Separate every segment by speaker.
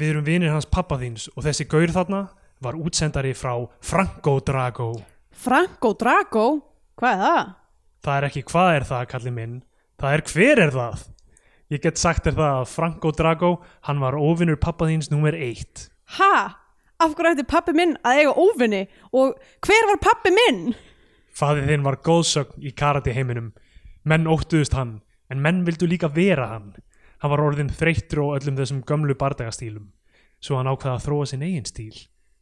Speaker 1: við erum vinir hans pappa þíns og þessi gaur þarna var útsendari frá Franco Drago
Speaker 2: Franco Drago? Hvað er það?
Speaker 1: Það er ekki hvað er það, kalli minn það er hver er það Ég get sagt þér það að Franco Drago hann var óvinnur pappa þíns númer eitt
Speaker 2: Ha? Af hverju ætti pappi minn að eiga óvinni? Og hver var pappi minn?
Speaker 1: Fadið þinn var góðsögn í karate heiminum menn óttuðust hann en menn vildu líka vera hann Hann var orðinn þreyttur á öllum þessum gömlu bardagastílum svo hann ákvaða að þróa sinn eigin stíl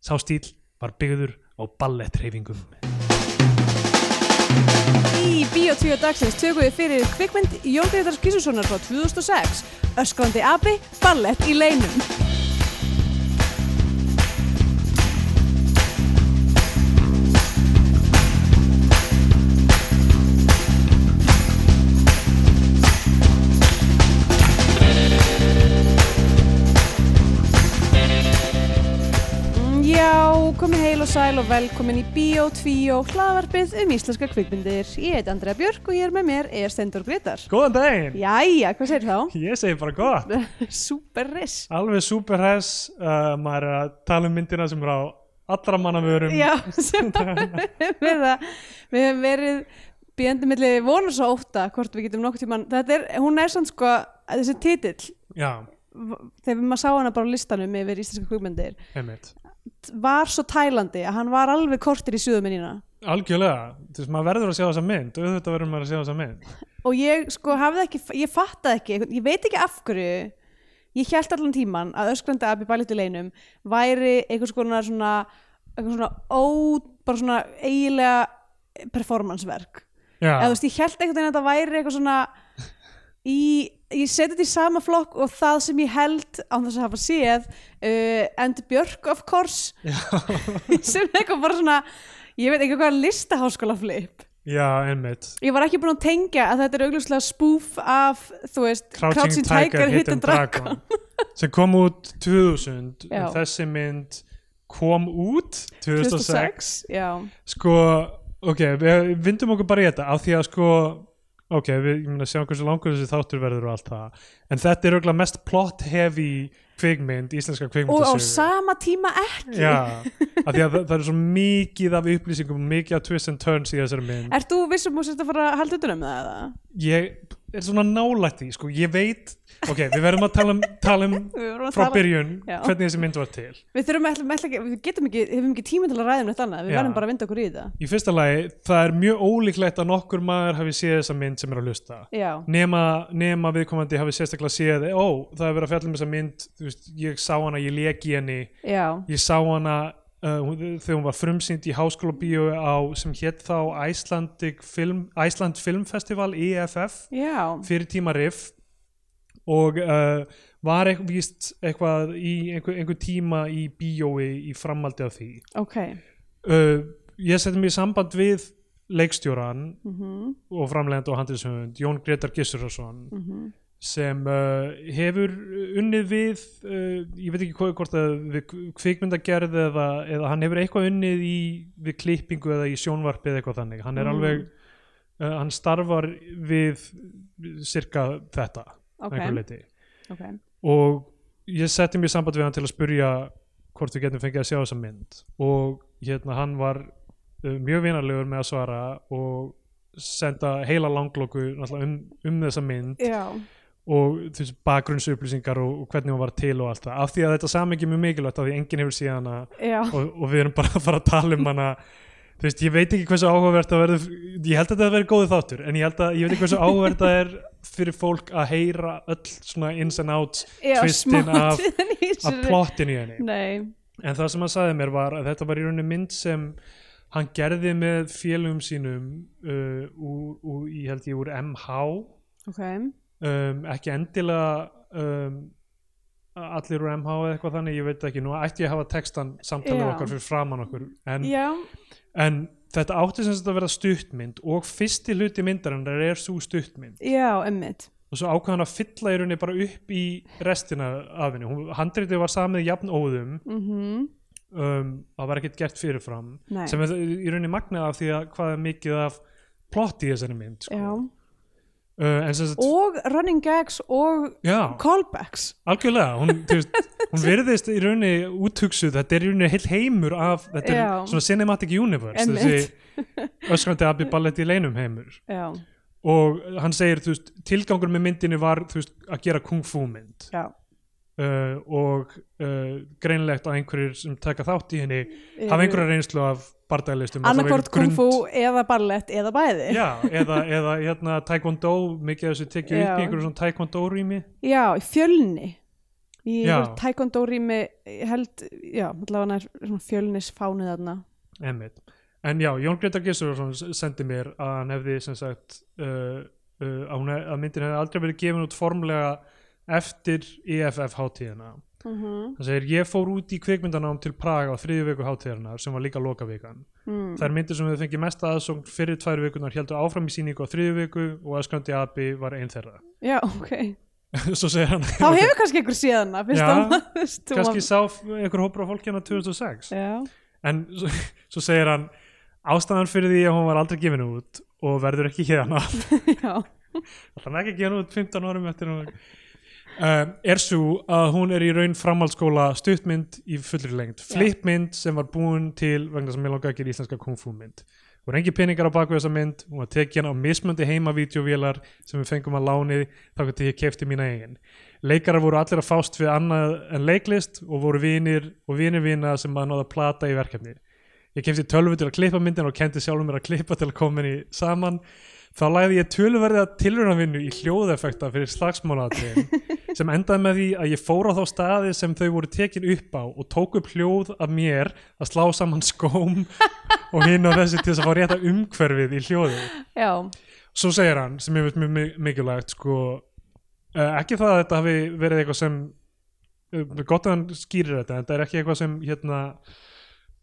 Speaker 1: Sá stíl var byggður á ballettreyfingum
Speaker 2: Í Bíotvíu dagsins tökum við fyrir kvikmynd Jón Grétars Gísussonar frá 2006 Öskrandi abi, ballett í leinum Mm, Já, komið heil og sæl og velkomin í Bíó 2 hlaðvarpið um íslenska kvikmyndir. Ég heit Andrea Björk og ég er með mér er Stendur Gretar.
Speaker 1: Góðan daginn!
Speaker 2: Jæja, hvað segir þá?
Speaker 1: Ég segi bara gott
Speaker 2: Super riss.
Speaker 1: Alveg super hess, uh, maður er að tala um myndina sem er á allra mannavörum.
Speaker 2: Já, sem við það, við hefum verið bíðandi milli vonu svo óta hvort við getum nokkuð tíman. Þetta er, hún er sann sko, þessi titill,
Speaker 1: Já,
Speaker 2: v- þegar maður sá hana bara á listanum yfir íslenska kvikmyndir,
Speaker 1: einmitt.
Speaker 2: var svo tælandi að hann var alveg kortir í suðuminnina.
Speaker 1: Algjörlega, þú veist, maður verður að sjá þessa mynd, auðvitað verður maður að sjá þessa mynd.
Speaker 2: og ég sko hafði ekki, ég fattaði ekki einhvern- ég veit ekki af hverju ég held allan tíman að öskrandi abi bælit í leinum væri einhvers konar svona einhvers svona ó, bara svona eiginlega performanceverk
Speaker 1: Já,
Speaker 2: eða þú veist, ég held einhvern veginn að þetta væri eitthvað svona í, ég seti þetta í sama flokk og það sem ég held án þess að hafa séð uh, and Björk of course sem eitthvað bara svona ég veit ekki hvað listaháskóla flip
Speaker 1: já, einmitt.
Speaker 2: Ég var ekki búin að tengja að þetta er augljóslega spoof af, þú veist,
Speaker 1: Crouching, Tiger, Hidden Dragon, sem kom út 2000, en
Speaker 2: Já.
Speaker 1: þessi mynd kom út 2006.
Speaker 2: 2006, já.
Speaker 1: Sko, ok, við vindum okkur bara í þetta, af því að sko, ok, við, ég meina, sjáum hversu langur þessi þáttur verður og allt það, en þetta er auðvitað mest plot-heavy kvikmynd, íslenska
Speaker 2: Og á
Speaker 1: kvikmyndasögu.
Speaker 2: sama tíma ekki.
Speaker 1: Já, af því að það, það er svo mikið af upplýsingum, mikið af twists and turns í þessari mynd.
Speaker 2: Ert þú vissum að sérst að fara að halda utan um það eða?
Speaker 1: Ég er svona nálægt því, sko, ég veit, ok, við verðum að tala um, tala um
Speaker 2: Við vorum að
Speaker 1: frá
Speaker 2: tala-
Speaker 1: byrjun
Speaker 2: Já.
Speaker 1: hvernig þessi mynd var til.
Speaker 2: Við þurfum ætlum, ætlum ekki, við getum ekki, hefum ekki tíma til að ræða um þetta annað, við
Speaker 1: Já.
Speaker 2: verðum bara að vinda okkur í þetta.
Speaker 1: Í fyrsta lagi, það er mjög ólíklegt að nokkur maður hafi séð þessa mynd sem er að hlusta.
Speaker 2: Já,
Speaker 1: Nema, nema viðkomandi hafi sérstaklega séð, ó, það er verið að fjalla um þessa mynd, þú veist, ég sá hana, ég leki henni,
Speaker 2: já,
Speaker 1: ég sá hana uh, hún- þegar hún var frumsýnd í háskóla bíó á, sem hétt þá Icelandic Film, Iceland Film Festival IFF,
Speaker 2: já,
Speaker 1: fyrir tíma riff og uh, var eitthvað víst eitthvað í einhver, einhver tíma í bíói í framhaldi af því
Speaker 2: ok.
Speaker 1: uh, ég seti mig í samband við leikstjóran
Speaker 2: Mm -hmm.
Speaker 1: og framlegend og handilshöfund Jón Gretar Gissurarsson
Speaker 2: mhm.
Speaker 1: sem uh, hefur unnið við uh, ég veit ekki hvað hvort að við kvikmyndagerð eða, eða hann hefur eitthvað unnið í, við klippingu eða í sjónvarpi eða eitthvað þannig hann er
Speaker 2: Mm.
Speaker 1: alveg uh, hann starfar við cirka þetta að
Speaker 2: Ok,
Speaker 1: einhverju leiti
Speaker 2: ok.
Speaker 1: og ég setti mér samband við hann til að spurja hvort við getum fengið að sjá þessa mynd og hérna hann var uh, mjög vinarlegur með að svara og senda heila langloku náttúrulega um, um þessa mynd
Speaker 2: Já,
Speaker 1: og þessi bakgrunnsupplýsingar og, og hvernig hún var til og allt það af því að þetta samengi er mjög mikilvægt af því enginn hefur séð hana
Speaker 2: já,
Speaker 1: og, og við erum bara að fara að tala um hana þú veist, ég veit ekki hversu áhugavert það verður ég held að þetta verður góði þáttur en ég held að, ég veit ekki hversu áhugavert það er fyrir fólk að heyra öll svona ins and outs
Speaker 2: já,
Speaker 1: Twistin
Speaker 2: smá
Speaker 1: af-
Speaker 2: tíðan í
Speaker 1: af
Speaker 2: þessu.
Speaker 1: plottinu í henni
Speaker 2: Nei,
Speaker 1: en það sem hann sagði mér var að þetta var í rauninni mynd sem hann gerði með félugum sínum uh, úr, úr, ég held ég úr MH
Speaker 2: ok,
Speaker 1: um, ekki endilega um, allir úr MH eða eitthvað þannig, ég veit ekki, nú ætti ég að hafa textan samtalið
Speaker 2: Já.
Speaker 1: okkar fyrir framan okkur en,
Speaker 2: já,
Speaker 1: en þetta átti sem sagt að vera stuttmynd og fyrsti hluti myndarinnar er svo stuttmynd
Speaker 2: já, emmitt.
Speaker 1: og svo ákvað hann að fylla í rauninni bara upp í restina af henni, Hún- handritið var samið jafn óðum
Speaker 2: Mm
Speaker 1: um, það var ekkert gert fyrirfram
Speaker 2: Nei,
Speaker 1: sem er í rauninni magnað af því að hvað er mikið af plott í þessari mynd
Speaker 2: já,
Speaker 1: sko. uh, en sem sagt,
Speaker 2: og running gags og
Speaker 1: já,
Speaker 2: callbacks
Speaker 1: algjörlega hún, þú veist, hún virðist í rauninni útugsuð, þetta er í rauninni heil heimur af, þetta er
Speaker 2: Já.
Speaker 1: svona cinematic universe
Speaker 2: Einmitt.
Speaker 1: þessi öskrandi abbi ballett í leinum heimur
Speaker 2: já,
Speaker 1: og hann segir, þú veist, tilgangur með myndinni var, þú veist, að gera kung fu mynd
Speaker 2: já,
Speaker 1: uh, og uh, greinlegt að einhverjir sem taka þátt í henni
Speaker 2: Eru-
Speaker 1: hafa einhverja reynslu af bardagalistum
Speaker 2: annarkort kung fu eða ballett eða bæði
Speaker 1: Já, eða, eða hérna, taekwondo, mikið af þessu tekju upp í
Speaker 2: Já.
Speaker 1: einhverjum svona taekwondo rými
Speaker 2: já, í fjölni í
Speaker 1: Já.
Speaker 2: einhverju taekwondo rými ég held, já, allavega er svona fjölnis fánuð þarna
Speaker 1: Einmitt. En já, Jón Gretar Gissurarsson sendi mér að hann hefði sem sagt uh, uh, að, hún, hef- að myndin hefði aldrei verið gefin út formlega eftir EFF hátíðina.
Speaker 2: mm -hmm.
Speaker 1: Hann segir, ég fór út í kvikmyndanám til Praga á þriðju viku hátíðina sem var líka lokavikan.
Speaker 2: mm.
Speaker 1: Þær myndir sem hefur fengið mesta aðsókn fyrir tvær vikunar heldur áfram í síningu á þriðju viku og Öskrandi Abbi var einn þeirra.
Speaker 2: já, ok
Speaker 1: Svo segir hann,
Speaker 2: þá hefur kannski einhver séð hana fyrst
Speaker 1: Já,
Speaker 2: að maður- þú veist, þú
Speaker 1: kannski
Speaker 2: var-
Speaker 1: sá f- einhver hópur af fólki hérna 2006.
Speaker 2: já,
Speaker 1: en svo, svo segir hann ástæðan fyrir því að hún var aldrei gefin út og verður ekki hérna
Speaker 2: já,
Speaker 1: hann ekki gefin út 15 árum eftir hún um, er svo að hún er í raun framhaldsskóla stuttmynd í fullri lengd flipmynd sem var búin til vegna sem ég langa að gera íslenska kung fu mynd og rengi peningar á baku þessa mynd hún var tekin á mismöndi heimavídeóvélar sem við fengum að láni þá til ég kefti mína eigin leikarar voru allir að fást við annað en leiklist og voru vinir og vinir vina sem maður náða að plata í verkefni Ég kefti tölvu til að klippa myndin og kendi sjálfum mér að klippa til að koma henni saman. Þá lagði ég tölverða tilraunavinnu í hljóðeffekta fyrir slagsmálatriðin sem endaði með því að ég fór á þá staði sem þau voru tekin upp á og tók upp hljóð af mér að slá saman skóm og hinn og þessi til þess að fá rétta umhverfið í hljóði.
Speaker 2: já,
Speaker 1: Svo segir hann, sem ég veit mjög mi- mikilvægt, sko, uh, ekki það að þetta hafi verið eitthvað sem, uh, gott að hann skýrir þetta, en þetta er ekki eitthvað sem, hérna,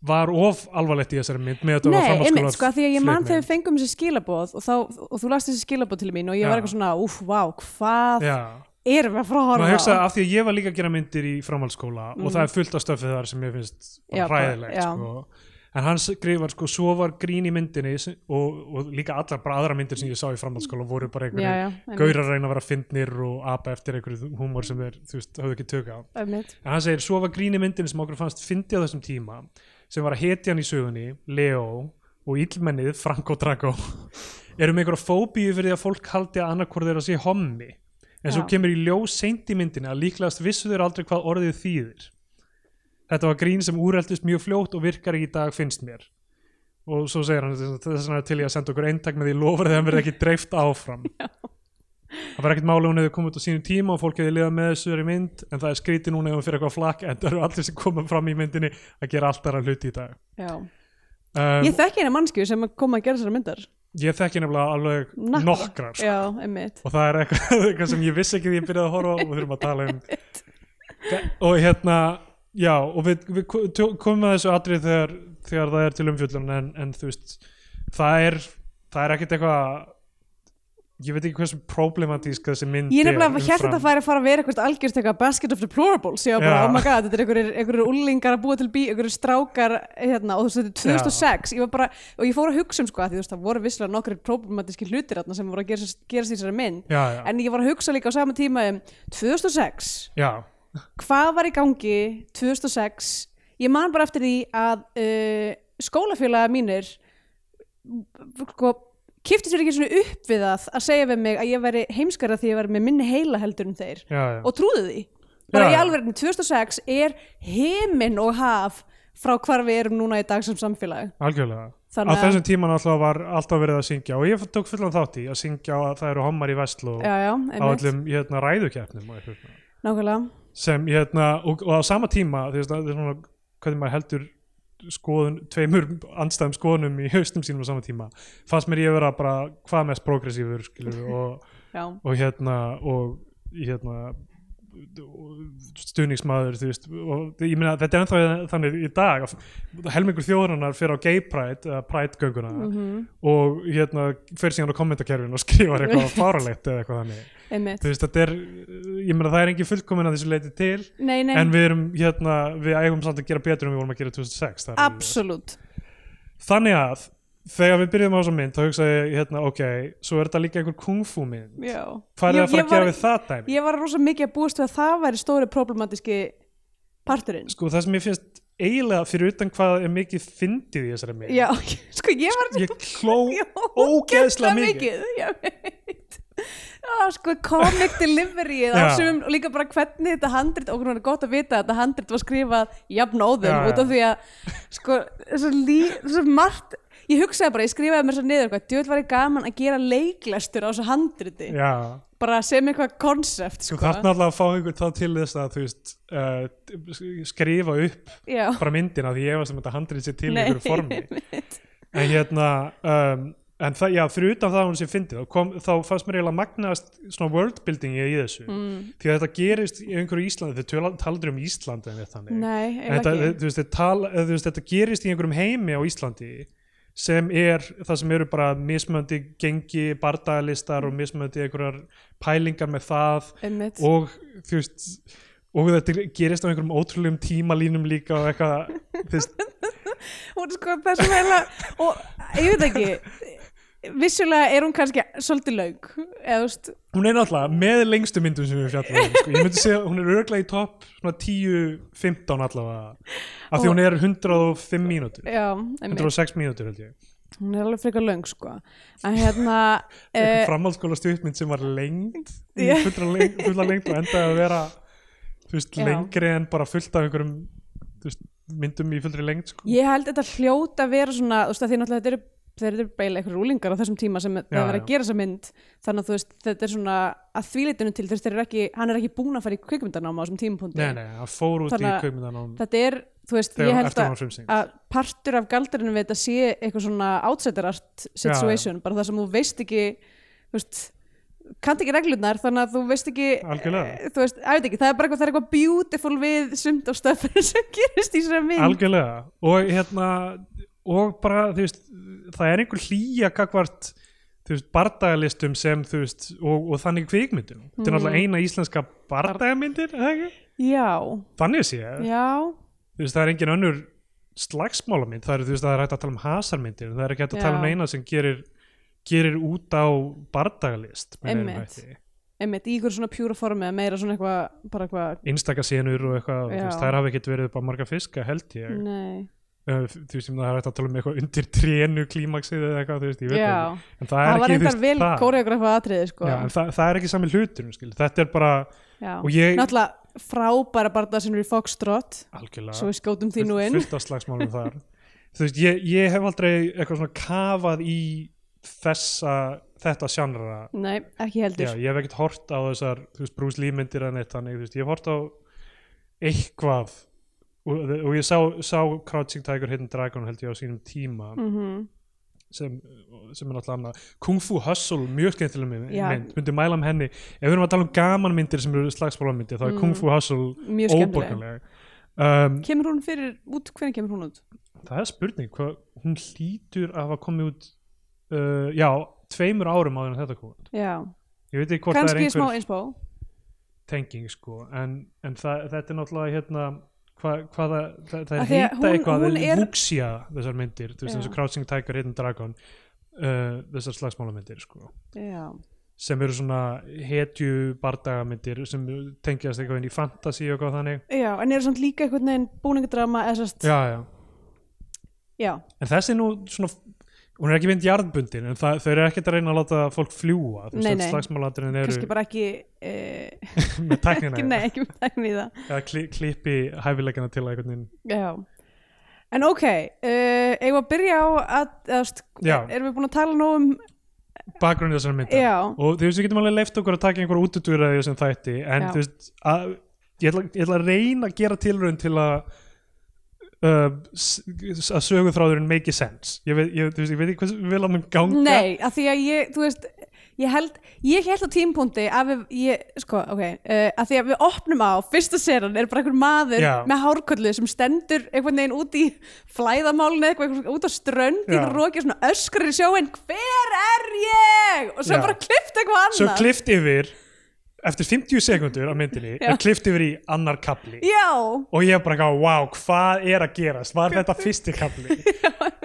Speaker 1: var of alvarlegt í þessari mynd með þetta
Speaker 2: nei,
Speaker 1: var framhaldsskóla
Speaker 2: einmitt sko, af því að ég man
Speaker 1: flipmynd.
Speaker 2: þegar við fengum þessi skilaboð og, þá, og þú last þessi skilaboð til mín og ég
Speaker 1: Já.
Speaker 2: var eitthvað svona, úf, vá, hvað
Speaker 1: Já,
Speaker 2: erum við að fara að horfa
Speaker 1: maður hugsa
Speaker 2: á? Mm.
Speaker 1: af því að ég var líka að gera myndir í framhaldsskóla og það er fullt af stöfið þar sem ég finnst bara
Speaker 2: Já, bara-
Speaker 1: hræðilegt
Speaker 2: já.
Speaker 1: sko. en hann skrifar sko, svo var grín í myndinni sem- og, og líka allar bara aðra myndir sem ég sá í framhaldsskóla voru bara
Speaker 2: já,
Speaker 1: einhverju
Speaker 2: já, einmitt,
Speaker 1: gaurar að reyna að vera fyndnir og apa eftir einhverju húmor sem þeir þú veist, höfðu ekki tök á
Speaker 2: einmitt,
Speaker 1: en hann segir svo var grín í myndinni sem okkur fannst fyndi á þessum tíma sem var að hetjan í sögunni, Leo og illmennið Franco Drago erum einhverja fóbíu fyrir því að fólk haldi að annarkvort þeirra sé hommi en svo
Speaker 2: Já.
Speaker 1: kemur í ljós seint í myndinni að líklegast vissu þeir aldrei hvað orðið þýðir þetta var grín sem úreldist mjög fljótt og virkar ekki í dag finnst mér og svo segir hann þess vegna er til ég að senda okkur eintak með því lofur þegar hann verði ekki dreift áfram það var ekkert máli hún hefði komið út á sínum tíma og fólk hefði liðað með þessu í mynd en það er skrítið núna ef hún fyrir eitthvað flakk en það eru allir sem koma fram í myndinni að gera allt aðra hluti í dag
Speaker 2: já
Speaker 1: um,
Speaker 2: Ég þekki eina mannskju sem kom að gera þessar myndar
Speaker 1: ég þekki nefnilega alveg
Speaker 2: Nokkrar.
Speaker 1: nokkrar sko.
Speaker 2: Já, einmitt
Speaker 1: og það er eitthvað, eitthvað sem ég vissi ekki því ég byrjaði að horfa á og við þurfum að tala um og hérna já og við, við ko- tó- komum að þessu atrið þegar, þegar það er til umfjöllun en, en þú veist það er, það er ekkert eitthvað ég veit ekki hversu problematísk þessi mynd
Speaker 2: Ég nefnilega
Speaker 1: umfram-
Speaker 2: hérna þetta færi að fara að vera eitthvað algjörst eitthvað basket of deplorables Ég var bara,
Speaker 1: Já.
Speaker 2: oh my god, þetta er einhverjir, einhverjir úlingar að búa til bí, einhverjir strákar hérna, og þú veist, þetta er 2006 ég var bara, og ég fór að hugsa um sko að því, þú veist, það voru visslega nokkrir problematíski hlutir þarna sem voru að gera, gera þessari mynd
Speaker 1: já, já,
Speaker 2: En ég var að hugsa líka á sama tíma um 2006,
Speaker 1: já.
Speaker 2: hvað var í gangi 2006 ég man bara eftir því að uh, skólafélaga mínir sko, kifti sér ekki svona upp við það að segja við mig að ég veri heimskara því ég veri með minni heila heldur en þeir
Speaker 1: já, já.
Speaker 2: og trúðu því bara
Speaker 1: Já,
Speaker 2: í
Speaker 1: já.
Speaker 2: alveg 2006 er heiminn og haf frá hvar við erum núna í dag sem samfélag
Speaker 1: algjörlega
Speaker 2: Þannig
Speaker 1: á
Speaker 2: að-
Speaker 1: þessum tíman alltaf var alltaf verið að syngja og ég tók fullan þátt í að syngja að það eru hommar í vestlu
Speaker 2: já,
Speaker 1: á
Speaker 2: já, einmitt,
Speaker 1: öllum hérna, ræðukeppnum og eitthvað svona.
Speaker 2: nákvæmlega
Speaker 1: sem hérna og, og á sama tíma þú veist, það er svona hvernig maður heldur skoðun, tveimur andstæðum skoðunum í haustum sínum á sama tíma fannst mér ég vera bara hvað mest progressífur skilur, og,
Speaker 2: já,
Speaker 1: og hérna og hérna og stuðningsmaður þú veist, og ég meina þetta er ennþá þannig í dag að helmingur þjóðurinnar fyrir á gay pride eða pride gönguna
Speaker 2: Mhm.
Speaker 1: og hérna fyrir síðan á kommentakerfin og skrifar eitthvað fáralegt eða eitthvað þannig
Speaker 2: einmitt
Speaker 1: þú veist þetta er, ég meina það er engin fullkomin að þessu leiti til
Speaker 2: nei, nei,
Speaker 1: en við erum hérna, við ægum samt að gera betur en við vorum að gera 2006 það er alveg ljóst.
Speaker 2: absolutt
Speaker 1: þannig að þegar við byrjum á þessa mynd þá hugsaði ég hérna, ok, svo er þetta líka einhver kung fu mynd
Speaker 2: Já.
Speaker 1: hvað er það
Speaker 2: Ég-
Speaker 1: að fara
Speaker 2: ég
Speaker 1: að gera
Speaker 2: var-
Speaker 1: við það dæmi?
Speaker 2: Ég var rosa mikið að búast við að það væri stóri problematíski parturinn.
Speaker 1: sko það sem ég finnst eiginlega fyrir utan hvað er mikið fyndið í þessari mynd
Speaker 2: Já, sko ég var
Speaker 1: ég kló
Speaker 2: Já,
Speaker 1: ógeðslega
Speaker 2: ógeðslega
Speaker 1: mikið
Speaker 2: Ég veit. Já, sko comic deliveryið á
Speaker 1: Já.
Speaker 2: sumum og líka bara hvernig þetta handrit, okkur var gott að vita að þetta handrit var skrifað jafnóðum
Speaker 1: Já, já.
Speaker 2: út af því að sko, þessu, lí, þessu margt ég hugsaði bara, ég skrifaði mér svo niður eitthvað, djöld var ég gaman að gera leiklestur á þessu handriti,
Speaker 1: já,
Speaker 2: bara sem eitthvað konsept,
Speaker 1: sko
Speaker 2: sko
Speaker 1: þarna alltaf að fá einhvern þá til þess að þú veist uh, skrifa upp
Speaker 2: Já,
Speaker 1: bara myndina því ég var sem þetta handrið sér til í
Speaker 2: Nei,
Speaker 1: einhverju formi en hérna um, en það, já, fyrir utan það að hún sé fyndið þá, kom, þá fannst mér eiginlega magnaðast svona worldbuildingi í þessu mm. því að þetta gerist í einhverju Íslandi þau tala aldrei um Íslandi en þetta þannig.
Speaker 2: nei,
Speaker 1: En
Speaker 2: ef
Speaker 1: þetta,
Speaker 2: ekki
Speaker 1: þú veist, þetta, tala, eða þú veist, þetta gerist í einhverjum heimi á Íslandi sem er það sem eru bara mismöndi gengi bardagalistar og mismöndi einhverjar pælingar með það
Speaker 2: Einmitt.
Speaker 1: og þú veist og þetta gerist á einhverjum ótrúlegum tímalínum líka og eitthvað þú veist,
Speaker 2: hún er sko þessum heila og ég veit ekki vissulega er hún kannski svolítið laug eða þú veist
Speaker 1: hún er náttúrulega með lengstu myndum sem við fjallum um, sko. ég myndi segja að hún er örglega í topp svona 10-15 allavega af því
Speaker 2: Og-
Speaker 1: hún er 105 mínútur
Speaker 2: já, einmitt,
Speaker 1: 106 mínútur held ég
Speaker 2: hún er alveg frekar laung sko en hérna
Speaker 1: einhver
Speaker 2: eh,
Speaker 1: framhaldsskóla stuttmynd sem var lengd í
Speaker 2: Já.
Speaker 1: fulla lengd, fulla lengd og endaði að vera þú veist,
Speaker 2: Já.
Speaker 1: lengri en bara fullt af einhverjum þú veist, myndum í fullri lengd sko.
Speaker 2: ég held þetta hljóta að vera svona þú veist að því náttúrulega þetta eru þeir eru beila eitthvað rúlingar á þessum tíma sem það
Speaker 1: Já,
Speaker 2: var að
Speaker 1: já.
Speaker 2: gera þessa mynd þannig að þú veist þetta er svona að þvílitinu til þess þeir eru ekki hann er ekki búin að fara í kvikmyndanáma á þessum tímapunkti
Speaker 1: nei, nei, það fór út
Speaker 2: Þannig að-
Speaker 1: í kaupmyndanum
Speaker 2: þetta er, þú veist,
Speaker 1: Þegar- eftir
Speaker 2: ég held
Speaker 1: hún var
Speaker 2: að,
Speaker 1: frumsýnd.
Speaker 2: að partur af galdarinu við þetta sé eitthvað svona átsettarart situation, bara það sem þú veist ekki þú veist, kannt ekki reglurnar þannig að Eh, þú veist ekki
Speaker 1: Algjörlega.
Speaker 2: þú veist, ég veit ekki, það er bara eitthvað, það er eitthvað beautiful við sumt á stöfnir sem gerist í þessari mynd
Speaker 1: algjörlega og hérna og bara þú veist, það er einhver hlýja kakvart þú veist, bardagalistum sem þú veist og, og þannig kvikmyndum þetta er
Speaker 2: Mm.
Speaker 1: náttúrulega eina íslenska bardagamyndir er það ekki?
Speaker 2: já,
Speaker 1: þannig sé ég
Speaker 2: já,
Speaker 1: þú veist, það er engin önnur slagsmálamynd, það er, þú veist, það er hægt að tala um hasarmyndir, en það er ekki hægt að tala um
Speaker 2: Já.
Speaker 1: eina sem gerir, gerir út á bardagalist, með neinum
Speaker 2: Einmitt.
Speaker 1: hætti.
Speaker 2: einmitt, í ykkur svona pjúra formi eða meira svona eitthvað, bara eitthvað
Speaker 1: Innstakasenur og eitthvað, þú
Speaker 2: Já. Mm.
Speaker 1: veist, þær hafa ekkert verið upp á marga fiska, held ég
Speaker 2: nei,
Speaker 1: Uh, þú veist, ég meina, það er hægt að tala um eitthvað undir trénu klímaksið eða eitthvað, þú veist, ég veit það
Speaker 2: já
Speaker 1: ekki. en það
Speaker 2: það
Speaker 1: er
Speaker 2: var
Speaker 1: ekki, þú
Speaker 2: einhver
Speaker 1: veist,
Speaker 2: vel
Speaker 1: það
Speaker 2: kóreografa atriði sko
Speaker 1: Já, en það, það er ekki sami hlutur, skil. þetta er bara
Speaker 2: Já.
Speaker 1: og ég-
Speaker 2: náttúrulega frábæra barða sem eru í Foxtrot
Speaker 1: algjörlega
Speaker 2: svo við skjótum því nú inn
Speaker 1: fullt af slagsmálum þar þú veist, ég, ég hef aldrei eitthvað svona kafað í þessa, þetta sjánra
Speaker 2: Nei, ekki heldur
Speaker 1: Já, ég hef ekkert hort á þessar þú veist, Bruce Lee myndir en eitt þannig, þú veist, ég hef hort á eitthvað og, og ég sá, sá Crouching Tiger Hidden Dragon held ég á sínum tíma
Speaker 2: Mhm.
Speaker 1: sem, sem er náttúrulega annað Kung Fu Hustle, mjög skemmtileg mynd,
Speaker 2: Já.
Speaker 1: mynd myndi mæla um henni, ef við erum að tala um gaman myndir sem eru slagsmálamyndir, þá er Kung Fu Hustle
Speaker 2: Mm. Mjög skemmtileg
Speaker 1: óborganleg um,
Speaker 2: Kemur hún fyrir út, hvernig kemur hún út?
Speaker 1: Það er spurning, hva, hún hlýtur að hafa komið út uh, já, tveimur árum áður en þetta kom út.
Speaker 2: Já,
Speaker 1: Ég veit ekki hvort það er
Speaker 2: kannski
Speaker 1: einhver
Speaker 2: smá einspá
Speaker 1: tenging sko, en, en það, þetta er náttúrulega hérna hva, hvaða, það, það
Speaker 2: Af
Speaker 1: er
Speaker 2: því að
Speaker 1: heita
Speaker 2: hún-
Speaker 1: eitthvað, það
Speaker 2: hún er-
Speaker 1: er vuxia þessar myndir, þú veist
Speaker 2: Já.
Speaker 1: eins og Crouching Tiger Hidden Dragon, uh, þessar slagsmálamyndir sko,
Speaker 2: Já,
Speaker 1: sem eru svona hetju bardagamyndir sem tengjast eitthvað inn í fantasy og eitthvað þannig.
Speaker 2: já en eru samt líka einhvern veginn búningadrama eða sérst
Speaker 1: Já, já.
Speaker 2: já,
Speaker 1: En þessi nú svona hún er ekki mynd jarðbundin en það, þau eru ekkert að reyna að láta fólk fljúa þú
Speaker 2: Nei,
Speaker 1: veist
Speaker 2: nei.
Speaker 1: slagsmálatriðin eru
Speaker 2: kannski bara ekki eh,
Speaker 1: með tæknina
Speaker 2: ekki, nei, ekki með tækni í það
Speaker 1: eða kli, klippi hæfileikana til að einhvern veginn
Speaker 2: Já En ok, uh, eigum við að byrja á að, að st,
Speaker 1: Já.
Speaker 2: erum við búin að tala nóg um
Speaker 1: bakgrunni þessar mynda
Speaker 2: Já,
Speaker 1: og þú veist við getum alveg leift okkur að taka einhverja útudúra í þessum þætti en
Speaker 2: Já.
Speaker 1: þú veist að, ég, ætla, ég ætla að reyna að gera tilraun til að uh, s- að söguþráðurinn make sense ég veit, ég, þú veist, ég veit ekki hvað vel að mun ganga
Speaker 2: Nei, af því að ég, þú veist ég held, ég held á tímpúndi að við, ég, sko, ok uh, að því að við opnum á, fyrsta seran er bara einhver maður
Speaker 1: Já.
Speaker 2: með hárköllu sem stendur einhvern veginn út í flæðamálinu eitthvað, einhver- út á strönd,
Speaker 1: Já.
Speaker 2: einhver roki og svona öskrar í sjóin, hver er ég? og svo
Speaker 1: Já.
Speaker 2: bara klift eitthvað annað
Speaker 1: svo klift yfir eftir 50 sekundur á myndinni
Speaker 2: Já.
Speaker 1: er klift yfir í annar kapli
Speaker 2: Já,
Speaker 1: og ég bara gá, wow, hvað er að gerast var þetta fyrsti kafli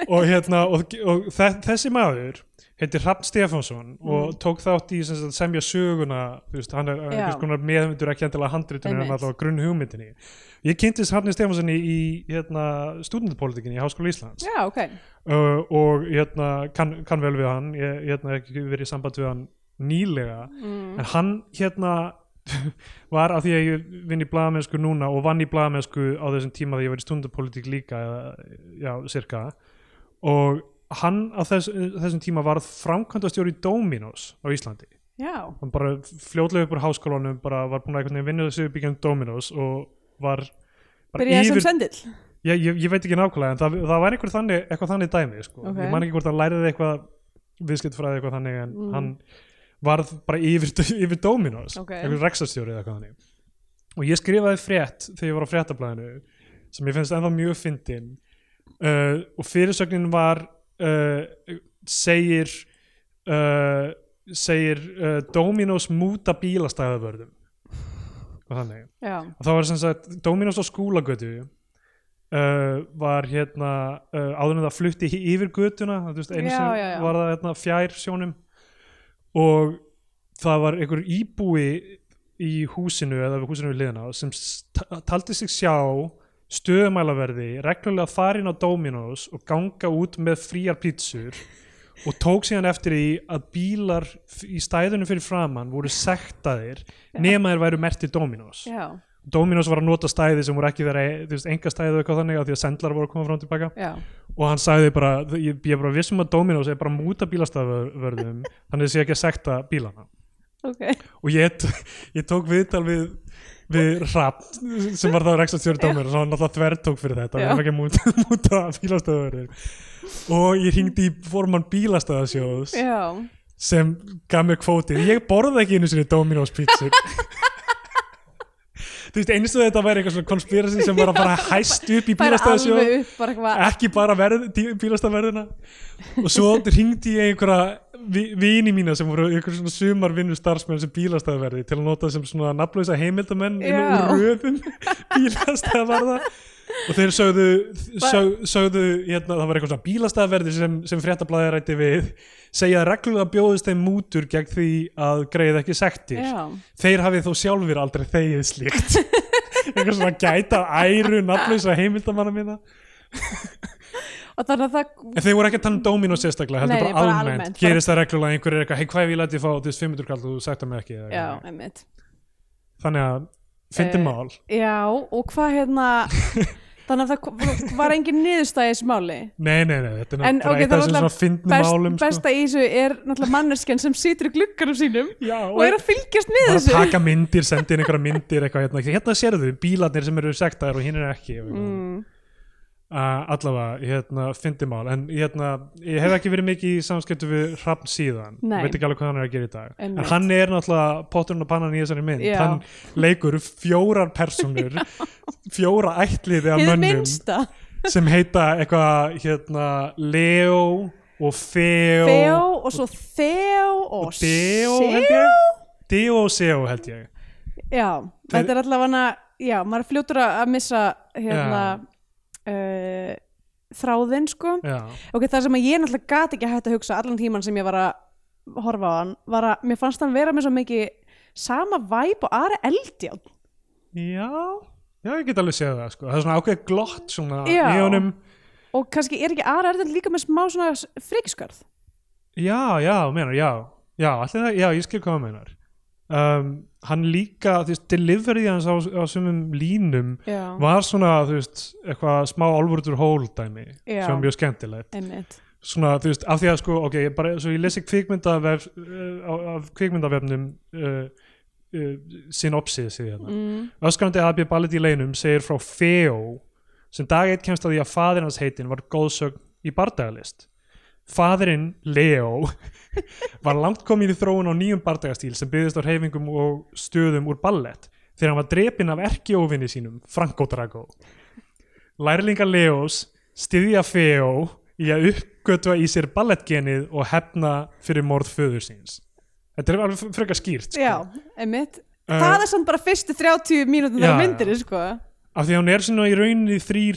Speaker 1: og, hérna, og, og þe þessi maður heitir Hrafn Stefánsson og tók þátt í sem sagt, semja söguna þú veist, hann er
Speaker 2: Mm. Já.
Speaker 1: einhvers konar meðmyndur ekki endilega handritunni en
Speaker 2: Einmitt.
Speaker 1: alltaf grunn hugmyndinni ég kynntist Hrafni Stefánssoni í hérna, stúdentpolitikinni í Háskóla Íslands
Speaker 2: já, ok
Speaker 1: uh, og hérna, kann, kann vel við hann ég hérna, hef ekki verið í samband við hann nýlega
Speaker 2: mm.
Speaker 1: en hann hérna var af því að ég vinn í blaðamennsku núna og vann í blaðamennsku á þessum tíma þegar ég var í stundapolítík líka eða, já, cirka og hann á þess, þessum tíma var framkvæmdastjóri Dominos á Íslandi
Speaker 2: já,
Speaker 1: hann bara fljótlega upp úr háskólanum bara var búin að einhvern veginn vinna þessu byggjum Dominos og var bara
Speaker 2: byrjaði sem
Speaker 1: yfir,
Speaker 2: sendill
Speaker 1: ég, ég, ég veit ekki nákvæmlega en það, það var einhver þannig, eitthvað þannig dæmi sko.
Speaker 2: Ok.
Speaker 1: ég man ekki hvort hann læriði eitthvað viðskiptfræði eitthvað þannig en
Speaker 2: Mm.
Speaker 1: hann varð bara yfir, yfir Dominos
Speaker 2: Ok.
Speaker 1: einhver reksastjóri eða eitthvað þannig og ég skrifaði frétt þegar ég var á fréttablaðinu sem ég finnst ennþá mjög fyndin uh, og fyrirsögnin var uh, segir uh, segir uh, Dominos múta bílastæðavörðum og þannig
Speaker 2: já,
Speaker 1: og það var sem sagt Dominos á skúlagötu uh, var hérna uh, áður en það flutti í- yfir götuna þú veist, einu
Speaker 2: Já,
Speaker 1: sem
Speaker 2: já, já.
Speaker 1: var það hérna, fjær sjónum og það var einhver íbúi í húsinu eða við húsinu við liðina sem s- ta- taldi sig sjá stöðumælaverði reglulega farin á Dominos og ganga út með fríar pítsur og tók síðan eftir því að bílar f- í stæðunum fyrir framann voru sektaðir nema þeir væru merti Dominos
Speaker 2: já,
Speaker 1: Dominos var að nota stæði sem voru ekki þeirra þú veist, enga stæði og eitthvað þannig af því að sendlar voru að koma frá og tilbaka
Speaker 2: já
Speaker 1: og hann sagði bara, ég, ég er bara vissum að Dominos er bara að múta bílastæðvörðum þannig að sé ekki að sekta bílana
Speaker 2: ok,
Speaker 1: og ég, t- ég tók viðtal við við Rapp sem var það rekstastjóri Dominos og hann alltaf þvertók fyrir þetta
Speaker 2: Já.
Speaker 1: hann er ekki að múta, múta bílastæðvörðum og ég hringdi í formann bílastæðasjóðs
Speaker 2: já
Speaker 1: sem gaf mér kvótið ég borða ekki einu sinni Dominos pizza þú veist eins og þetta væri eitthvað svona konspirasi sem var að bara hæst upp í
Speaker 2: bara
Speaker 1: bílastæðasjó
Speaker 2: alveg upp bara eitthvað
Speaker 1: ekki bara verð, bílastæðverðina og svo ringdi ég einhverja vi- vini mína sem voru einhver svona sumarvinnu starfsmenn sem bílastæðverði til að nota sem svona nafnlausa heimildamenn inn
Speaker 2: Já.
Speaker 1: úr röðum bílastæðverða og þeir sögðu, sög, sögðu hérna, það var eitthvað svona bílastæðverði sem, sem fréttablaði rætti við segja að reglulega bjóðist þeim mútur gegn því að greið ekki sektir
Speaker 2: já,
Speaker 1: þeir hafið þó sjálfur aldrei þegið slíkt einhver svona gæta æru nafnlausa heimildamanna mína
Speaker 2: og þannig að það
Speaker 1: En þeir voru ekki að tala um Domino sérstaklega, heldur
Speaker 2: Nei,
Speaker 1: bara,
Speaker 2: bara
Speaker 1: almennt.
Speaker 2: almennt, bara-
Speaker 1: Gerist það reglulega að einhver er eitthvað, hei hvað ef ég læti fá þú veist 500 kall og þú sættar mig ekki. eða
Speaker 2: já,
Speaker 1: eitthvað.
Speaker 2: einmitt
Speaker 1: Þannig að, fyndi
Speaker 2: Eh,
Speaker 1: mál.
Speaker 2: já, og hvað hérna þannig að það kom- var engin niðurstæði í þessu máli
Speaker 1: Nei, nei, nei, þetta er
Speaker 2: En,
Speaker 1: bara
Speaker 2: ok,
Speaker 1: eitt af
Speaker 2: það var
Speaker 1: þessum svona
Speaker 2: alltaf
Speaker 1: fyndnum
Speaker 2: Best,
Speaker 1: málum. sko.
Speaker 2: besta í þessu er náttúrulega manneskjan sem situr í glugganum sínum
Speaker 1: sko. Já,
Speaker 2: og er að fylgjast með
Speaker 1: bara að
Speaker 2: þessu
Speaker 1: taka myndir, sendi inn einhverja myndir, eitthvað hérna. Hérna sérðu, bílarnir sem eru sektaðir og hinn er ekki. Mm.
Speaker 2: mm,
Speaker 1: allavega, hérna, fyndi mál. En hérna, ég hef ekki verið mikið í samskiptu við Hrafn síðan.
Speaker 2: Nei.
Speaker 1: Ég Veit ekki alveg hvað hann er að gera í dag. En
Speaker 2: Einmitt.
Speaker 1: hann er náttúrulega potturinn og pannan í þessari mynd.
Speaker 2: Já.
Speaker 1: Hann leikur fjórar personur, fjóra ættliði af
Speaker 2: hið
Speaker 1: mönnum
Speaker 2: minnsta
Speaker 1: sem heita eitthvað hérna Leo og Feo,
Speaker 2: Feo og svo Theo og
Speaker 1: Deo held
Speaker 2: Seo.
Speaker 1: ég. Deo og Seo held ég.
Speaker 2: já, þetta er allavega hana já, maður er fljótur að að missa hérna uh, þráðinn sko
Speaker 1: Já,
Speaker 2: ok, það sem að ég náttúrulega gat ekki að hætta að hugsa allan tíman sem ég var að horfa á hann var að mér fannst hann vera með svo mikið sama væp og aðra eldján
Speaker 1: já, já ég get alveg séð það sko. Það er svona ákveð glott svona í
Speaker 2: Já.
Speaker 1: honum.
Speaker 2: og kannski er ekki aðra eldján líka með smá svona frikskörð
Speaker 1: Já, já, þú meinar, já, já, allir það, já, ég skil hvað það meinar. Um, hann líka, þú veist, deliveryð hans á, á sumum línum
Speaker 2: já,
Speaker 1: var svona, þú veist, eitthvað smá álfurður hól dæmi,
Speaker 2: Já.
Speaker 1: sem var mjög skemmtilegt.
Speaker 2: einmitt
Speaker 1: Svona, þú veist, af því að sko, ok, ég bara, svo ég lesi kvikmyndavef, uh, á- af kvikmyndavefnum uh, uh, synopsis í hérna.
Speaker 2: mm.
Speaker 1: Öskrandi AB Ballet í leinum segir frá Feo sem dag eitt kemst að því að faðir hans heitin var góðsögn í bardagalist. Faðirinn Leo var langt komin í þróun á nýjum bardagastíl sem byggðist á reyfingum og stöðum úr ballett þegar hann var drepinn af erkióvinni sínum, Franco Drago. Lærlingar Leos styðja Feo í að uppgötva í sér ballettgenið og hefna fyrir morð föður síns. Þetta er alveg frekar skýrt. sko.
Speaker 2: já, einmitt
Speaker 1: Eh,
Speaker 2: það er samt bara fyrstu 30
Speaker 1: Já,
Speaker 2: mínútur þegar
Speaker 1: já.
Speaker 2: myndir sko
Speaker 1: af því að hún er svona í rauninni þrýr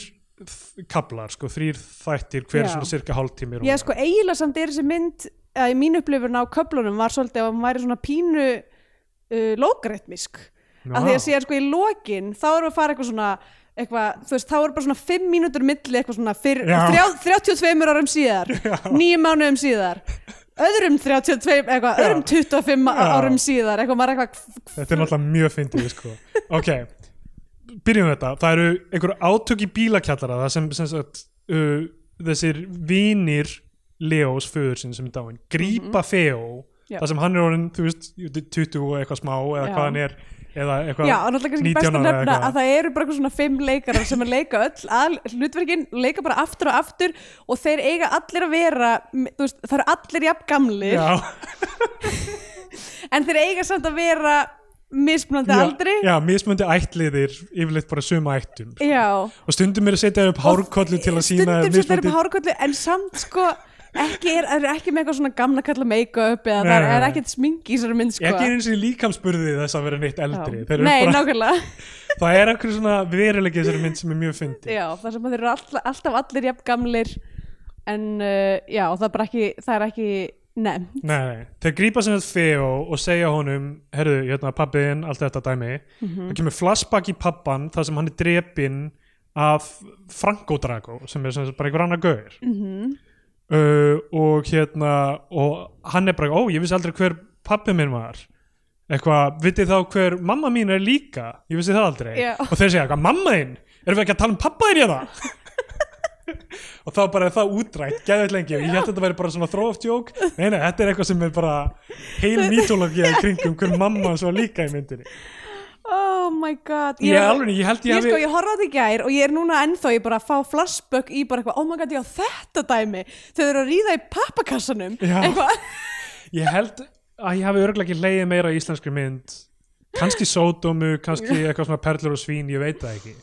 Speaker 1: kaplar, sko, þrýr þættir hver
Speaker 2: Já.
Speaker 1: svona cirka hálftími rúmlega.
Speaker 2: Já, sko, eiginlega samt er þessi mynd að í mín upplifun á köflunum var svolítið að hún væri svona pínu uh, lógritmisk
Speaker 1: Já.
Speaker 2: að því að síðan sko í lokin þá erum við að fara eitthvað svona eitthvað, þú veist, þá eru bara svona 5 mínútur milli eitthvað svona fyrr,
Speaker 1: Já.
Speaker 2: þrjá, 32 árum síðar, 9 mánuðum síðar öðrum 32, eitthvað, öðrum 25
Speaker 1: Já.
Speaker 2: árum síðar eitthvað, maður er eitthvað,
Speaker 1: Þetta er náttúrulega mjög fyndið sko. Ok, byrjum við þetta Það eru einhver átök í bílakjallara það sem, sem sagt, uh, þessir vinir Leós föður sinn sem er dáin grípa mm
Speaker 2: Mhm. Já.
Speaker 1: það sem hann er orðin þú veist, 20 og eitthvað smá eða
Speaker 2: Já.
Speaker 1: hvað hann er eða eitthvað
Speaker 2: já, og náttúrulega kannski
Speaker 1: 19
Speaker 2: best að
Speaker 1: ára eða
Speaker 2: nefna
Speaker 1: eitthvað.
Speaker 2: að það eru bara eitthvað svona 5 leikarar sem að leika öll að hlutverkin, leika bara aftur og aftur og þeir eiga allir að vera þú veist, það eru allir jafn gamlir
Speaker 1: Já,
Speaker 2: en þeir eiga samt að vera mismunandi
Speaker 1: já,
Speaker 2: aldri
Speaker 1: já, mismöndi ættliðir yfirleitt bara suma ættum
Speaker 2: já.
Speaker 1: og stundum er að setja upp hárkollu til að sína
Speaker 2: stundum setja upp hárkollu en samt sko ekki er, er ekki með eitthvað svona gamla kalla make-up eða
Speaker 1: Nei,
Speaker 2: það
Speaker 1: nei,
Speaker 2: er
Speaker 1: nei.
Speaker 2: ekkert smink í þessari mynd sko
Speaker 1: ekki eins og líkamspurði þess að vera neitt eldri Þeir
Speaker 2: Já.
Speaker 1: eru
Speaker 2: Nei,
Speaker 1: bara-
Speaker 2: nákvæmlega,
Speaker 1: það er einhver svona veruleiki í þessari mynd sem er mjög fyndi
Speaker 2: já, það sem að þeir eru all, alltaf allir jafn gamlir en uh, já, það er bara ekki það er ekki, nefn
Speaker 1: nei, nei. þeir grípa sem þetta Feo og segja honum herðu, hérna, pappiðin, allt þetta dæmi
Speaker 2: Mhm.
Speaker 1: það kemur flashback í pappan þar sem hann er drepinn af Franco Drago sem er sem sagt bara einhver annar gaur uh, og hérna og hann er bara, ó, ég vissi aldrei hver pappi minn var eitthvað, vitið þá hver mamma mín er líka ég vissi það aldrei
Speaker 2: Já.
Speaker 1: og þeir segja eitthvað, mamma þín, erum við ekki að tala um pappa þér hérna og þá bara er það útrætt, geðveit lengi og ég held að þetta væri bara svona throw of joke nei, nei, þetta er eitthvað sem er bara heil mítología í kringum hver mamma hans var líka í myndinni
Speaker 2: oh my god
Speaker 1: ég, alveg, ég held
Speaker 2: Ég,
Speaker 1: ég
Speaker 2: sko,
Speaker 1: hafi
Speaker 2: ég horfði á þetta í gær og ég er núna ennþá ég bara að fá flashback í bara eitthvað, oh my god, já þetta dæmi þau eru að ríða í pappakassanum
Speaker 1: Já.
Speaker 2: eitthvað,
Speaker 1: ég held að ég hafi örglega ekki leiðið meira í íslenskri mynd kannski sódómu, kannski eitthvað svona perlur og svín, ég veit það ekki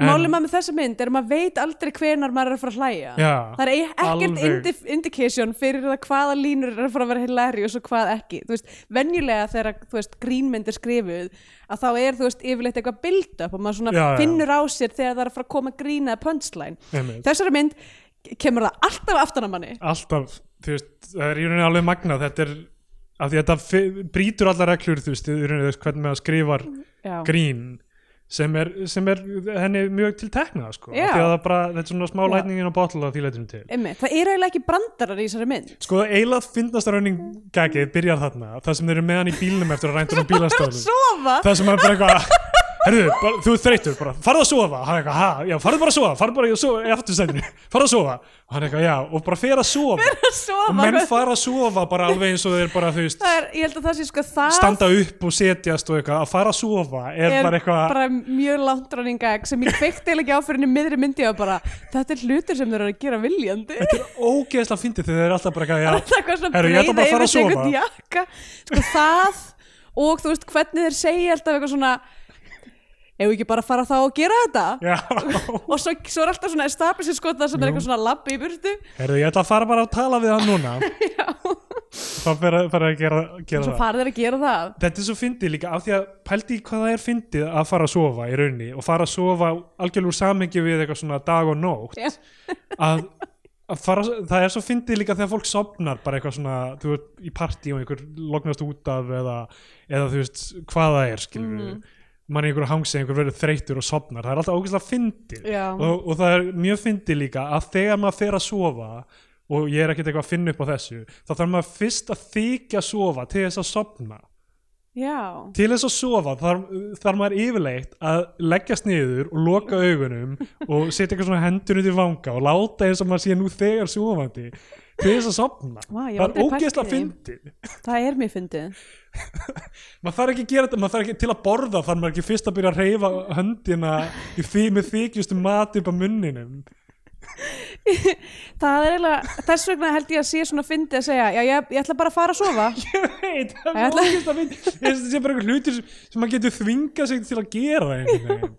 Speaker 1: En-
Speaker 2: Málið maður með þessa mynd er að maður veit aldrei hvenar maður er að fara að hlæja.
Speaker 1: Já,
Speaker 2: það er e- ekkert
Speaker 1: alveg.
Speaker 2: indi indication fyrir það hvaða línur er að fara að vera hilarious og hvað ekki. Þú veist, venjulega þegar þú veist, grínmynd er skrifuð að þá er þú veist yfirleitt eitthvað build-up og maður svona
Speaker 1: Já, já.
Speaker 2: finnur á sér þegar það er að fara að koma grína eða punchline.
Speaker 1: Einmitt.
Speaker 2: Þessari mynd kemur það alltaf aftan að manni.
Speaker 1: alltaf, þú veist, það er í rauninni alveg magnað, þetta er af því að þetta fi- brýtur allar reglur, þú veist, í rauninni þú veist hvernig maður skrifar
Speaker 2: Já.
Speaker 1: grín sem er, sem er henni mjög til teknað, sko,
Speaker 2: Já.
Speaker 1: af því að það er bara þetta er svona smá
Speaker 2: Já.
Speaker 1: lætningin á botla því leitinu til
Speaker 2: Einmitt. Það er eiginlega ekki brandarar í þessari mynd.
Speaker 1: Sko, eiginlega finnast að rauning gagið byrjar þarna, það sem þeir eru með hann í bílnum eftir að rændur um
Speaker 2: Að
Speaker 1: bílastöðum
Speaker 2: sofa?
Speaker 1: það sem er bara eitthvað Herðu, bara, þú ert þreytur bara, farðu að sofa hann er eitthvað, ha, já, farðu bara að sofa, farðu bara í að sofa- í aftursætinu, farðu að sofa og hann er eitthvað, já, og bara fer að sofa
Speaker 2: Að sofa,
Speaker 1: og menn
Speaker 2: hvað-
Speaker 1: fara að sofa bara alveg eins og þeir bara þú veist,
Speaker 2: það er, ég held að það sé sko það
Speaker 1: standa upp og setjast og eitthvað, að fara að sofa er,
Speaker 2: er
Speaker 1: bara eitthvað,
Speaker 2: bara mjög langt ráninga sem ég kveikti eiginlega ekki á fyrir henni miðri myndi og bara, þetta er hlutur sem þeir eru að gera viljandi
Speaker 1: þetta er ógeðslega fyndið þegar þeir eru alltaf bara
Speaker 2: það
Speaker 1: eitthvað,
Speaker 2: er eitthvað svona
Speaker 1: Herru, ég ætla bara að fara að
Speaker 2: sig einhvern
Speaker 1: sofa.
Speaker 2: jakka sko það og þú veist hvernig þeir segja alltaf eitthvað svona ef við ekki bara fara þá og gera þetta
Speaker 1: já, já
Speaker 2: og svo, svo er alltaf svona establishing sko það sem er eitthvað svona labbi í burtu
Speaker 1: herðu, ég ætla að fara bara að tala við hann núna þá fer að, fer að gera,
Speaker 2: og
Speaker 1: gera
Speaker 2: svo
Speaker 1: það
Speaker 2: fara þeir að gera það
Speaker 1: Þetta er svo fyndið líka af því að pældi í hvað það er fyndið að fara að sofa í raunni og fara að sofa algjörlega úr samhengi við eitthvað svona dag og nótt
Speaker 2: Já.
Speaker 1: að, að fara, það er svo fyndið líka þegar fólk sopnar bara eitthvað svona, þú veist, í partí og einhver lognast út af eða, eða þú veist, hvað það er, skilur við mm. mann í einhver hangsi, einhver verður þreytur og sopnar það er alltaf ógeðslega fyndið
Speaker 2: Já.
Speaker 1: og, og það er mjög fyndið líka að þegar maður fer að sofa og ég er ekkert eitthvað að finna upp á þessu þá þarf maður fyrst að þykja sofa til þess að sopna
Speaker 2: já,
Speaker 1: til þess að sofa þarf, þarf maður yfirleitt að leggjast niður og loka augunum og setja eitthvað svona hendur undir vanga og láta eins og maður sé nú þegar sofandi til þess að sofna
Speaker 2: Vá, ég hef
Speaker 1: það er
Speaker 2: aldrei pælt í
Speaker 1: ógeðslega
Speaker 2: því.
Speaker 1: fyndið
Speaker 2: það er mér fyndið
Speaker 1: maður þarf ekki að gera þetta, maður þarf ekki til að borða þarf maður ekki fyrst að byrja að reyfa höndina í því með þykjustu mat upp á munninum
Speaker 2: það er eiginlega, þess vegna held ég að sé svona fyndið að segja, já ég, ég ætla bara að fara að sofa
Speaker 1: ég veit, það
Speaker 2: Ég
Speaker 1: er
Speaker 2: ætla-
Speaker 1: ógeðslega fyndið Ég finnst þetta sé bara einhver hlutir sem, sem maður getur þvingað sig til að gera einhvern veginn.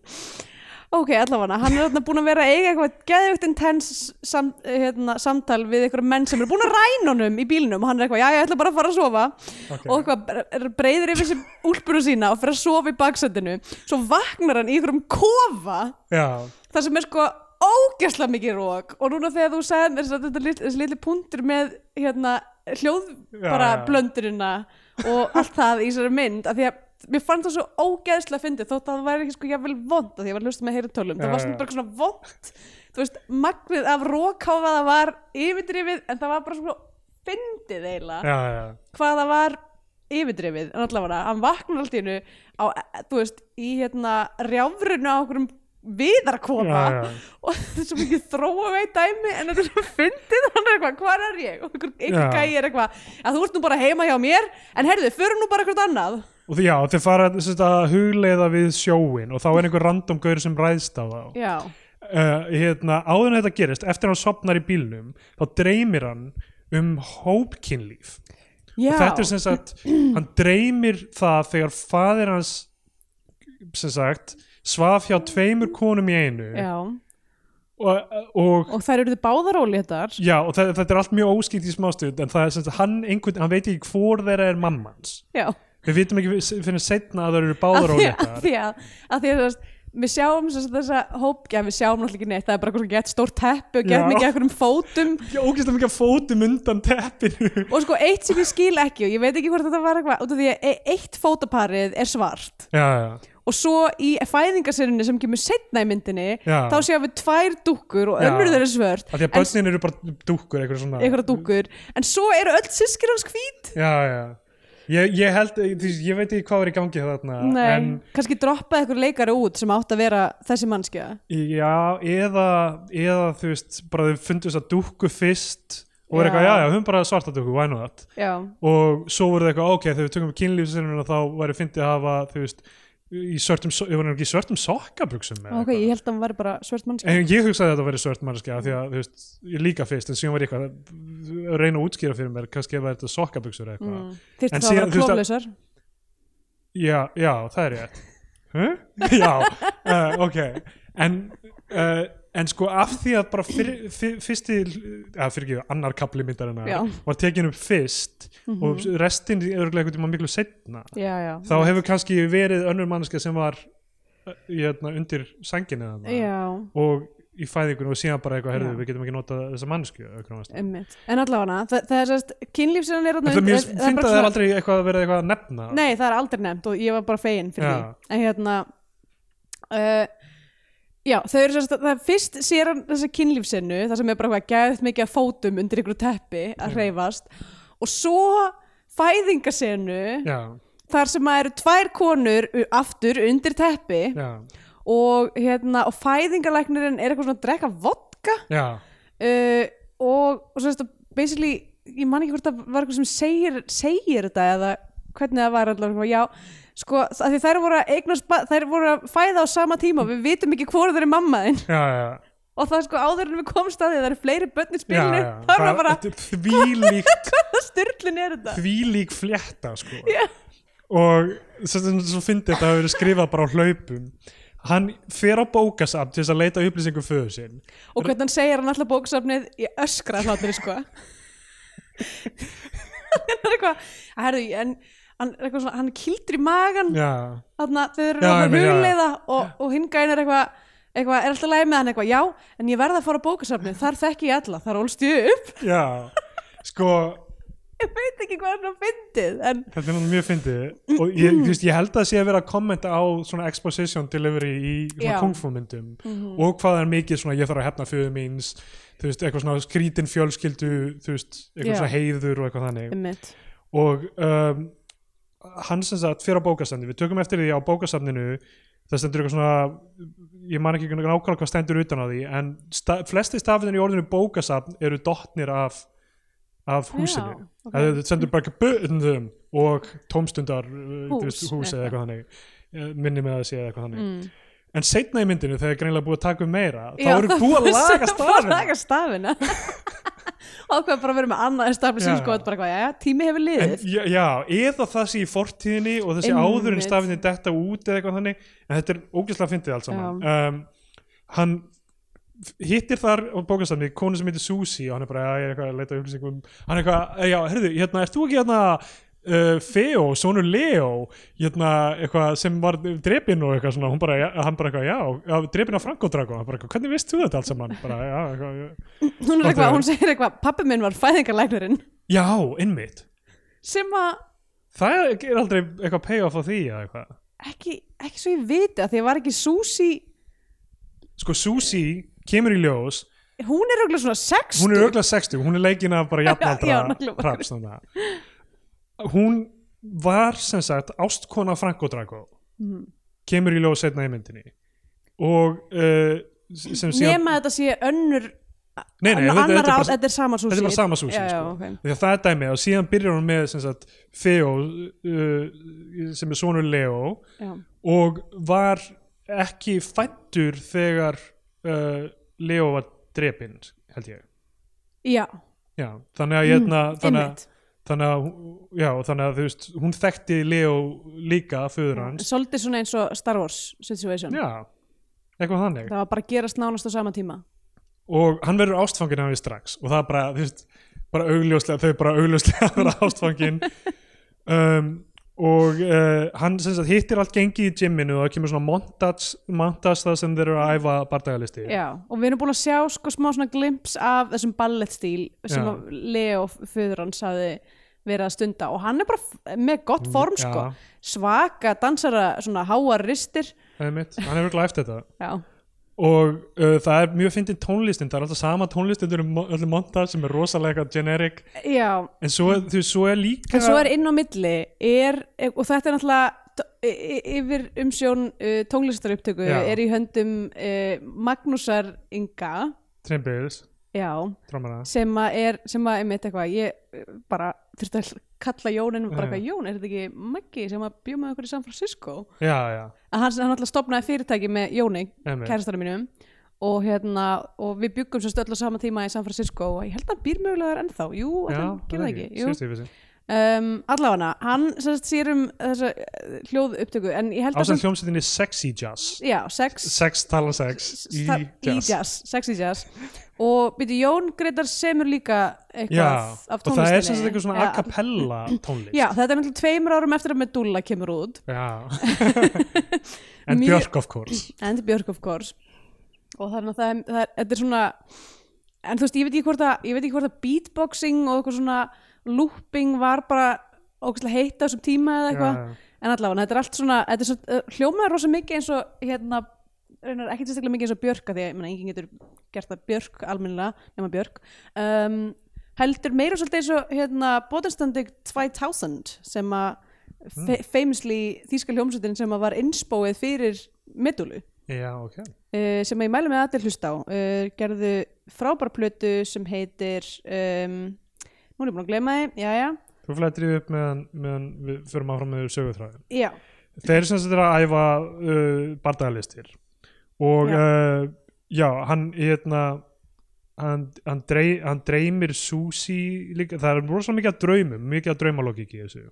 Speaker 2: Ok, allavega, hann er þarna búin að vera að eiga eitthvað geðvögt intense sam, hérna, samtal við einhverjum menn sem eru búin að ræna honum í bílnum og hann er eitthvað, já, ég ætla bara að fara að sofa
Speaker 1: Ok.
Speaker 2: og eitthvað bre- breiðir yfir sér úlpunum sína og fer að sofa í baksætinu svo vaknar hann í einhverjum kofa
Speaker 1: já
Speaker 2: þar sem er sko ógeðslega ógæsla mikið rók og núna þegar þú sagði mér þess- þetta lit- þessi litli puntur með hérna, hljóð
Speaker 1: Já,
Speaker 2: bara
Speaker 1: já.
Speaker 2: blöndurina og allt það í þessari mynd af því að mér fannst það svo ógæðslega fyndið þótt að það væri ekki sko jafnvel vond af því að ég var hlust með heyri tölum
Speaker 1: Já,
Speaker 2: það var
Speaker 1: já.
Speaker 2: svona bara svona vond þú veist, magnið af rókáfa það var yfirdrifið en það var bara svona fyndið eiginlega
Speaker 1: já, já,
Speaker 2: hvað það var yfirdrifið en allavega hann vaknar allt í hennu á, þú veist, í hérna rjáfrunu á okkurum viðarkoma
Speaker 1: Já, já.
Speaker 2: og þetta er svo mikið þróa veit dæmi en þetta er svo fyndið hann er eitthvað, hvar er ég og einhver, einhver
Speaker 1: Já.
Speaker 2: gæi er eitthvað að þú ert nú bara heima hjá mér en herðu, förum nú bara eitthvað annað
Speaker 1: og því já, þeir fara þess að hugleiða við sjóin og þá er einhver random gaur sem ræðst á þá
Speaker 2: já,
Speaker 1: uh, hérna, áður en þetta gerist eftir að hann sopnar í bílnum þá dreymir hann um hópkinlíf
Speaker 2: já,
Speaker 1: og þetta er sem sagt, hann dreymir það þegar faðir hans sem sagt, svaf hjá tveimur konum í einu
Speaker 2: já.
Speaker 1: og, og
Speaker 2: og þær eru þið báðar ólítar
Speaker 1: Já, og þe- þetta er allt mjög óskipt í smástund en það er sem sagt, hann, einhvern, hann veit ekki hvor þeirra er mammans.
Speaker 2: já,
Speaker 1: Við vitum ekki við- fyrir setna að það eru
Speaker 2: að
Speaker 1: báðar
Speaker 2: því að,
Speaker 1: óléttar.
Speaker 2: því að, að, því að þú veist, við sjáum þess að þessa hóp, já við sjáum náttúrulega ekki neitt það er bara eitthvað svona gett stórt teppi og
Speaker 1: Já.
Speaker 2: gett mikið eitthvað um fótum
Speaker 1: Ég ógist að mikið af fótum undan teppinu.
Speaker 2: og sko eitt sem ég skil ekki og ég veit ekki hvort þetta var eitthvað út af því að e- eitt fótaparið er svart
Speaker 1: Já, já,
Speaker 2: og svo í fæðingarsyninni sem kemur setna í myndinni
Speaker 1: Já.
Speaker 2: þá séum við tvær dúkkur og
Speaker 1: Já.
Speaker 2: önnur þeirra er svört
Speaker 1: að því að
Speaker 2: En-
Speaker 1: börnin eru bara dúkkur, eitthvað svona.
Speaker 2: einhverja dúkkur en svo eru öll sískir hans hvít
Speaker 1: Já, já. Ég, ég held, ég, ég veit ekki hvað er í gangi þarna.
Speaker 2: Nei,
Speaker 1: En,
Speaker 2: kannski droppaði eitthvað leikari út sem átt að vera þessi mannskja
Speaker 1: já, eða, eða þú veist, bara þau fundu þess að dúkku fyrst og er
Speaker 2: Já.
Speaker 1: eitthvað, já, já, höfum bara svarta dúkku, why not?
Speaker 2: Já,
Speaker 1: og svo voru það eitthvað ok, þegar við tökum kynlífsinnuna þá væri fyndið að hafa þú veist, í svörtum, so- ég var ekki í svörtum sokkabruksum
Speaker 2: ok, ég held að hann væri bara svört mannskja
Speaker 1: en ég hugsaði að þetta væri svört mannskja því að þú veist, ég líka fyrst en síðan var ég eitthvað að reyna að útskýra fyrir mér kannski ef það er þetta sokkabruksur eða eitthvað
Speaker 2: mm. Þyrfti
Speaker 1: En
Speaker 2: þá að
Speaker 1: síðan-
Speaker 2: vera
Speaker 1: þú veist að-
Speaker 2: klóflausar
Speaker 1: já, já, það er rétt huh? já, uh, ok en, uh, en sko af því að bara fyr, fyr, fyrsti eða fyrir ekki, annar kapli
Speaker 2: Já. Mhm.
Speaker 1: myndarinnar var tekin upp fyrst og restin er örgulega einhvern tíma miklu setna
Speaker 2: Já, já,
Speaker 1: þá hefur kannski verið önnur mannska sem var uh, hérna, undir sænginu
Speaker 2: já,
Speaker 1: og í fæðingunum og síðan bara eitthvað herðu,
Speaker 2: Já. Eh,
Speaker 1: við getum ekki notað þessa mannsku en
Speaker 2: emmitt En allavega hana, það, það er sérst, kynlífsinan er þarna
Speaker 1: það
Speaker 2: undir-
Speaker 1: mér
Speaker 2: eh, er-
Speaker 1: finnst
Speaker 2: bara
Speaker 1: að það er
Speaker 2: svona-
Speaker 1: aldrei eitthvað að vera eitthvað að nefna
Speaker 2: Nei, það er aldrei nefnt og ég var bara fegin fyrir
Speaker 1: Já.
Speaker 2: því en hérna uh, já, þau eru sérst það er fyrst sér hann þessa kynlífsinnu það sem er bara hvað gæðt mikið að fótum undir ykkur teppi að hreyfast og svo fæðingasennu
Speaker 1: já,
Speaker 2: þar sem að eru tvær konur u- aftur undir teppi
Speaker 1: já,
Speaker 2: og hérna og fæðingalæknirinn er eitthvað svona að drekka vodka
Speaker 1: já,
Speaker 2: uh, og, og sérst að basically ég man ekki hvort það var eitthvað sem segir, segir þetta eða hvernig það var allavega já, sko, að því þær voru að eignast, ba- þær voru að fæða á sama tíma og við vitum ekki hvora þeir er mamma þinn
Speaker 1: já, já,
Speaker 2: og það er sko áður en við komst að því að það eru fleiri börn í
Speaker 1: já,
Speaker 2: spilinu,
Speaker 1: já.
Speaker 2: þá er maður bara
Speaker 1: þetta er þvílíkt
Speaker 2: hvaða styrlun er þetta
Speaker 1: þvílík flétta sko.
Speaker 2: Já.
Speaker 1: og svo, svo fyndi þetta hafi verið skrifað bara á hlaupum hann fer á bókasafn til þess að leita upplýsingum föður sinn
Speaker 2: og hvernig hann segir hann alltaf bóksafnið í öskra hlátur sko hann er eitthvað herðu, en hann, er eitthvað svona, hann kildur í magan
Speaker 1: já,
Speaker 2: þarna þau eru
Speaker 1: Já,
Speaker 2: að
Speaker 1: einmitt, já, já.
Speaker 2: hugleiða og, og hingæin er eitthvað eitthva, er alltaf læg með hann eitthvað, já, en ég verða að fara á bókasafni þar þekki ég alla, þar ólst ég upp
Speaker 1: já, sko
Speaker 2: ég veit ekki hvað hann að fyndið en
Speaker 1: Þetta er náttúrulega mjög fyndið og ég, þú veist, ég held að það sé að vera að kommenta á svona exposition delivery í svona
Speaker 2: Já. Mhm.
Speaker 1: kungfúmyndum og hvað er mikið svona ég þarf að hefna fyrir míns þú veist, eitthvað svona skrítin fjölskyldu þú veist, eitthvað
Speaker 2: Já.
Speaker 1: svona heiður og eitthvað þannig
Speaker 2: einmitt,
Speaker 1: og um, hann sem sagt fyrir á bókasafni við tökum eftir því á bókasafninu það stendur eitthvað svona ég man ekki nákvæmlega hvað stendur utan á því en sta flesti stafinir í orðinu bókasafn eru dottnir af af húsinu
Speaker 2: Já, ok.
Speaker 1: okay. það stendur bara bönnum og tómstundar hús, veist,
Speaker 2: Hús,
Speaker 1: hús eða eitthvað þannig Eh, minni með að það sé eða eitthvað þannig
Speaker 2: Mm.
Speaker 1: en setna í myndinu þegar er greinilega búið að taka um meira þá
Speaker 2: Já,
Speaker 1: eru
Speaker 2: það-
Speaker 1: búið að laga
Speaker 2: það- búið að
Speaker 1: stafina
Speaker 2: laga stafina ákveð bara að vera með annað en stafli
Speaker 1: Já.
Speaker 2: sem sko, bara hvað, já, tími hefur
Speaker 1: En,
Speaker 2: liðið
Speaker 1: já, já, eða það sé í fortíðinni og þessi
Speaker 2: Einmitt.
Speaker 1: áður en stafinni detta út eða eitthvað þannig, en þetta er ógæslega fyndið allt saman um, hann hittir þar á bókastafni um-" konu sem heitir Susi og hann er bara, já, ég er eitthvað að leita upplýsingum hann er eitthvað, já, herðu, hérna, ert þú ekki hérna uh, Feo, sonur Leo hérna, eitthvað sem var drepinn og eitthvað svona, hún bara, ja- hann bara eitthvað, já, já drepinn af Franco Drago, hann bara eitthvað, hvernig veist þú þetta allt saman, bara, já, eitthvað, já.
Speaker 2: hún, er
Speaker 1: Gott að
Speaker 2: eitthvað,
Speaker 1: vera.
Speaker 2: hún segir eitthvað, pappi minn var fæðingarlæknirinn
Speaker 1: já, innmitt
Speaker 2: sem að
Speaker 1: það er aldrei eitthvað payoff á því eða eitthvað.
Speaker 2: ekki, ekki svo ég viti að því að var ekki Susi
Speaker 1: sko Susie kemur í ljós
Speaker 2: hún er auðvitað svona 60
Speaker 1: hún er öglega 60, hún er leikin af bara
Speaker 2: Já,
Speaker 1: jafnaldra
Speaker 2: nákvæmlega.
Speaker 1: Traps þarna. hún var sem sagt ástkona Franco Drago
Speaker 2: Mhm.
Speaker 1: kemur í ljós setna í myndinni og uh, sem síðan
Speaker 2: nema þetta sé önnur
Speaker 1: nei, nei, þetta,
Speaker 2: annar
Speaker 1: þetta, er
Speaker 2: ráð,
Speaker 1: bara,
Speaker 2: þetta er sama Susi
Speaker 1: þetta er bara sama Susie
Speaker 2: já, já,
Speaker 1: sko.
Speaker 2: ok.
Speaker 1: því að það er dæmið og síðan byrjar hún með sem sagt Feo uh, sem er sonur Leo
Speaker 2: já.
Speaker 1: og var ekki fættur þegar uh, Leo var drepinn held ég
Speaker 2: já,
Speaker 1: já, þannig að, hérna, þannig, að,
Speaker 2: Mm, einmitt
Speaker 1: þannig, að, hú- já, þannig að þú veist hún þekkti Leo líka
Speaker 2: Mm.
Speaker 1: föður hans
Speaker 2: svolítið svona eins og Star Wars situation
Speaker 1: já, eitthvað þannig
Speaker 2: það var bara að gerast nánast á sama tíma
Speaker 1: og hann verður ástfangin af því strax og það er bara, þú veist, bara augljóslega þau bara augljóslega verða ástfangin um, og uh, hann sem sagt hittir allt gengið í gymminu og það kemur svona montage, montage það sem þeir eru að æfa bardagalisti
Speaker 2: Já, og við erum búin að sjá sko smá svona glimps af þessum ballettstíl sem
Speaker 1: Já.
Speaker 2: að Leo föður hans hafði verið að stunda og hann er bara f- með gott form
Speaker 1: Mm, já.
Speaker 2: sko, svaka dansara svona háar ristir
Speaker 1: það er mitt, hann hefur glæft þetta
Speaker 2: Já,
Speaker 1: og uh, það er mjög fyndin tónlistin það er alltaf sama tónlistin um öllu montage sem er rosalega eitthvað generic
Speaker 2: já
Speaker 1: en svo, er- þú, veist, svo er líka
Speaker 2: en svo er inn á milli er, og þetta er náttúrulega t- y- y- yfir umsjón uh, tónlistarupptöku
Speaker 1: Já.
Speaker 2: er í höndum uh, Magnúsar Inga
Speaker 1: Trimbils,
Speaker 2: Já,
Speaker 1: trómara
Speaker 2: sem að er sem að einmitt eitthvað, ég eh, bara þurfti að kalla Jónin bara eitthvað, Jón, er þetta ekki Maggi sem að bjó með okkur í San Francisco
Speaker 1: já, já,
Speaker 2: að hann, hann alltaf stopnaði fyrirtæki með Jóni
Speaker 1: Einmitt.
Speaker 2: kærastanum mínum og hérna, og við byggum svo stöll á sama tíma í San Francisco og ég held að hann býr mögulegar ennþá, jú, ætli
Speaker 1: já
Speaker 2: hann gerir það ekki jú.
Speaker 1: síðust yfir sig
Speaker 2: um, allafana, hann sem sagt sér um þessa eh, hljóð upptöku en ég held að
Speaker 1: ásamt hljómsveitinni Sexy Jazz
Speaker 2: já, sex
Speaker 1: sex tala sex í
Speaker 2: Star- í
Speaker 1: jazz
Speaker 2: jazz, sexy jazz og byrju Jón Greitar semur líka
Speaker 1: já,
Speaker 2: eitthvað
Speaker 1: og
Speaker 2: af
Speaker 1: það er sem
Speaker 2: tónlistinni
Speaker 1: sagt eitthvað svona
Speaker 2: Já.
Speaker 1: a cappella tónlist
Speaker 2: Já, þetta er náttúrulega tveimur árum eftir að Medulla kemur út
Speaker 1: Já. en
Speaker 2: Mjög-
Speaker 1: Björk of course
Speaker 2: en til Björk of course og þannig að það, er- það er, þetta er svona en þú veist, ég veit ekki hvort að, ég veit ekki hvort að beatboxing og eitthvað svona looping var bara ógæslega heitt á þessum tíma eða eitthvað
Speaker 1: Já, já.
Speaker 2: en allavega, þetta er allt svona, þetta er svona uh, hljómaður rosa mikið eins og hérna raunar ekkert sérstaklega mikið eins og Björk af því að ég meina, enginn getur gert það Björk almennilega nema Björk um, heldur meira svolítið eins og hérna Bodenstandig 2000 sem að fe famously þýska hljómsveitin sem að var innspóið fyrir medulu
Speaker 1: já, ok
Speaker 2: uh, sem að ég mælu með að allir hlusta á uh, gerðu frábær plötu sem heitir um, nú er ég búin að gleyma því, jæja
Speaker 1: þú flættir upp meðan, meðan við förum áfram með sögutræðin
Speaker 2: já,
Speaker 1: þeir sem þetta er að æfa uh, bardagalistir og já,
Speaker 2: Já.
Speaker 1: uh, já hann hérna hann, hann, drey, hann dreymir Susi líka, það er rosalega mikið að draumum mikið að draumalogík í þessu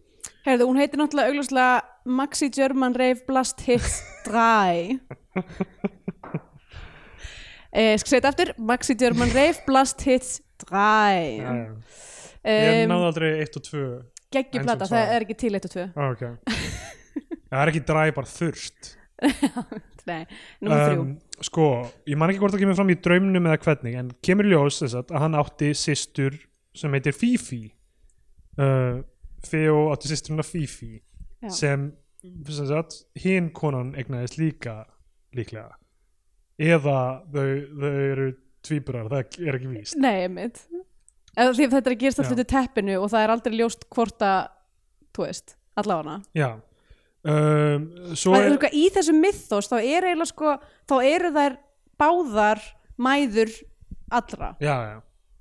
Speaker 2: Herðu, hún heitir náttúrulega augljóslega Maxi German Rave Blast Hits Dry eh, Skal segja þetta aftur Maxi German Rave Blast Hits Dry
Speaker 1: já, já. Eh, ég
Speaker 2: um,
Speaker 1: náði aldrei 1 og 2
Speaker 2: Geggju
Speaker 1: eins
Speaker 2: plata,
Speaker 1: og það.
Speaker 2: það er ekki til 1 og 2
Speaker 1: ok það er ekki dræ bara þurft
Speaker 2: Nei, nummer 3 um,
Speaker 1: sko, ég man ekki hvort það kemur fram í draumnum eða hvernig, en kemur í ljós þess að, að hann átti systur sem heitir Fifi uh, Feo átti systurina Fifi
Speaker 2: Já.
Speaker 1: sem, sem sagt, hinn konan egnaðist líka líklega eða þau, þau eru tvíburar, það er ekki víst
Speaker 2: Nei, einmitt Eða Því að þetta er að gerast
Speaker 1: Já.
Speaker 2: alltaf til teppinu og það er aldrei ljóst hvort að þú veist, allavega
Speaker 1: já um, svo
Speaker 2: Það er
Speaker 1: er,
Speaker 2: eitthvað í þessu mythos þá er eiginlega sko, þá eru þær báðar mæður allra
Speaker 1: já, já,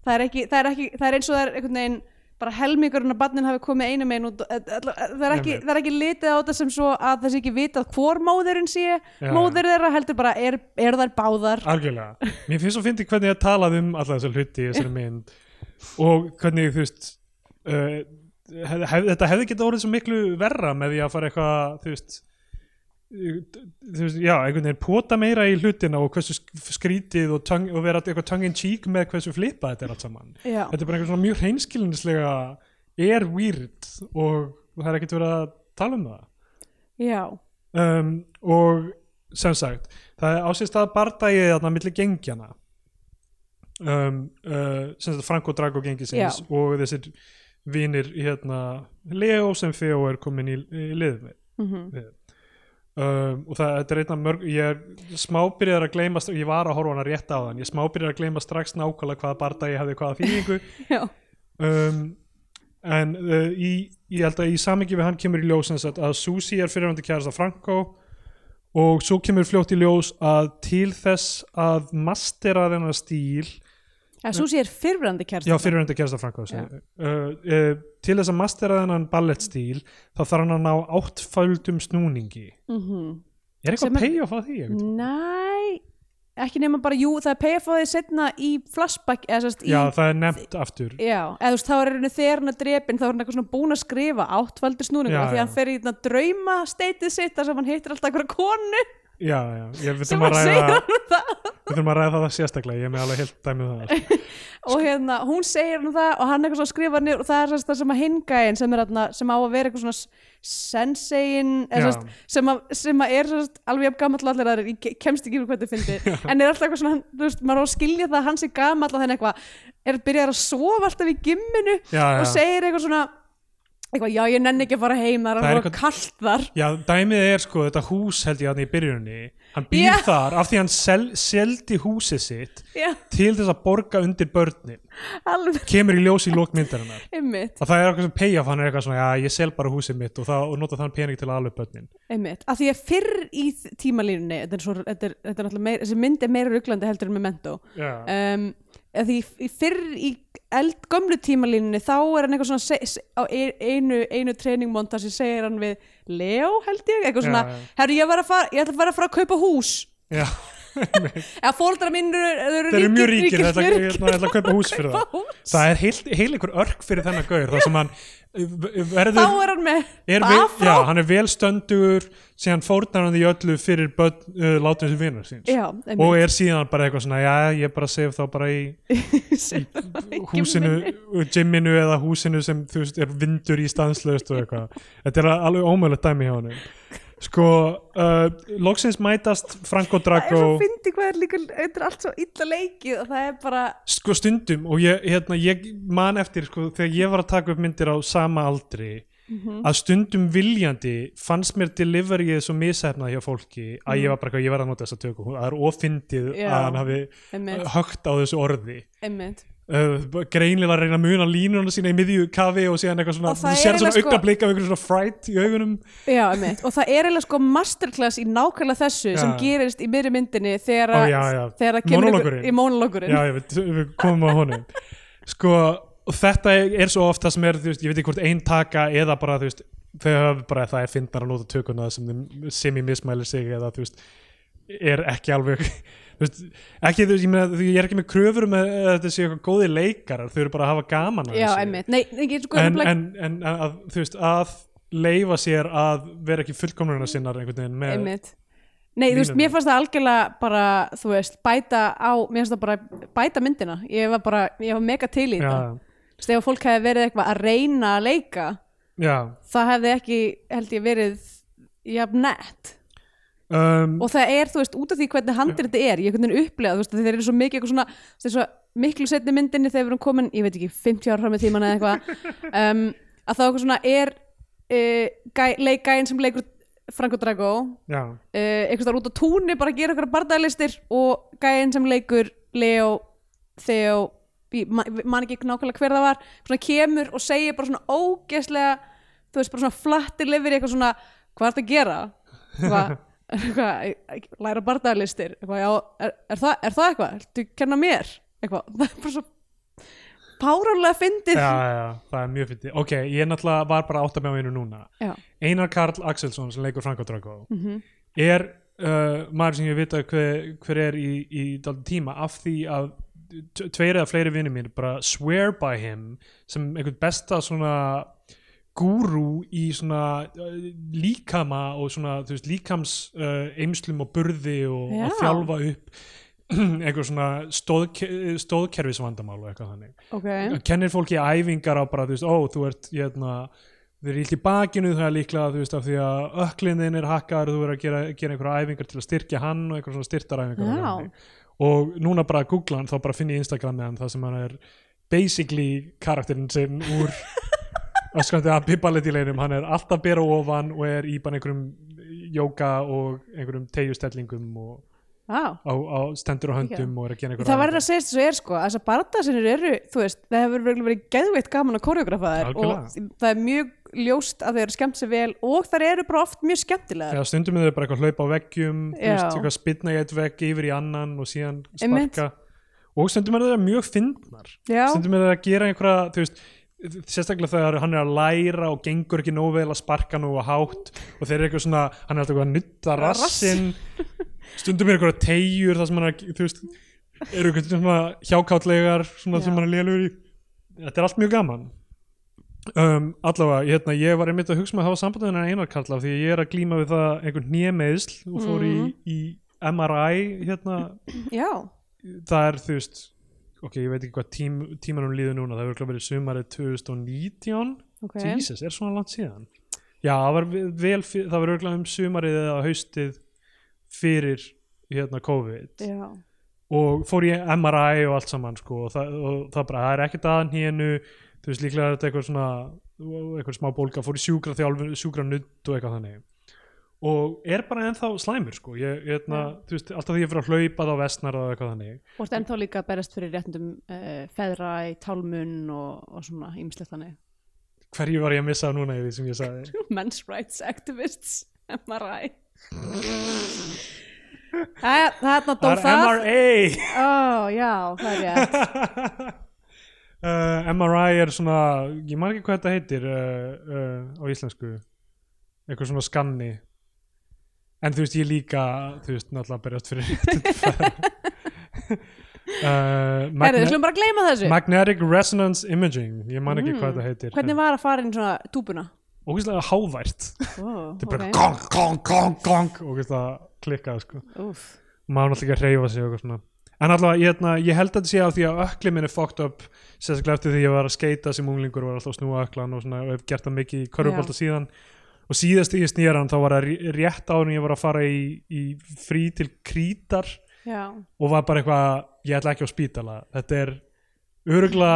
Speaker 2: það er, ekki, það, er ekki, það er eins og það er einhvern veginn bara helmingurinn að barnin hafi komið einu megin út eh, það er, ekki,
Speaker 1: Einmitt.
Speaker 2: það er ekki litið á þetta sem svo að það sé ekki vitað hvor móðurinn sé
Speaker 1: Já. Ah.
Speaker 2: móður þeirra heldur bara er, er þær báðar
Speaker 1: algjörlega mér finnst svo fyndi hvernig ég talaði um alla þessar hluti í þessari mynd og hvernig þú veist uh, hef, hef, þetta hefði getað orðið svo miklu verra með því að fara eitthvað þú veist uh, þú veist, já, einhvern veginn pota meira í hlutina og hversu sk- skrítið og, tongue, og vera eitthvað tongue in cheek með hversu flipa þetta er allt saman
Speaker 2: Já.
Speaker 1: þetta er bara einhvern svona mjög hreinskilinslega er weird og og það er ekkert verið að tala um það
Speaker 2: já,
Speaker 1: um, og sem sagt það er á sér stað bardagið þarna milli gengjana um, uh, sem sagt Frank og Drago gengi sinns
Speaker 2: Já.
Speaker 1: og þessir vinir hérna Leo sem Theo er komin í, í lið með
Speaker 2: mhm,
Speaker 1: um, og það þetta er einna mörg ég er smábyrjar að gleyma stra- ég var að horfa á hana rétt á þann ég er smábyrjar að gleyma strax nákvæmlega hvaða bardagi hafði hvaða þýðingu
Speaker 2: já,
Speaker 1: um, en uh, í, ég held að í samingi við hann kemur í ljós sem sagt að Susi er fyrirhandi kærasta Franco og svo kemur fljótt í ljós að til þess að mastera þennan stíl
Speaker 2: já, Susi er fyrrverandi kærst
Speaker 1: já fyrirhandi kærasta Franco ja. uh, uh, til þess að mastera þennan ballettstíl þá þarf hann að ná áttföldum snúningi er
Speaker 2: Sem
Speaker 1: eitthvað
Speaker 2: er-
Speaker 1: pay off að því? Mm.
Speaker 2: Mhm. næ ekki nema bara, jú, það er payafóðið setna í flashback, eða sérst í
Speaker 1: já það er nefnt aftur
Speaker 2: Já, eða þú veist, þá er henni þegar hann að drepin þá er hann eitthvað svona búin að skrifa áttfaldur snúningur
Speaker 1: Já,
Speaker 2: af því
Speaker 1: já.
Speaker 2: að hann fer í þetta drauma steitið sitt þar sem hann hittir alltaf einhverja konu
Speaker 1: já, já, ég, við
Speaker 2: sem
Speaker 1: þurfum að
Speaker 2: hann segir
Speaker 1: ræða
Speaker 2: hann það
Speaker 1: við þurfum að ræða það sérstaklega, ég er með alveg heilt dæmið það Sko-
Speaker 2: og hérna, hún segir hann það og hann eitthvað svona skrifar niður og það er þess að sem að hingaðin sem, er, þarna- sem á að vera eitthvað svona s- sensein eða
Speaker 1: Já.
Speaker 2: sem sagt, sem, að, sem að er sem sagt, alveg jafn gamall og allir aðrir, ég ke- kemst ekki yfir hvað þið fyndi en er alltaf eitthvað svona, þú veist, maður á að skilja það að hann sé gamall og þannig eitthvað er byrjar að sofa alltaf í gimminu
Speaker 1: já, já.
Speaker 2: og segir eitthvað svona eitthvað, já ég nenni ekki að fara heim það er
Speaker 1: Það er
Speaker 2: alveg eitthvað... kallt þar
Speaker 1: Já, dæmið er sko, þetta hús held ég að í byrjunni, hann býr
Speaker 2: Já.
Speaker 1: þar af því hann sel, seldi húsið sitt
Speaker 2: já,
Speaker 1: til þess að borga undir börnin
Speaker 2: alveg
Speaker 1: kemur í ljós í lókmyndarinnar
Speaker 2: einmitt,
Speaker 1: og það er eitthvað sem pay off, hann er eitthvað svona já, ég sel bara húsið mitt og, það, og nota þann pening til að ala upp börnin
Speaker 2: einmitt, af því að fyrr í þ- tímalínunni þetta er, svo, þetta er, þetta er náttúrulega meir, þessi mynd er meira ruglandi heldur en memento
Speaker 1: Já,
Speaker 2: um, af því í- í fyrr í eld gömlu tímalínunni þá er hann eitthvað svona se, se, á ein- einu, einu treiningmonta sem segir hann við Leo held ég, eitthvað
Speaker 1: Já,
Speaker 2: svona
Speaker 1: já.
Speaker 2: herru ég, var að fara- ég ætla að fara að fara að kaupa hús
Speaker 1: já.
Speaker 2: eða fóldra minn eru
Speaker 1: þeir eru mjög ríkir, þetta
Speaker 2: mjög
Speaker 1: er hérna- að kaupa hús fyrir það
Speaker 2: Kaupa hús.
Speaker 1: Það er heil, heil einhver örk fyrir þennan gaur þar sem hann uh, verður
Speaker 2: þá er hann með
Speaker 1: er vel, já,
Speaker 2: afró
Speaker 1: hann er velstöndur síðan fórnar hann í öllu fyrir börn, uh, látum sem vinur síns
Speaker 2: já,
Speaker 1: og er síðan bara eitthvað svona já, ég bara sef þá bara í
Speaker 2: er
Speaker 1: húsinu, gymminu eða húsinu sem þú veist er vindur í stanslaust og eitthvað þetta er alveg ómöðulegt dæmi hjá hann sko, uh, loksins mætast Franco
Speaker 2: það er svo
Speaker 1: Drago
Speaker 2: fyndi hvað er líka þetta er allt svo illa leikið og það er bara
Speaker 1: sko stundum og ég, hérna, ég man eftir sko, þegar ég var að taka upp myndir á sama aldri
Speaker 2: Mhm.
Speaker 1: að stundum viljandi fannst mér deliveryið svo mishefnað hjá fólki að ég var bara eitthvað, ég verð að nota þess að tökum það er ofyndið
Speaker 2: Mhm. Já.
Speaker 1: að hann hafi
Speaker 2: einmitt,
Speaker 1: högt á þessu orði
Speaker 2: einmitt.
Speaker 1: uh, greinilega að reyna að muna línuna sína í miðju kafi og síðan eitthvað svona
Speaker 2: Og það
Speaker 1: þú
Speaker 2: er
Speaker 1: sér svona
Speaker 2: eiginlega sko-
Speaker 1: augnablik af einhverjum svona fright í augunum
Speaker 2: Já, einmitt. og það er eiginlega sko masterclass í nákvæmlega þessu sem
Speaker 1: Já.
Speaker 2: gerist í miðri myndinni þegar,
Speaker 1: Ó,
Speaker 2: að-
Speaker 1: já, já.
Speaker 2: þegar það kemur einhver-
Speaker 1: Monólogurinn.
Speaker 2: í monologurinn
Speaker 1: já, ég veit, við komum á honum sko, og þetta er svo oft það sem er, þú veist, ég veit ekki hvort ein taka eða bara, þú veist, þau hafa bara það er fyndar að nota tökuna sem þeim sem ég mismælir sig eða, þú veist er ekki alveg þú veist, ekki, þú veist, ég, meina, þú- ég er ekki með kröfur með að þetta séu eitthvað góði leikarar þau eru bara að hafa gaman að
Speaker 2: já
Speaker 1: þessu
Speaker 2: einmitt, nei, nei, sko,
Speaker 1: en,
Speaker 2: nefnilega-
Speaker 1: en, en að, að, þú veist, að leifa sér að vera ekki fullkomnuna sinnar einhvern veginn með
Speaker 2: einmitt Nei, þú veist,
Speaker 1: Línurnar.
Speaker 2: mér fannst það algjörlega bara, þú veist, bæta á, mér fannst það bara bæta myndina. Ég var bara, ég var mega til í
Speaker 1: já,
Speaker 2: þetta. Þú veist, ef fólk hefði verið eitthvað að reyna að leika,
Speaker 1: já.
Speaker 2: það hefði ekki, held ég, verið jafn nett.
Speaker 1: Um,
Speaker 2: Og það er, þú veist, út af því hvernig handir þetta er, ég hvernig upplega, þú veist, þeir eru svo mikið eitthvað svona, þeir eru svo miklu setni myndinni þegar við erum komin, ég veit ekki, 50 ára fram með tíman eða eitthvað, um, að þá eitthvað svona er uh, gæ, leik, gæin sem leikur Franko Drago,
Speaker 1: já,
Speaker 2: uh, einhvers þar út á túnni bara að gera okkur bardagalistir og gæinn sem leikur Leo Theo, ég man man ekki nákvæmlega hver það var, svona kemur og segir bara svona ógeðslega þú veist bara svona flattir lifir eitthvað svona hvað er þetta að gera? Hvað, hvað, læra bardagalistir eitthvað, já, er, er, það, er það eitthvað? Þú kenna mér? Eitthvað, það er bara svo párálega fyndið
Speaker 1: já, já, það er mjög fyndið ok, ég náttúrulega var bara átt að með á einu núna
Speaker 2: Já,
Speaker 1: Einar Karl Axelsson sem leikur Franko Drago
Speaker 2: mhm,
Speaker 1: er uh, maður sem ég veit að hver, hver er í, í daldum tíma af því að t- tveir eða fleiri vinnir mín bara swear by him sem einhvern besta svona gúrú í svona uh, líkama og svona þú veist, líkams uh, eimslum og burði og, og
Speaker 2: Já.
Speaker 1: þjálfa upp einhver svona stóðke, stóðkerfisvandamál og eitthvað þannig
Speaker 2: ok
Speaker 1: kennir fólki æfingar á bara, þú veist, ó, þú ert hérna, þeir eru illt í bakinu það er líklega þú veist af því að öklinn þinn er hakkaður þú verður að gera, gera einhverja æfingar til að styrkja hann og einhverja svona styrtaræfingar
Speaker 2: Já.
Speaker 1: og, og núna bara að googla hann þá bara finn ég Instagramið hann það sem hann er basically karakterinn sinn úr öskandi að pippaleti leinum hann er alltaf bera ofan og er í bara einhverjum jóka og einhverjum tegjustellingum og
Speaker 2: Vá.
Speaker 1: á, á stendur á höndum og er að gera einhverja
Speaker 2: Það verður að segja þessu er sko að þessar barndasinnir eru, þú veist, það hefur verið, verið geðveitt gaman að koreografa þær og
Speaker 1: Algjörlega.
Speaker 2: það er mjög ljóst að þeir eru skemmt sér vel og þær eru bara oft mjög skemmtilegar
Speaker 1: Já, stundum er þau bara eitthvað hlaupa á veggjum, þú
Speaker 2: Já.
Speaker 1: veist, eitthvað spinna í eitt vegg yfir í annan og síðan
Speaker 2: Einmitt.
Speaker 1: sparka og stundum er þau mjög fyndnar
Speaker 2: Já,
Speaker 1: stundum er þau að gera einhverja, þú veist sérstaklega þegar hann er að læra og gengur ekki nógu vel að sparka nógu hátt og þeir eru eitthvað svona, hann er alltaf eitthvað að nutta rassin, stundum er einhverja tegjur þar sem hann er, að- þú veist eru eitthvað svona hjákátlegar svona
Speaker 2: Já.
Speaker 1: sem hann er lélugur í þetta er allt mjög gaman um, allavega, ég, hérna, ég var einmitt að hugsa með að hafa sambandið hennar Einar Karl af því að ég er að glíma við það einhvern nýjameðsl og fór
Speaker 2: Mhm.
Speaker 1: í, í MRI hérna,
Speaker 2: já,
Speaker 1: það er þú veist ok, ég veit ekki hvað tím, tímanum líður núna það hefur verið sumarið 2019
Speaker 2: ok
Speaker 1: Jesus, er svona langt síðan já, það var vel, fyr- það var örgulega um sumarið eða haustið fyrir hérna COVID
Speaker 2: Já,
Speaker 1: og fór ég MRI og allt saman sko, og, það, og það bara, það er ekkert aðan hénu þú veist líklega er þetta eitthvað svona eitthvað smá bólga, fór í sjúkra þjálfun sjúkra nutt og eitthvað þannig og er bara ennþá slæmur sko ég, ég, na, þú veist, alltaf því ég fyrir að hlaupa þá vestnar og eitthvað þannig,
Speaker 2: og ennþá líka að berast fyrir réttundum uh, feðra í tálmun og, og svona ímislegt þannig
Speaker 1: hverju var ég að missa af núna í því sem ég sagði
Speaker 2: Men's Rights Activists, MRI Æja, Eh, þarna dó
Speaker 1: það
Speaker 2: það
Speaker 1: er MRI
Speaker 2: Ó, já, það er rétt
Speaker 1: uh, MRI er svona ég man ekki hvað þetta heitir uh, uh, á íslensku eitthvað svona skanni en þú veist ég líka þú veist náttúrulega að berjast fyrir réttindum feðra. uh,
Speaker 2: Herðu, við
Speaker 1: magne
Speaker 2: slum bara að gleyma þessu Mm,
Speaker 1: Magnetic Resonance Imaging ég man ekki hvað þetta heitir
Speaker 2: Hvernig var að fara inn svona túbuna?
Speaker 1: ógeðslega hávært
Speaker 2: Oh,
Speaker 1: þetta er bara gong, gong, gong, gong ógeðslega klikkað sko
Speaker 2: Úf,
Speaker 1: maður náttúrulega ekki að hreyfa sig og eitthvað svona en allavega, ég, hérna, ég held að þetta sé af því að ökli minn er fucked up sérstaklega eftir því að ég var að skeita sem unglingur og var alltaf að snúa öklan og svona og hef gert það mikið í körfubólta síðan og síðast þegar ég snýra hann þá var það ré- rétt áður en ég var að fara í, í frí til krítar
Speaker 2: já,
Speaker 1: og var bara eitthvað, ég ætla ekki á spítala þetta er örugla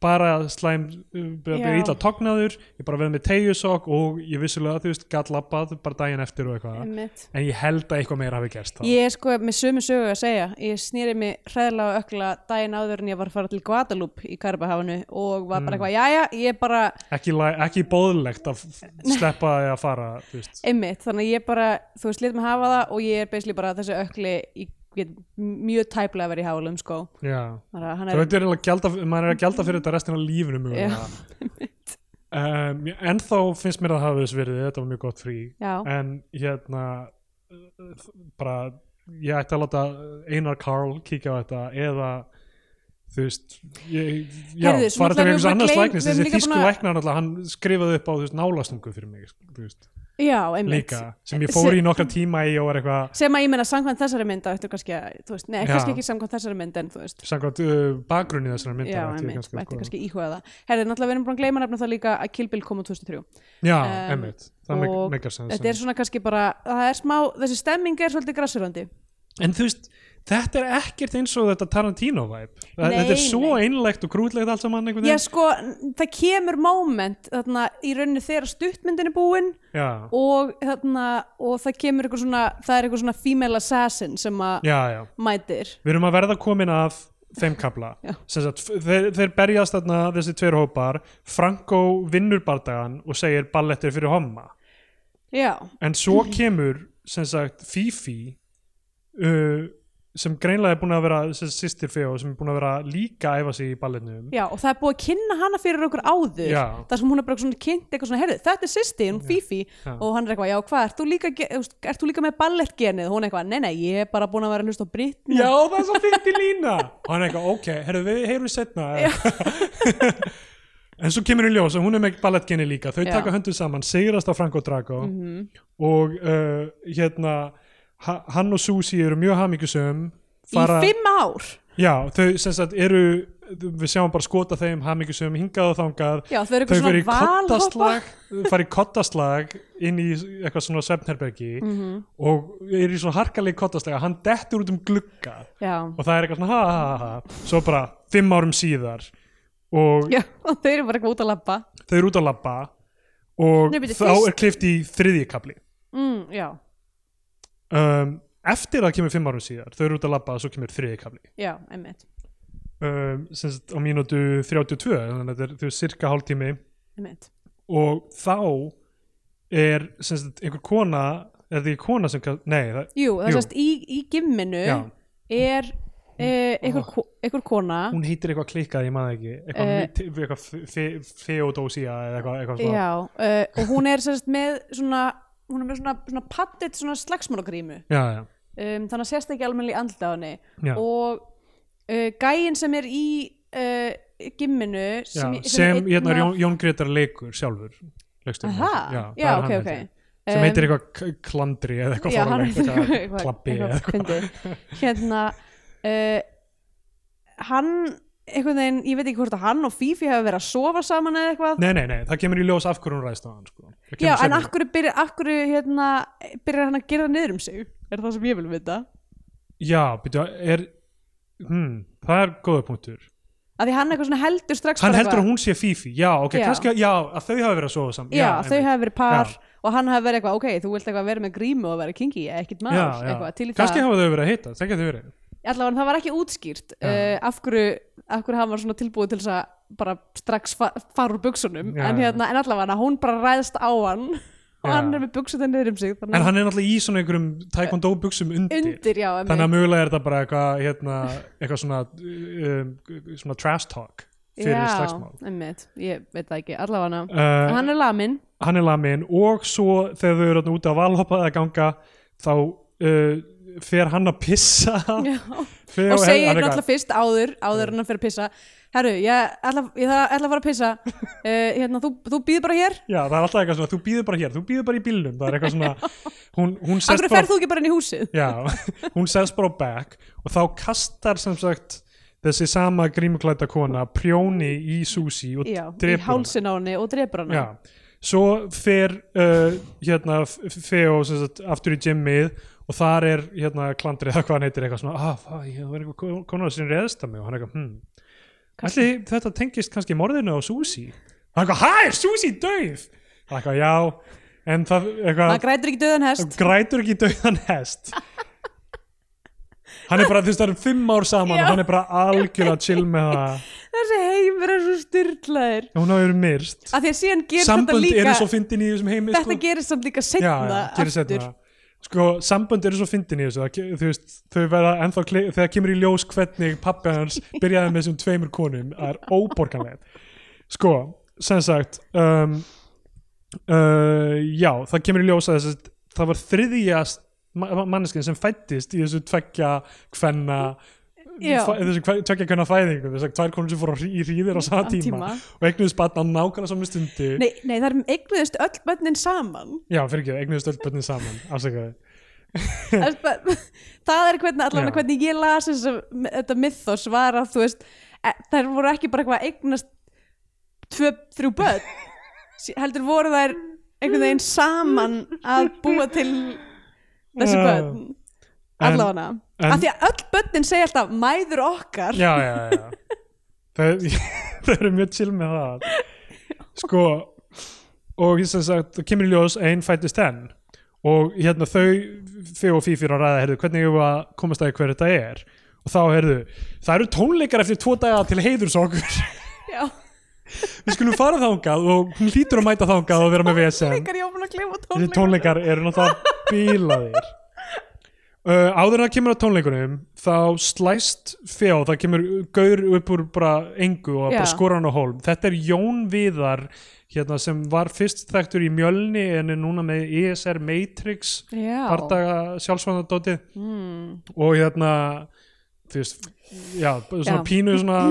Speaker 1: bara slæm, uh, bara
Speaker 2: Já.
Speaker 1: ítla tognaður ég bara verið með tegjusokk og ég vissulega, þú veist, gatt labbað bara daginn eftir og eitthvað
Speaker 2: einmitt
Speaker 1: en ég held að eitthvað meira hafi gerst þá.
Speaker 2: Ég er sko með sömu sögu að segja Ég snýri mig hræðilega og ökla daginn áður en ég var að fara til Guadalupe í Karbahafanu og var
Speaker 1: Mm.
Speaker 2: bara eitthvað, jæja, ég bara
Speaker 1: ekki, læ- ekki bóðlegt að f- sleppa því að fara þú veist.
Speaker 2: einmitt, þannig að ég bara, þú veist, lit mig hafa það og ég er beisli bara þessi ökli ég get mjög tæplega verið í hálum sko
Speaker 1: Já.
Speaker 2: Þannig að hann
Speaker 1: þú
Speaker 2: er,
Speaker 1: veit, er eiginlega að gjalda, maður er að gjalda fyrir þetta restina af lífinu mögulega. um, en þá finnst mér að hafa þess verið þetta var mjög gott frí
Speaker 2: já,
Speaker 1: en hérna uh, bara ég ætti að láta Einar Karl kíkja á þetta eða þú veist ég, já,
Speaker 2: Heyrðu, svo
Speaker 1: fara
Speaker 2: náttúrulega
Speaker 1: þetta með einhvers annars
Speaker 2: við erum búin að gleym-
Speaker 1: læknis
Speaker 2: við erum
Speaker 1: þessi
Speaker 2: líka
Speaker 1: þýsku
Speaker 2: búin að-
Speaker 1: læknar náttúrulega, hann skrifaði upp á þú veist, nálastungu fyrir mig sko, þú veist,
Speaker 2: já, einmitt
Speaker 1: líka, sem ég fór í nokkra tíma í og var eitthvað
Speaker 2: sem að ég meina samkvæmt þessari mynd á eftir kannski að, þú veist, nei,
Speaker 1: Já.
Speaker 2: kannski ekki samkvæmt þessari mynd en þú veist,
Speaker 1: samkvæmt uh, bakgrunni þessar myndar
Speaker 2: já,
Speaker 1: ætti ég
Speaker 2: einmitt,
Speaker 1: kannski sko. að
Speaker 2: mætti
Speaker 1: skoða.
Speaker 2: kannski íhuga það herði, náttúrulega við erum búin að gleyma nefna það líka að Kill Bill kom á 2003
Speaker 1: já,
Speaker 2: Um,
Speaker 1: einmitt, það
Speaker 2: og
Speaker 1: meikar sens
Speaker 2: þetta er svona kannski bara, það er smá þessi stemming er svolítið grassirandi
Speaker 1: en þú veist, þetta er ekkert eins og þetta Tarantino vibe Þa,
Speaker 2: Nei,
Speaker 1: þetta er svo
Speaker 2: nei.
Speaker 1: einlegt og krútlegt allt saman einhvern
Speaker 2: já sko, n- það kemur moment þarna í rauninni þegar stuttmyndin er búin
Speaker 1: já,
Speaker 2: og þarna og það kemur eitthvað svona, það er eitthvað svona female assassin sem að
Speaker 1: já, já,
Speaker 2: mætir
Speaker 1: við erum að verða komin að þeim kabla
Speaker 2: Já.
Speaker 1: Sem sagt, f- þeir, þeir berjast þarna þessi tveir hópar Franco vinnur bardagan og segir ballettir fyrir homma
Speaker 2: já,
Speaker 1: en svo
Speaker 2: Mhm.
Speaker 1: kemur sem sagt Fifi uh, sem greinlega er búin að vera sem sagt, sýstir Feo sem er búin að vera líka að æfa sig í balletnum
Speaker 2: já, og það er búið að kynna hana fyrir okkur áður
Speaker 1: Já.
Speaker 2: þar sem hún er bara svona kynnt eitthvað svona, heyrðu, þetta er sýsti, hún Fifi og hann er eitthvað, já, hvað, ert þú líka, ge- þú veist, ert þú líka með ballettgenið? Hún er eitthvað, nei, nei, ég er bara búin að vera að hlusta á Britney
Speaker 1: Já, það er svo fyndi lína og hann er eitthvað, ok, herru, við heyrum setna en svo kemur í ljós og hún er með ballettgenni líka þau
Speaker 2: Já. Mhm.
Speaker 1: taka höndu saman, sigrast á Franco Drago og uh, hérna ha- hann og Susi eru mjög hamingjusum
Speaker 2: í fimm ár
Speaker 1: já, þau sem sagt eru við sjáum bara skota þeim hamingjusum hingað og þangað
Speaker 2: Já, þau eru
Speaker 1: þau
Speaker 2: eitthvað
Speaker 1: fyrir í
Speaker 2: svona valhoppa
Speaker 1: kottaslag fara í kottaslag inn í eitthvað svona svefnherbergi
Speaker 2: Mhm.
Speaker 1: og er í svona harkalegi kottaslag að hann dettur út um glugga
Speaker 2: Já,
Speaker 1: og það er eitthvað svona ha ha ha ha svo bara fimm árum síðar og
Speaker 2: já, og þau eru bara eitthvað út að labba
Speaker 1: þau eru út að labba og
Speaker 2: Nei, byrju,
Speaker 1: þá
Speaker 2: fyrst-
Speaker 1: er klift í þriðji kapli
Speaker 2: mm, Já,
Speaker 1: um, eftir að það kemur fimm árum síðar þau eru út að labba og svo kemur þriðji kapli
Speaker 2: já, emmitt
Speaker 1: um, sem sagt á mínútu 32 þannig að þetta er þau er cirka hálftími
Speaker 2: Emmitt
Speaker 1: og þá er sem sagt einhver kona er það ekki kona sem kall- nei það,
Speaker 2: Jú, það
Speaker 1: Jú.
Speaker 2: sést í, í gimminu
Speaker 1: já,
Speaker 2: er eh, einhver,
Speaker 1: Ó.
Speaker 2: ko einhver kona
Speaker 1: hún heitir eitthvað klikkað ég maður ekki eitthvað,
Speaker 2: Eh.
Speaker 1: uh, eitthvað fe- fe- Theodosia eða eitthvað, eitthvað svona
Speaker 2: Já, uh, og hún er sérst með svona, hún er með svona, svona paddit svona slagsmálagrímu
Speaker 1: já, já,
Speaker 2: um, þannig að sérst ekki almennilega andlita á henni
Speaker 1: já.
Speaker 2: og uh, gæin sem er í uh, gimminu
Speaker 1: Já,
Speaker 2: sem,
Speaker 1: sem
Speaker 2: er
Speaker 1: hérna
Speaker 2: einn af-
Speaker 1: Jón, Jón Gretar leikur sjálfur leikstjórinn.
Speaker 2: Aha,
Speaker 1: já,
Speaker 2: já,
Speaker 1: það er hann, held
Speaker 2: ok, Um, ok
Speaker 1: ég. sem heitir eitthvað k- klandri eða eitthvað
Speaker 2: já, hann
Speaker 1: fórlegt
Speaker 2: heitir eitthvað-
Speaker 1: eitthvað klappi eða
Speaker 2: eitthvað
Speaker 1: eitthvað
Speaker 2: fyndið. hérna uh, hann einhvern veginn, ég veit ekki hvort að hann og Fifi hafa verið að sofa saman eða eitthvað
Speaker 1: nei, nei, nei, það kemur í ljós af hverju hún ræðst á hann sko. Það kemur
Speaker 2: já, en
Speaker 1: seinna.
Speaker 2: akkur byrjar, akkur hérna, byrjar hann að gera niður um sig er það sem ég vil vita
Speaker 1: já, byrja, er, hmm, það er góða punktur
Speaker 2: að því hann eitthvað svona heldur strax
Speaker 1: hann
Speaker 2: bara
Speaker 1: heldur
Speaker 2: eitthvað-
Speaker 1: að hún sé Fifi, já, ok,
Speaker 2: Já.
Speaker 1: kannski að- já, að þau hafi verið að sofa saman
Speaker 2: já, þau
Speaker 1: einmitt.
Speaker 2: hafa verið par og hann hafa verið eitthvað, ok, þú vilt eitthvað vera með grímu og vera kinky, ekkit mál,
Speaker 1: já, já.
Speaker 2: eitthvað til í
Speaker 1: kannski
Speaker 2: það, Mm.
Speaker 1: hafa þau verið að heita, það getur verið
Speaker 2: allavega það var ekki útskýrt
Speaker 1: Já.
Speaker 2: uh, af hverju, af hverju hann var svona tilbúið til þess að bara strax fa fara úr buksunum,
Speaker 1: Já,
Speaker 2: en
Speaker 1: já.
Speaker 2: hérna en allavega hún bara ræðst á hann og
Speaker 1: Já.
Speaker 2: hann er með buksunum niður um sig
Speaker 1: en
Speaker 2: þannig að
Speaker 1: hann er náttúrulega í svona einhverjum taekwondo buksum undir
Speaker 2: undir, já,
Speaker 1: þannig
Speaker 2: emmi
Speaker 1: að mögulega er þetta bara eitthvað hérna, eitthvað svona, um, svona trash talk fyrir slagsmál
Speaker 2: já, emmitt, ég veit það ekki, allavega
Speaker 1: uh, hann...
Speaker 2: hann er lamin,
Speaker 1: er lamin og svo þegar þau eru þarna úti að valhoppa eða ganga þá uh, fer hann að pissa
Speaker 2: já
Speaker 1: Fer
Speaker 2: og segir
Speaker 1: hann er
Speaker 2: náttúrulega fyrst áður áður en hann fyrir að pissa herru, ég ætla, ég ætla, ætla að fara að pissa uh, hérna, þú, þú býður bara hér
Speaker 1: Já, það er alltaf eitthvað svona, þú býður bara hér, þú býður bara í bílnum, það er eitthvað svona, hún, hún
Speaker 2: af
Speaker 1: sest
Speaker 2: hverju ferð þú ekki bara inn í húsið
Speaker 1: Já, hún sest bara á back og þá kastar sem sagt þessi sama grímuklæta kona prjóni í Susi og
Speaker 2: já, í
Speaker 1: drepur hana.
Speaker 2: hálsin á henni og drepur hana
Speaker 1: Já, svo fer uh, hérna F- Feo sem sagt, aftur í gymmið og þar er hérna klandrið eða hvað hann heitir eitthvað svona ah, fæ, það var eitthvað konar sem reðst að mig og hann eitthvað, hm, ætli þetta tengist kannski morðinu á Susi hann eitthvað, hæ, er Susi döið? Hann eitthvað, já, en það
Speaker 2: maður
Speaker 1: eitthvað,
Speaker 2: grætur ekki döðan hest
Speaker 1: grætur ekki döiðan hest hann er bara, þú veist, það eru fimm ár saman
Speaker 2: Já.
Speaker 1: og hann er bara algjörlega chill með það
Speaker 2: þessi heimur er svo styrlaður
Speaker 1: hún hafi verið myrst
Speaker 2: af því að síðan gerist þetta
Speaker 1: sambönd
Speaker 2: líka
Speaker 1: eru svo fyndin í þessum heimi
Speaker 2: þetta
Speaker 1: sko.
Speaker 2: gerist samt líka setna
Speaker 1: gerir
Speaker 2: aftur
Speaker 1: seinna. sko, sambönd eru svo fyndin í þessu það, ke- þú veist, þau verða ennþá kli, þegar kemur í ljós hvernig pappi hans byrjaði með þessum tveimur konum, það er óborganlega sko, sem sagt um, uh, já, það kemur í ljós að þessi, það var þriðja manneskinn sem fættist í þessu tveggja kvenna
Speaker 2: Já.
Speaker 1: fæ- þessu kve- tveggja kvenna fæðingu þessar tvær konur sem fóru á hrí- í hríðir á sama
Speaker 2: Á
Speaker 1: tíma,
Speaker 2: tíma.
Speaker 1: og eignuðist batna á nákvæmlega saman stundu
Speaker 2: nei, nei, það er eignuðist öll bönnin saman
Speaker 1: já, fyrir ekki, eignuðist öll börnin saman afsakaði
Speaker 2: Það er bara- það er hvernig allavega
Speaker 1: Já.
Speaker 2: hvernig ég las þess að þetta mythos var að þú veist e- þær voru ekki bara eitthvað að eignast tvö, þrjú börn Sí- heldur voru þær einhvern veginn saman að búa til þessi
Speaker 1: Já.
Speaker 2: börn allavega
Speaker 1: en-
Speaker 2: af því að öll börnin segja alltaf mæður okkar
Speaker 1: já, já, já. Þau, þau eru mjög chill með það sko og sem sagt, það kemur í ljós einn fættist enn og hérna þau fyrir og fífir að ræða, heyrðu, hvernig ég að komast að því hver þetta er og þá, heyrðu, það eru tónleikar eftir tvo daga til heiðurs okkur
Speaker 2: já,
Speaker 1: við skulum fara þangað og hún hlýtur að mæta þangað og vera með VSM
Speaker 2: tónleikar, ég var búin að klifa
Speaker 1: þessi
Speaker 2: tónleikar
Speaker 1: tónleikar eru náttúrulega bílaðir uh, áður en það kemur að tónleikunum þá slæst fjá það kemur gaur upp úr bara engu og bara
Speaker 2: Já.
Speaker 1: skora hann á hólm þetta er Jón Viðar hérna, sem var fyrst þekktur í Mjölni en er núna með ESR Matrix
Speaker 2: já,
Speaker 1: partaga sjálfsvandardótið
Speaker 2: mm.
Speaker 1: og hérna þú veist, já, bara svona
Speaker 2: Já.
Speaker 1: pínu svona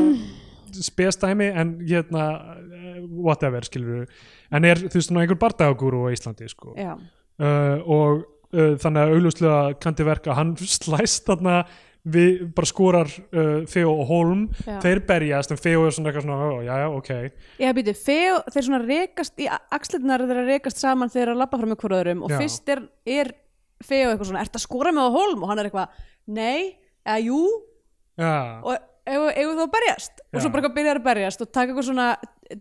Speaker 1: spestæmi en hérna eh, whatever skilur en er þú veist svona einhver bardagagúru á Íslandi sko
Speaker 2: já.
Speaker 1: Eh, uh, og uh, þannig að augljóslega kandi verka hann slæst þarna við bara skorar uh, Theo og Holm
Speaker 2: Já.
Speaker 1: þeir berjast en Theo er svona eitthvað svona "Ó, já, já, ok,
Speaker 2: Já, býtu, feo, þeir svona rekast í axlirnar þeirra rekast saman þegar að labba fram með hverjaðurum og
Speaker 1: Já.
Speaker 2: fyrst er, er feo eitthvað svona, ertu að skora með á holm? Og hann er eitthvað, nei, eða jú,
Speaker 1: já,
Speaker 2: og eigum eigum þá að berjast?
Speaker 1: Já.
Speaker 2: Og svo bara eitthvað byrjar að berjast og taka eitthvað svona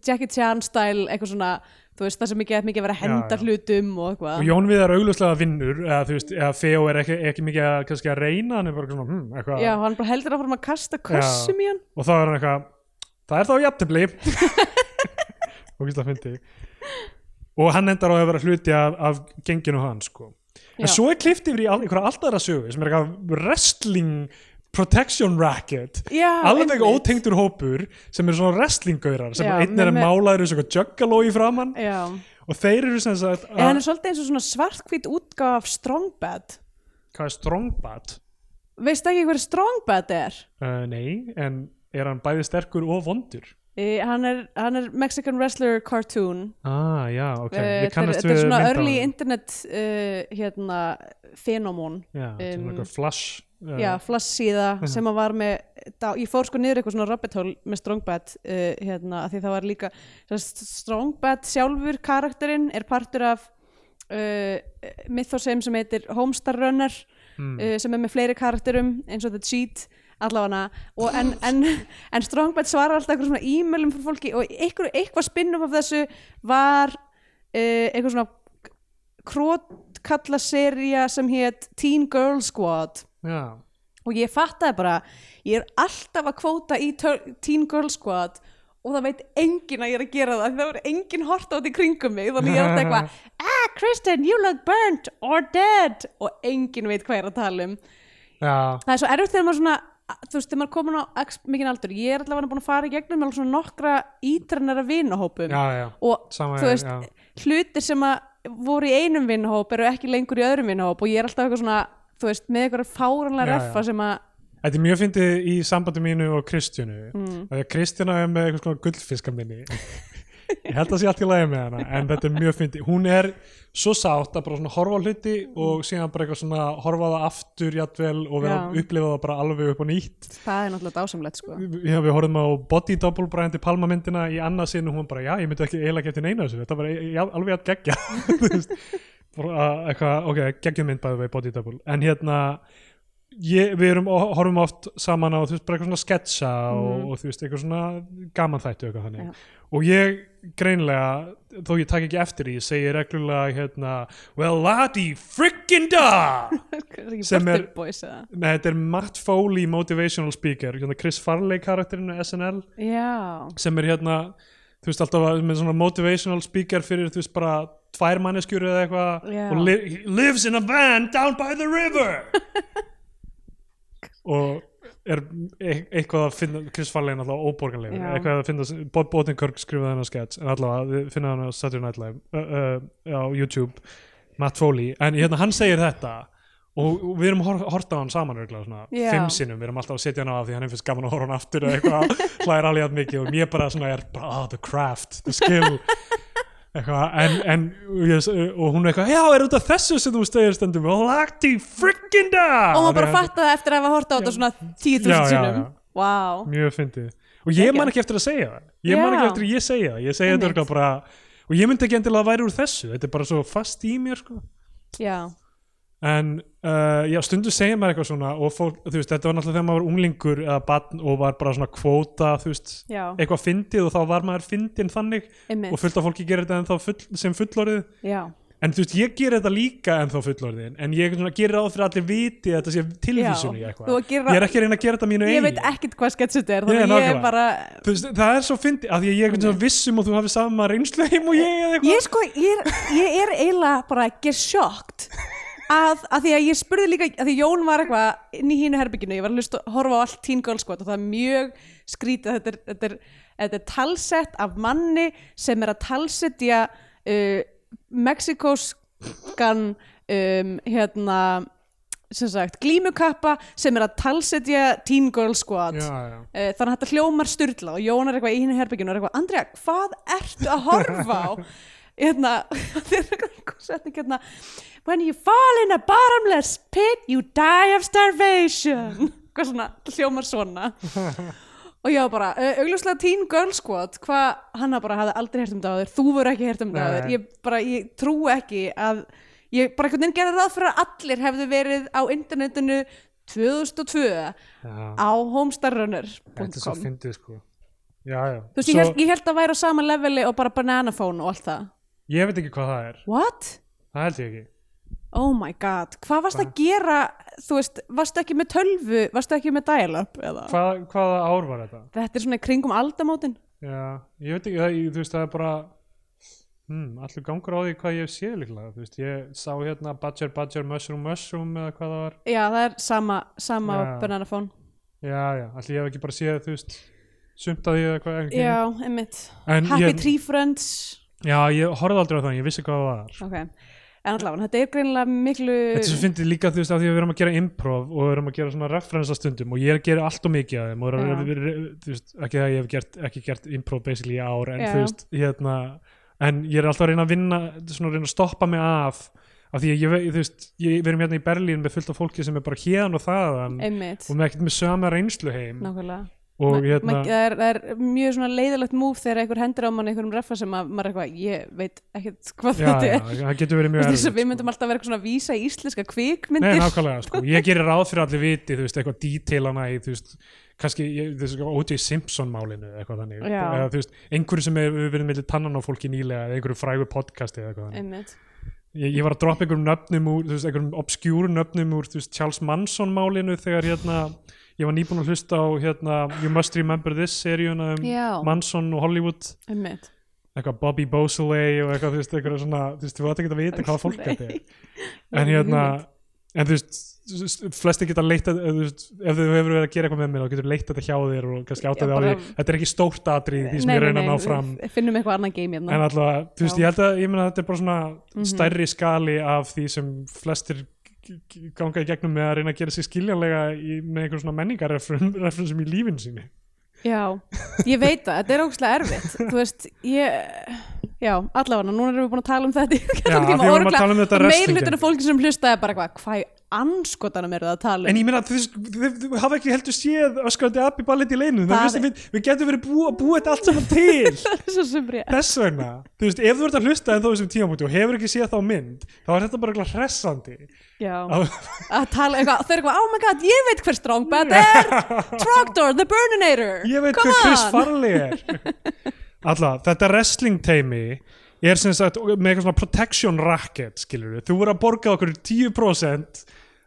Speaker 2: Jackie Chan style, eitthvað svona, þú veist, það sem mikið, mikið að vera að henda
Speaker 1: Já, já.
Speaker 2: hlutum og
Speaker 1: og
Speaker 2: eitthvað.
Speaker 1: Jón Viðar augljóslega vinnur eða, þú veist, eða Theo er ekki, ekki mikið að, kannski að reyna hann er bara svona, hm, eitthvað
Speaker 2: Já, og hann bara heldur áfram að kasta kössum í hann.
Speaker 1: og þá er hann eitthvað það er þá jafntefli og gísla fyndi og hann endar á að vera hluti af, af genginu hans sko. en
Speaker 2: Já.
Speaker 1: svo er klift yfir í al- einhverja alltaf aðra sögu sem er eitthvað wrestling protection racket
Speaker 2: Já,
Speaker 1: alveg
Speaker 2: einmitt.
Speaker 1: ótengdur hópur sem eru svona wrestlinggaurar sem
Speaker 2: Já,
Speaker 1: einn er
Speaker 2: með-
Speaker 1: að
Speaker 2: með-
Speaker 1: málaður eins og juggaló í framann
Speaker 2: Já,
Speaker 1: og þeir eru sem sagt
Speaker 2: en hann
Speaker 1: að,
Speaker 2: er svolítið eins og svona svartkvít útgáf af Strongbad.
Speaker 1: hvað er strongbat?
Speaker 2: Veist ekki hver Strongbad er?
Speaker 1: Uh, nei, en er hann bæði sterkur og vondur?
Speaker 2: Uh, hann, er, hann er Mexican Wrestler cartoon
Speaker 1: Ah, já, ok,
Speaker 2: Eh,
Speaker 1: ég kannast
Speaker 2: þetta er
Speaker 1: við
Speaker 2: svona
Speaker 1: mynd af
Speaker 2: early
Speaker 1: honum.
Speaker 2: internet uh, hérna, fenómón
Speaker 1: Já, um,
Speaker 2: Um,
Speaker 1: eitthvað flash uh,
Speaker 2: já, flassíða sem að var með dá, ég fór sko niður eitthvað svona rabbit hole með Strongbat uh, hérna, af því það var líka sem sagt, Strongbat sjálfur karakterinn er partur af uh, mythosem sem heitir Homestar Runner
Speaker 1: Mm.
Speaker 2: uh, sem er með fleiri karakterum eins og The Cheat allafana og en, en, en Strongbat svarar alltaf eitthvað svona e-mailum frá fólki og eitthvað, eitthvað spinnum af þessu var uh, eitthvað svona krótkallaserja sem hétt Teen Girl Squad
Speaker 1: Já,
Speaker 2: og ég fattaði bara ég er alltaf að kvóta í Tur- Teen Girl Squad og það veit enginn að ég er að gera það því það verður enginn hort á þetta í kringum mig þannig ég er alltaf eitthvað ah Kristen you look burnt or dead og enginn veit hvað ég er að tala um
Speaker 1: já,
Speaker 2: það er svo erfitt þegar maður svona þú veist þegar maður er komin á x mikinn aldur ég er allavega búin að fara í gegnum með alveg svona nokkra ítrennara vinahópum
Speaker 1: já, já
Speaker 2: Um, og
Speaker 1: Sama
Speaker 2: þú
Speaker 1: er,
Speaker 2: veist,
Speaker 1: já.
Speaker 2: hlutir sem að voru í einum vinahóp eru ekki lengur í öðrum vinahóp og ég er alltaf eitthvað svona, þú veist, með eitthvað fáranlega
Speaker 1: Já,
Speaker 2: reffa
Speaker 1: já.
Speaker 2: sem að
Speaker 1: Þetta er mjög fyndið í sambandi mínu og Kristjánu mm. Þegar Kristjána er með eitthvað gullfiska minni Ég held að sé allt í lagi með hana En þetta er mjög fyndið Hún er svo sátt að bara svona horfa á hluti Og síðan bara eitthvað svona horfa á það aftur Jafnvel og vera
Speaker 2: Já.
Speaker 1: upplifa það bara alveg upp á nýtt
Speaker 2: það er náttúrulega dásamlegt sko
Speaker 1: Já, við horfum á Body Double Brændi Palma myndina í annað sinn og hún bara, já, ég myndi ekki eiginlega geta neina þessu, þetta var e- e- alveg að geggja Þú veist, bara, uh, eitthvað, ok, geggjum mynd bæði við Body Double en hérna ég, við erum, horfum oft saman á þú veist, bara eitthvað svona sketsa og, og þú veist, eitthvað svona gaman þættu eitthvað þannig
Speaker 2: Já.
Speaker 1: og ég greinlega, þó ég takk ekki eftir því, segi reglulega hérna, well, ladi, frickin' da Sem
Speaker 2: sem
Speaker 1: er-
Speaker 2: er boys, eða?
Speaker 1: Nei, þetta er Matt Foley motivational speaker, hérna Chris Farley karakterinu SNL
Speaker 2: já,
Speaker 1: sem er hérna þú veist alltaf að- með svona motivational speaker fyrir þú veist bara tvær manneskjur eða eitthvað
Speaker 2: Já.
Speaker 1: og li he lives in a van down by the river og er e eitthvað að finna Chris Farley er alltaf óborganlegur
Speaker 2: Já.
Speaker 1: eitthvað að finna, Bob Botenkirk skrifaði hennar sketch en allavega við finna hann á Saturday Night Live uh, uh, á YouTube Matt Foley, en hérna hann segir þetta og og við erum hor hort á hann saman örgulega svona
Speaker 2: Já.
Speaker 1: fimm sinnum, við erum alltaf að setja hann á af því hann er fyrst gaman að horfa á hann aftur eða eitthvað, hlæðir alveg að mikið og mér bara svona er bara, ah, the craft, the skill eitthvað, en, en yes, og hún er eitthvað, já, er út af þessu sem þú stegir stendum, og lagti frikkin da
Speaker 2: og maður bara fattaði eftir að hafa horta á þetta svona
Speaker 1: Já,
Speaker 2: 10.000
Speaker 1: já,
Speaker 2: sinum
Speaker 1: já.
Speaker 2: wow,
Speaker 1: mjög fyndið, og ég man
Speaker 2: Geggjað.
Speaker 1: ekki eftir að segja það ég man
Speaker 2: Já.
Speaker 1: ekki eftir að ég segja það, ég segja þetta
Speaker 2: Einmitt.
Speaker 1: örgulega bara og ég myndi ekki endilega að væri úr þessu, þetta er bara svo fast í mér sko
Speaker 2: já,
Speaker 1: en uh, já, stundu segir maður eitthvað svona og fólk, þú veist, þetta var náttúrulega þegar maður var unglingur eða batn og var bara svona kvóta þú veist,
Speaker 2: já,
Speaker 1: eitthvað fyndið og þá var maður fyndin þannig og
Speaker 2: einmitt
Speaker 1: fullt af fólki gerir þetta ennþá full, sem fullorðið
Speaker 2: já,
Speaker 1: en þú veist, ég gerir þetta líka ennþá fullorðin en ég svona, gerir ráð fyrir að allir viti að þetta sé tilvísun í
Speaker 2: Já,
Speaker 1: eitthvað
Speaker 2: þú að gera-
Speaker 1: ég er ekki að reyna að gera þetta mínu
Speaker 2: ég
Speaker 1: eigin
Speaker 2: veit ekkert hvað sketch þetta er
Speaker 1: Ég,
Speaker 2: þannig að ég
Speaker 1: nákvæmlega.
Speaker 2: er bara
Speaker 1: Þú veist, það er svo fyndið, af því að ég er einhvern veginn vissum og þú hafi sama reynslu heim og ég eða eitthvað
Speaker 2: ég sko, ég er, ég er eiginlega bara gesjokkt að, að því að ég spurði líka, að því Jón var eitthvað inn í hínu herbygginu, ég var að hlusta horfa á allt Teen Girl Squad og það er mjög skrítið þetta er, þetta er, þetta er talsett af manni sem er að talsetja uh, mexikóskan um, hérna sem sagt, glímukappa sem er að talsetja Teen Girl Squad
Speaker 1: já, já.
Speaker 2: Eh, þannig að þetta hljómar styrla og Jón er eitthvað í hinu herbygginu og er eitthvað Andrea, hvað ertu að horfa á? Hérna, þeir eru eitthvað setning hérna When you fall in a bottomless pit you die of starvation eitthvað svona, hljómar svona og ég var bara, uh, augljóslega teen girl squad hvað hanna bara hafði aldrei hert um það áður þú voru ekki hert um það
Speaker 1: Nei.
Speaker 2: áður ég bara, ég trú ekki að ég bara einhvern veginn gerði ráð fyrir að allir hefðu verið á internetinu 2002
Speaker 1: Já,
Speaker 2: á
Speaker 1: þetta er svo
Speaker 2: homestarrunner.com
Speaker 1: fyndið sko Já, já
Speaker 2: þú veist, ég, held, ég held að væri á sama leveli og bara bananaphone og allt það
Speaker 1: ég veit ekki hvað það er
Speaker 2: what?
Speaker 1: Það held ég ekki
Speaker 2: oh my god, hvað varst að gera þú veist, varstu ekki með tölvu varstu ekki með dial-up eða
Speaker 1: Hvað, Hvaða ár var þetta?
Speaker 2: þetta er svona í kringum aldamótin
Speaker 1: Já, ég veit ekki, það, ég, þú veist, það er bara hmm, Allur gangur á því hvað ég sé líklega Þú veist, ég sá hérna Badger, Badger, Mushroom, Mushroom eða hvað það var
Speaker 2: já, það er sama, sama
Speaker 1: Já.
Speaker 2: bananaphone
Speaker 1: Já, já, allir ég hef ekki bara séð, þú veist sumt að ég eða hvað ekki
Speaker 2: já, einmitt
Speaker 1: En
Speaker 2: Happy
Speaker 1: ég,
Speaker 2: Tree Friends
Speaker 1: Já, ég horfði aldrei á það, ég vissi hvað það var
Speaker 2: ok, en allavega, þetta er greinilega miklu
Speaker 1: Þetta er svo fyndið líka þú veist að því að við erum að gera improv og við erum að gera svona referensa stundum og ég gera allt og mikið af þeim og er,
Speaker 2: Já.
Speaker 1: er, þú veist, ekki það að ég hef gert, ekki gert improv basically í ár en
Speaker 2: Já.
Speaker 1: þú veist, hérna en ég er alltaf að reyna að vinna, svona að reyna að stoppa mig af af því að ég, vei- þú veist ég, við erum hérna í Berlín með fullt af fólki sem er bara hérðan og þaðan
Speaker 2: einmitt,
Speaker 1: og með ekkert með söma reynslu heim
Speaker 2: nákvæmlega
Speaker 1: og
Speaker 2: Eh. Ma-
Speaker 1: hérna,
Speaker 2: ma- það, er, það er mjög svona leiðilegt múf þegar einhver hendur á mann einhverjum reffa sem að maður er eitthvað, ég veit ekkert hvað
Speaker 1: já,
Speaker 2: þetta
Speaker 1: já,
Speaker 2: er
Speaker 1: það getur verið mjög
Speaker 2: Veistu, þess að við
Speaker 1: erfitt, sko.
Speaker 2: myndum alltaf vera eitthvað svona að vísa í íslenska
Speaker 1: Nei,
Speaker 2: kvikmyndir
Speaker 1: nákvæmlega, sko. ég gerir ráð fyrir að allir viti, þú veist, eitthvað dítilana í, þú veist, kannski, ég, þú veist, O.J. Simpson málinu, eitthvað þannig,
Speaker 2: Já.
Speaker 1: eða þú veist, einhverju sem hefur verið millir tannan á fólki nýlega, eða einhverju frægu podcasti eða eitthvað þannig.
Speaker 2: einmitt
Speaker 1: Ég, ég var að droppa einhverjum nöfnum úr, þú veist, einhverjum obskjúru nöfnum úr, þú veist, Charles Manson málinu þegar, hérna, ég var nýbúin að hlusta á, hérna, You Must Remember This seríuna um
Speaker 2: Já.
Speaker 1: Manson og Hollywood,
Speaker 2: einmitt
Speaker 1: eitthvað Bobby Beausoleil og eitthvað, þú veist, eitthvað svona, þú veist, þú ætti ekki að vita hvað fólk þetta er en hérna en þú veist, flesti geta leitt að, þú veist, ef þú hefur verið að gera eitthvað með mér þá getur leitt þetta hjá þér og kannski
Speaker 2: Já,
Speaker 1: áttaði á því
Speaker 2: bara-
Speaker 1: þetta er ekki stórt atrið því sem ég reyna að ná fram
Speaker 2: við finnum eitthvað annað game hérna
Speaker 1: en allavega, þú veist,
Speaker 2: Já.
Speaker 1: ég held að ég meina að þetta er bara svona
Speaker 2: Mhm.
Speaker 1: stærri skali af því sem flestir g- g- ganga í gegnum með að reyna að gera sig skiljanlega í, með einhver svona menningarreferensum í lífin síni
Speaker 2: Já, ég veit það, þetta er ógustlega erfitt Þú veist, ég Já, allavega, núna erum við búin að tala um þetta í
Speaker 1: Já,
Speaker 2: allan tíma,
Speaker 1: því við vorum að
Speaker 2: örugglega-
Speaker 1: tala um þetta
Speaker 2: og
Speaker 1: wrestling
Speaker 2: meirhlutinn af
Speaker 1: game.
Speaker 2: fólki sem hlusta er bara eitthvað, hvað í anskotanum eru það að tala
Speaker 1: en
Speaker 2: um
Speaker 1: ég meina að þið, þið, þið hafa ekki heldur séð öskrandi abbi ballet í leinu
Speaker 2: Það
Speaker 1: þannig að við, við getum verið búið að búa þetta allt saman til
Speaker 2: Svo sem rétt
Speaker 1: þess vegna, þú veist, ef þú ert að hlusta en þá þessum tímamúti og hefur ekki séð þá mynd þá er þetta bara eitthvað hressandi
Speaker 2: Já,
Speaker 1: Á-
Speaker 2: að tala eitthvað, þau eru eitthvað, oh my god, ég veit hver Strongbat er Trogdor, the Burninator
Speaker 1: ég veit
Speaker 2: Come
Speaker 1: hvað Chris
Speaker 2: on!
Speaker 1: Farley er Alla, þetta wrestling teimi er sem sagt með eitthvað svona protection racket, skilur við, þú voru að borga okkur 10%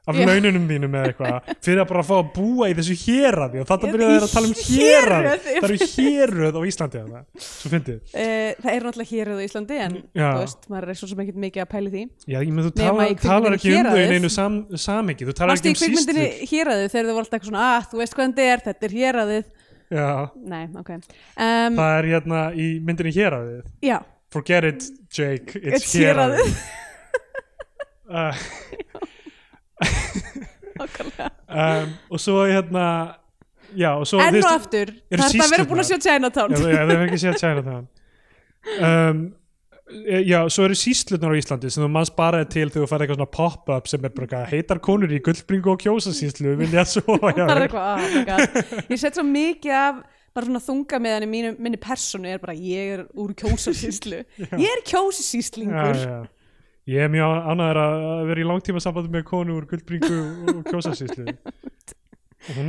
Speaker 1: af
Speaker 2: Já.
Speaker 1: laununum þínum eða eitthvað, fyrir að bara fá að búa í þessu héraði og þetta
Speaker 2: Í
Speaker 1: byrjaði að tala um hérað
Speaker 2: héraði.
Speaker 1: það eru hérað á Íslandi eða, svo fyndið,
Speaker 2: Eh, Það er náttúrulega héruð á Íslandi en
Speaker 1: Já.
Speaker 2: þú veist, maður er svo sem ekkert mikið að pæli því
Speaker 1: já, ég með þú
Speaker 2: Nema
Speaker 1: talar,
Speaker 2: í
Speaker 1: talar ekki um
Speaker 2: kvikmyndinni
Speaker 1: þau í
Speaker 2: Héraðið.
Speaker 1: neinu sam, samhengi, þú talar
Speaker 2: Varstu
Speaker 1: ekki
Speaker 2: í
Speaker 1: um sístur
Speaker 2: kvikmyndinni héraðið þegar þau voru alltaf eitthvað svona að, þú veist hvað þetta er, þetta er héraðið
Speaker 1: já,
Speaker 2: Nei, ok um,
Speaker 1: Það er hérna í myndinni héraðið
Speaker 2: Já,
Speaker 1: Forget it, Jake, it's,
Speaker 2: It's
Speaker 1: héraðið,
Speaker 2: héraðið.
Speaker 1: uh,
Speaker 2: okkarlega
Speaker 1: um, Og svo hérna Já, og svo
Speaker 2: Enn
Speaker 1: þú
Speaker 2: og
Speaker 1: veist-
Speaker 2: aftur,
Speaker 1: eru
Speaker 2: þarf að vera
Speaker 1: sýslurnar?
Speaker 2: búin að sjá Chinatown
Speaker 1: Já, það er ekki séð tjæna það um, e- Já, svo eru síslurnar á Íslandi sem þú manns bara til þegar þú færð eitthvað svona pop-up sem er bara eitthvað, heitar konur í gullbringu og kjósasíslu vilja svo
Speaker 2: Það er eitthvað, oh my god Ég set svo mikið af bara svona þunga meðan í mínu, minni personu er bara ég er úr kjósarsýslu Ég er kjósarsýslingur
Speaker 1: já, já. Ég er mjög ánæður að að vera í langtíma sambandi með konu úr gullbringu og- og kjósasíslu Hún,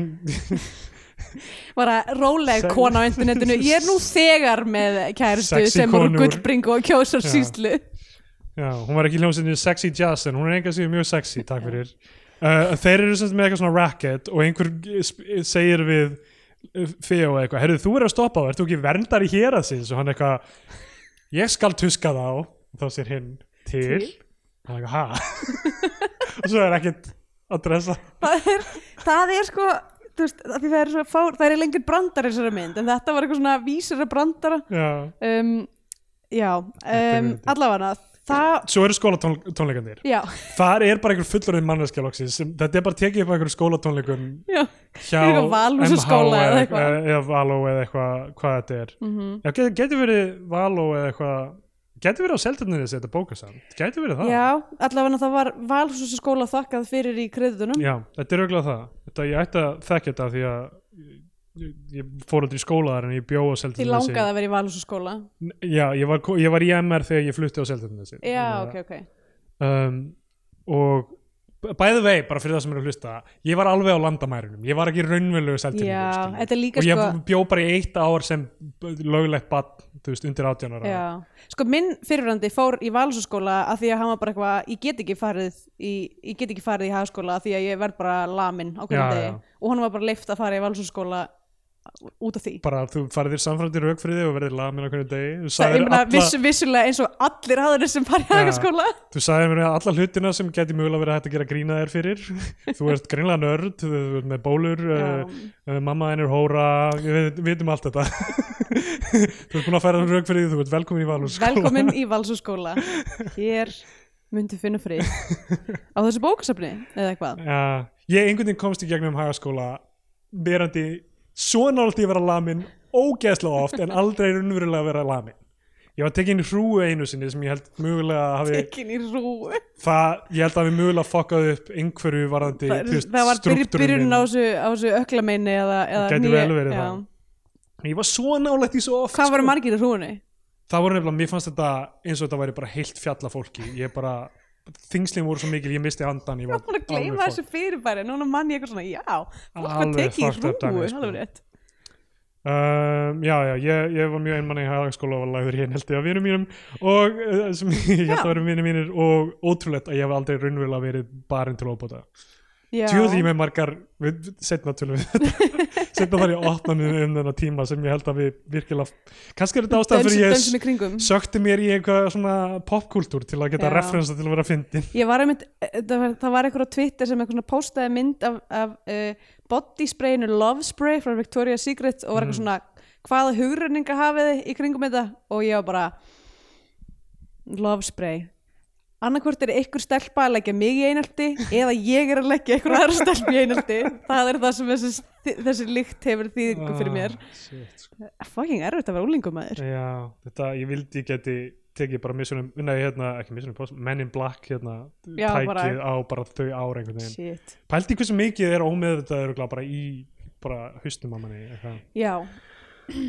Speaker 2: Bara róleg
Speaker 1: Sex-
Speaker 2: kona á internetinu Ég er nú þegar með kærustu
Speaker 1: Sexy
Speaker 2: sem er úr
Speaker 1: konu úr-
Speaker 2: gullbringu og kjósarsýslu
Speaker 1: Já, hún var ekki hljómsinni sexy jazz en hún er enga síður mjög sexy, takk fyrir uh, Þeir eru semst með eitthvað svona racket og einhver sp- segir við uh, Feo eitthvað, heyrðu þú er að stoppa þá ert þú ekki verndari hér að síns og hann eitthvað, ég skal tuska þá og þá sér hinn til
Speaker 2: Til?
Speaker 1: og hann eitthvað, ha og svo er ekkert að dressa
Speaker 2: það, er- það er sko þú veist, af því það er, svo fár, það er lengur brandar í þessari mynd en þetta var eitthvað svona vísir að brandara
Speaker 1: Já.
Speaker 2: um, Já,
Speaker 1: er
Speaker 2: um,
Speaker 1: myndin.
Speaker 2: allavega það,
Speaker 1: Svo eru skólatónleikandir
Speaker 2: já
Speaker 1: Þar er bara einhver fullorðin manneskja loksins sem- þetta er bara tekið upp á einhverjum skólatónleikum
Speaker 2: Já,
Speaker 1: hjá
Speaker 2: Eitthvað
Speaker 1: MH
Speaker 2: Valhúsaskóla eða eitthvað.
Speaker 1: E
Speaker 2: Mm.
Speaker 1: eða Való eða eitthvað hvað þetta er
Speaker 2: Mhm.
Speaker 1: Já, getur, getur verið Való eða eitthvað getur verið á seldarnir þessi þetta bókasamt getur verið það
Speaker 2: já allavega það var valhúsaskóla þakkað fyrir í kreðunum
Speaker 1: Já, þetta er auðvitað það Þetta ég ætti að þekka þetta því að ég- ég, ég fór aldrei í skóla þar en ég bjó á
Speaker 2: Því
Speaker 1: Seltjarnarnesi.
Speaker 2: langaði að vera í valhúsaskóla
Speaker 1: Já, ég var, ég var í MR þegar ég flutti á Seltjarnarnesi.
Speaker 2: Já,
Speaker 1: Þannig að-
Speaker 2: ok, ok
Speaker 1: um, og by the way, bara fyrir það sem eru að hlusta ég var alveg á landamærinum, ég var ekki raunverulegu
Speaker 2: Já,
Speaker 1: seltingur
Speaker 2: þetta er líka
Speaker 1: og ég
Speaker 2: sko
Speaker 1: bjó bara í eitt ár sem löglegt bann, þú veist, undir 18 ára
Speaker 2: Já, sko minn fyrirrandi fór í valsaskóla að því að hann var bara eitthvað ég get ekki farið í, ég get ekki farið í hagaskóla af því að ég verð bara lamin
Speaker 1: Já,
Speaker 2: á hverjum degi
Speaker 1: já.
Speaker 2: og hann var bara leift að fara í valsaskóla út af því
Speaker 1: bara þú farið þér samframdi raukfriði og verðir lamin á hvernig degi þú
Speaker 2: Það,
Speaker 1: sagðir,
Speaker 2: ég meina,
Speaker 1: alla,
Speaker 2: vissu, vissulega eins og allir aðrir sem farið í
Speaker 1: Já.
Speaker 2: hagaskóla
Speaker 1: þú sagðir mér alla hlutina sem geti mögulega verið hægt að gera grína þér fyrir þú ert grínlega nörd, þú ert með bólur uh, uh, mamma þín er hóra við við vitum allt þetta þú ert búin að færa raukfriði, þú ert velkomin í valhús
Speaker 2: Velkomin í valsaskóla Hér myndi finna frið á þessu bókasafni eða eitthvað
Speaker 1: Já, ég einhvern veginn komst í gegnum hagaskóla verandi svo nált ég vera lamin ógeðslega oft en aldrei raunverulega vera lamin ég var tekinn í hrúu einu sinni sem ég held mögulega að hafi
Speaker 2: Tekin í rú
Speaker 1: það, ég held að við mögulega fokkað upp einhverju varðandi
Speaker 2: Það,
Speaker 1: þú veist,
Speaker 2: það var byrj-
Speaker 1: strúktúrinn
Speaker 2: byrjunin á
Speaker 1: minn.
Speaker 2: þessu, á þessu öklameini eða, eða
Speaker 1: Gæti
Speaker 2: nýja-
Speaker 1: vel verið
Speaker 2: já.
Speaker 1: það. ég var svo nálægt í svo oft
Speaker 2: Hvað
Speaker 1: sko.
Speaker 2: var margir í hrúinu?
Speaker 1: það voru nefnilega, mér fannst þetta eins og þetta væri bara heilt fjalla fólki ég bara, þingslin voru svo mikil ég misti andan, ég var
Speaker 2: Ég var búin að gleyma
Speaker 1: alveg
Speaker 2: þessu fyrirbæri Núna mann ég eitthvað svona, já, fólk var
Speaker 1: Alveg
Speaker 2: tekið í
Speaker 1: fucked up dæmi,
Speaker 2: hrúu
Speaker 1: sko.
Speaker 2: alveg rétt.
Speaker 1: Um, já, já, ég, ég var mjög einmann í hagaskóla og var lagður hér held ég af vinum mínum og uh, sem ég held
Speaker 2: Já.
Speaker 1: að vera vinum mínir og ótrúlegt að ég hef aldrei raunverulega verið barinn til óbóta.
Speaker 2: Já.
Speaker 1: Tjóði ég með margar, við setna tölum við þetta, setna þar ég opna mér um þennan tíma sem ég held að við virkilega, kannski er þetta ástæðan
Speaker 2: Dönsin,
Speaker 1: fyrir ég
Speaker 2: dönsin í kringum
Speaker 1: sökti mér í einhvað svona popkúltúr til að geta
Speaker 2: Já.
Speaker 1: referensa til að vera fyndin.
Speaker 2: Ég var einmitt, eh, það var, það var eitthvað á Twitter sem eitthvað svona postaði mynd af, af uh, body sprayinu Love Spray frá Victoria's Secret og var
Speaker 1: Mm.
Speaker 2: eitthvað svona hvaða hugrenninga hafiði í kringum þetta og ég var bara Love Spray annarkvort er ykkur stelpa að leggja mig í einhaldi eða ég er að leggja ykkur aðra stelpa í einhaldi það er það sem þessi, þessi lykt hefur þýðingu fyrir mér
Speaker 1: Ah, shit, sko.
Speaker 2: fucking erfitt að vera úlingum aður
Speaker 1: Já, þetta, ég vildi ég geti tekið bara missunum, nei, hérna, ekki missunum Men in Black, hérna,
Speaker 2: Já,
Speaker 1: tækið
Speaker 2: bara-
Speaker 1: á bara þau ár einhvern veginn
Speaker 2: shit
Speaker 1: Pældi hversu mikið er ómeðvitað örugglega bara í, bara haustum að manni eitthvað.
Speaker 2: já,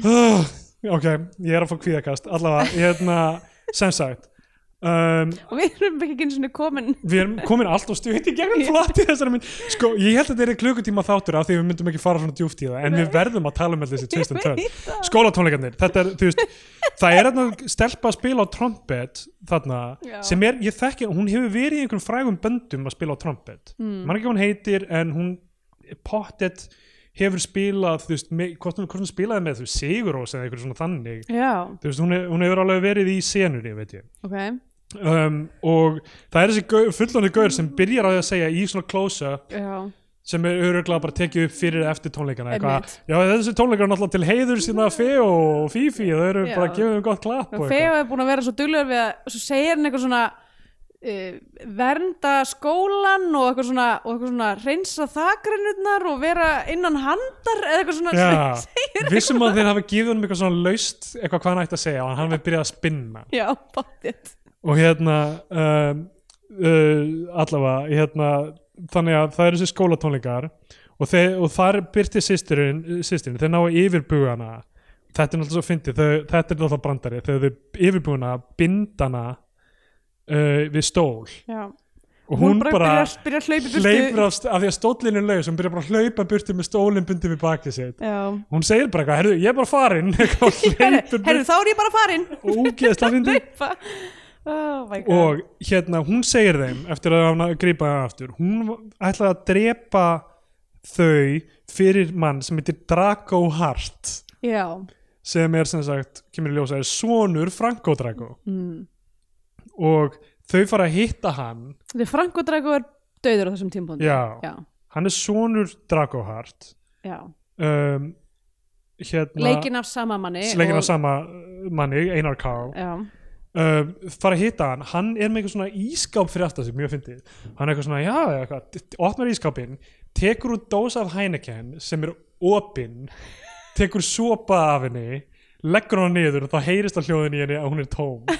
Speaker 1: Ah, Ok, ég er að fá kvíðakast allavega, hérna, sem sagt um,
Speaker 2: og við erum ekki einu svona komin
Speaker 1: við erum komin allt og stutt í gegnum flati þessari mynd, sko, ég held að þetta er klukkutíma þáttur af því við myndum ekki fara svona djúft í það en við verðum að tala um allir þessi tvist en
Speaker 2: Ég
Speaker 1: törn
Speaker 2: veit það.
Speaker 1: skólatónleikarnir, þetta er, þú veist það er þarna stelpa að spila á trompet þarna,
Speaker 2: Já.
Speaker 1: sem er, ég þekki hún hefur verið í einhverjum frægum böndum að spila á trompet, mm. mann ekki hvað hún heitir en hún pottet hefur spilað, þú veist, með, hvort hún, hvort hún spilaði með, þú veist, Sigurós eða einhverjum svona þannig
Speaker 2: já,
Speaker 1: þú veist, hún, he- hún hefur alveg verið í senunni, veit ég
Speaker 2: ok
Speaker 1: um, og það er þessi fullónu gaur sem byrjar á því að segja í svona close-up
Speaker 2: já
Speaker 1: sem er öruglega bara tekið upp fyrir eða eftir tónleikana eitthvað,
Speaker 2: Einmitt.
Speaker 1: já þessi tónleikar er náttúrulega til heiður sína Feo og Fifi þau eru
Speaker 2: Já.
Speaker 1: bara að gefa þeim gott klapp og
Speaker 2: Og
Speaker 1: eitthvað
Speaker 2: Feo er búin að vera svo duglegur við að svo segir hann eitthvað svona uh, vernda skólan og eitthvað svona, og eitthvað svona reynsa þakrenurnar og vera innan handar eða eitthvað svona
Speaker 1: Já, vissum að þeir hafi gefið honum eitthvað svona laust eitthvað hvað hann ætti að segja og hann hefði byrjað að spinna
Speaker 2: Já, báttið
Speaker 1: og hérna um, uh, allavega hérna, þannig að það eru þessi skólatónleikar og, þeir, og þar byrti sýsturinn sýsturinn, þeir náu yfirbúana þetta er náttúrulega svo fyndið þau, þetta er náttúrulega brandari, þegar þau yfirbúana bindana uh, við stól
Speaker 2: Já,
Speaker 1: og hún, bara,
Speaker 2: byrjar, byrjar að hlaupa í burtu
Speaker 1: hleypur af, st- af því að stólinn er laus, hún byrjar bara að hlaupa burti með stólinn bundið við bakið sitt
Speaker 2: Já
Speaker 1: hún segir bara eitthvað, herðu, ég er bara farin eitthvað, hleypur
Speaker 2: Herru,
Speaker 1: burti
Speaker 2: þá er ég bara farin
Speaker 1: og úgeðsla fyndið
Speaker 2: Hlaupa Oh my god
Speaker 1: og hérna hún segir þeim eftir að hann gripa hann aftur hún va- ætlaði að drepa þau fyrir mann sem heitir Draco Hart
Speaker 2: Já,
Speaker 1: sem er sem sagt, kemur í ljósa er sonur Franco Draco mm. og þau fara að hitta hann
Speaker 2: þetta er Frank og Drago er döður á þessum tímpóndi
Speaker 1: Já.
Speaker 2: Já,
Speaker 1: hann er sonur Draco Hart
Speaker 2: já.
Speaker 1: um, hérna
Speaker 2: Leikinn af sama manni
Speaker 1: leikinn af
Speaker 2: og-
Speaker 1: sama uh, manni, Einar Karl
Speaker 2: Já,
Speaker 1: um, fara að hitta hann hann er með eitthvað svona ískáp fyrir aftan sig mjög fyndið, hann er eitthvað svona já, eitthvað, d- d- opnar ískápinn, tekur út dósa af Heineken sem er opinn tekur sopa af henni leggur hann niður og þá heyrist á hljóðin í henni að hún er tóm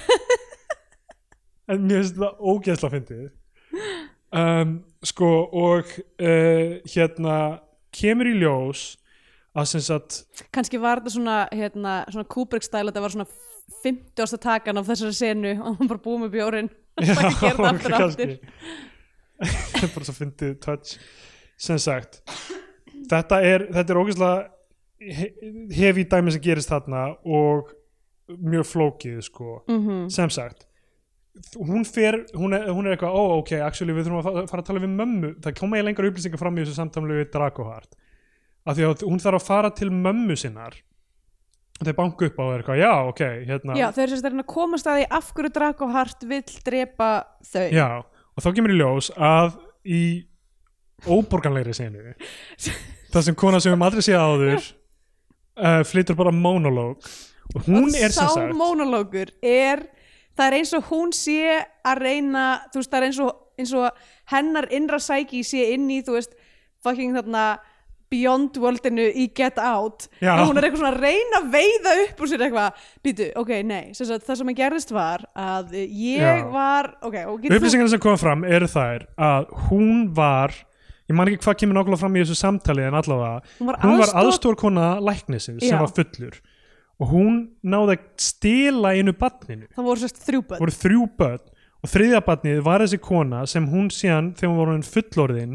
Speaker 1: en mér finnst það ógeðsla fyndið um, sko og uh, hérna kemur í ljós að sem sagt
Speaker 2: kannski var þetta svona, hérna, svona Kubrick stæl þetta var svona 50 ásta takan af þessari senu og hann bara búið með bjórin það ekki gera þetta hérna aftur og aftur
Speaker 1: það er bara svo fyndið touch sem sagt þetta er, þetta er ógeðslega he- hefi dæmi sem gerist þarna og mjög flókið sko
Speaker 2: Mhm.
Speaker 1: sem sagt hún fer, hún er, hún er eitthvað ó ok, actually við þurfum að fa- fara að tala við mömmu það koma ég lengur upplýsingar fram í þessu samtamlu við Dragohart af því að hún þarf að fara til mömmu sinnar og þeir banku upp á og er eitthvað já ok, hérna
Speaker 2: Já, þau eru sérst að reyna að komast að því af hverju Draco Hart vill drepa þau
Speaker 1: já, og þá kemur í ljós að í óborganlegri senu það sem kona sem við höfum aldrei séð áður uh, flytur bara monológ og hún
Speaker 2: og
Speaker 1: er sem
Speaker 2: sá
Speaker 1: sagt
Speaker 2: monologur er það er eins og hún sé að reyna þú veist það er eins og, eins og hennar innra sæki sé inn í þú veist fucking þarna Beyond Worldinu í Get Out
Speaker 1: Já.
Speaker 2: og hún er eitthvað svona að reyna að veiða upp úr sér eitthvað, býtu, ok, nei sem sagt, það sem að gerðist var að eh, ég
Speaker 1: Já.
Speaker 2: var, ok, og getur þú
Speaker 1: upplýsingarna sem koma fram eru þær að hún var ég man ekki hvað kemur nákvæmlega fram í þessu samtali en allavega,
Speaker 2: Hún var
Speaker 1: hún var
Speaker 2: aðstoð-
Speaker 1: aðstórkona læknisins sem
Speaker 2: Já.
Speaker 1: var fullur og hún náði að stila einu barninu,
Speaker 2: það voru sérst þrjúböld
Speaker 1: voru þrjú börn og þriðja barnið var þessi kona sem hún síðan þegar hún var hún fullorðin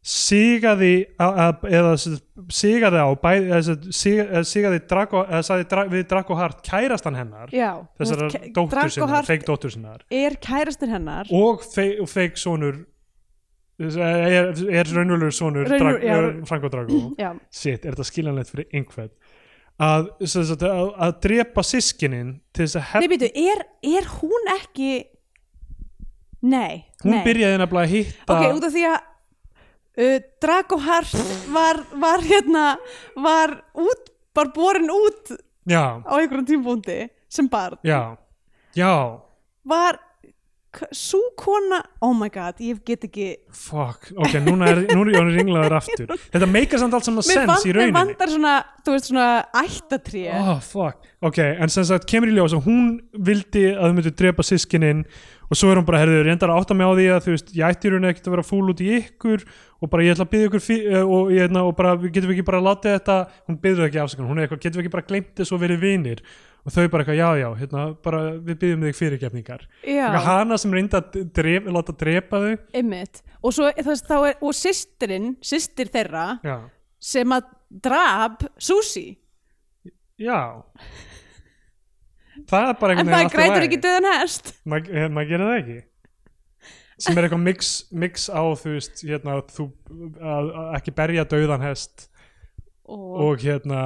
Speaker 1: sigaði a- a- eða sem sagt, sigaði á bæði, eða sem sagt, sig- eða sigaði Drago, eða sagði dra, við Drago Hart kærastan hennar
Speaker 2: já,
Speaker 1: þessara dóttur sinnar, feik dóttur sinnar
Speaker 2: er kærastin hennar
Speaker 1: og fe- og feik sonur er, er raunvöldur sonur
Speaker 2: Raunver-
Speaker 1: Drag-
Speaker 2: já,
Speaker 1: er
Speaker 2: raun-
Speaker 1: Franco Drago
Speaker 2: já,
Speaker 1: shit, er þetta skiljanlegt fyrir einhvern að, sem sagt, að, að drepa sískinin til þess að
Speaker 2: Nei,
Speaker 1: hef,
Speaker 2: býtu, er, er hún ekki Nei,
Speaker 1: hún
Speaker 2: nei
Speaker 1: byrjaði nefnilega að hitta
Speaker 2: Ok, út af því að uh, Drago Hart var, var hérna var út, var borin út á
Speaker 1: já,
Speaker 2: einhverjum tímpúndi sem barn
Speaker 1: já, já
Speaker 2: var svo kona oh my god, ég get ekki
Speaker 1: fuck, ok, núna er, núna er ég ringlaður aftur þetta meikar samt allt saman sens
Speaker 2: mér
Speaker 1: í
Speaker 2: vant- mér
Speaker 1: rauninni
Speaker 2: vandar svona, þú veist svona ættatré
Speaker 1: oh, fuck, ok, en sem sagt kemur í ljós að hún vildi að þau myndu drepa sískinin og svo er hún bara, herðu, reyndar að átta mig á því að þú veist, ég ætti í rauninni ekkert að vera fúl út í ykkur og bara ég ætla að byggja ykkur fyr, og, ég, na, og bara, við getum við ekki bara að láta þetta hún byggður ekki afsökun, hún er eitthvað, getum við ekki bara gleymt þess og verið vinir og þau bara eitthvað, já, já, hérna, bara við byggjum þig fyrirgefningar Eitthvað
Speaker 2: já,
Speaker 1: hana sem reyndi að drepa, láta drepa þau
Speaker 2: einmitt og svo, þú veist, þá er, og systirinn systir þeirra
Speaker 1: já,
Speaker 2: sem að drab Susi
Speaker 1: já það er bara
Speaker 2: En
Speaker 1: einhvern
Speaker 2: það
Speaker 1: allt í
Speaker 2: grætur
Speaker 1: lagi.
Speaker 2: ekki döðan hest
Speaker 1: maður eh, maður gerir það ekki sem er eitthvað mix, mix á þú veist hérna, þú, að, að ekki berja dauðan hest
Speaker 2: og,
Speaker 1: og hérna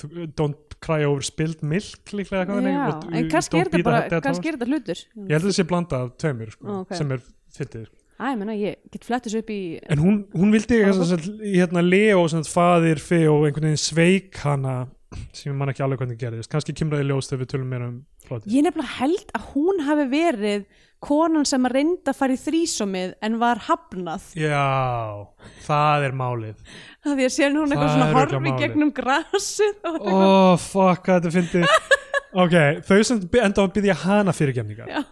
Speaker 1: þú- don't cry over spilled milk líklega
Speaker 2: já,
Speaker 1: eitthvað þannig, og-
Speaker 2: en kannski
Speaker 1: don't
Speaker 2: er
Speaker 1: beat
Speaker 2: þetta bara
Speaker 1: a dead
Speaker 2: kannski
Speaker 1: horse.
Speaker 2: er þetta hlutur
Speaker 1: ég held að það sé blanda af tveimur sko,
Speaker 2: Ó, ok.
Speaker 1: sem er fyndið
Speaker 2: Æ, ég meina, ég get flettist upp í
Speaker 1: en hún, hún
Speaker 2: Ah,
Speaker 1: vildi ekki þess að hérna Leo sem sagt, faðir fyrir og einhvern veginn sveik hana sem ég man ekki alveg hvernig gerðist kannski kemur það í ljós þegar við tölum meira um plotið
Speaker 2: ég nefnilega held að hún hafi verið konan sem að reynda að fara í þrísomið en var hafnað
Speaker 1: já, það er málið
Speaker 2: af því að sérna
Speaker 1: Það
Speaker 2: hún eitthvað
Speaker 1: er
Speaker 2: svona
Speaker 1: örugglega
Speaker 2: horfi
Speaker 1: málið.
Speaker 2: gegnum grasið og eitthvað
Speaker 1: oh fuck, hvað þetta fyndi ok, þau sem by- enda á að byggja hana fyrirgefningar
Speaker 2: Já.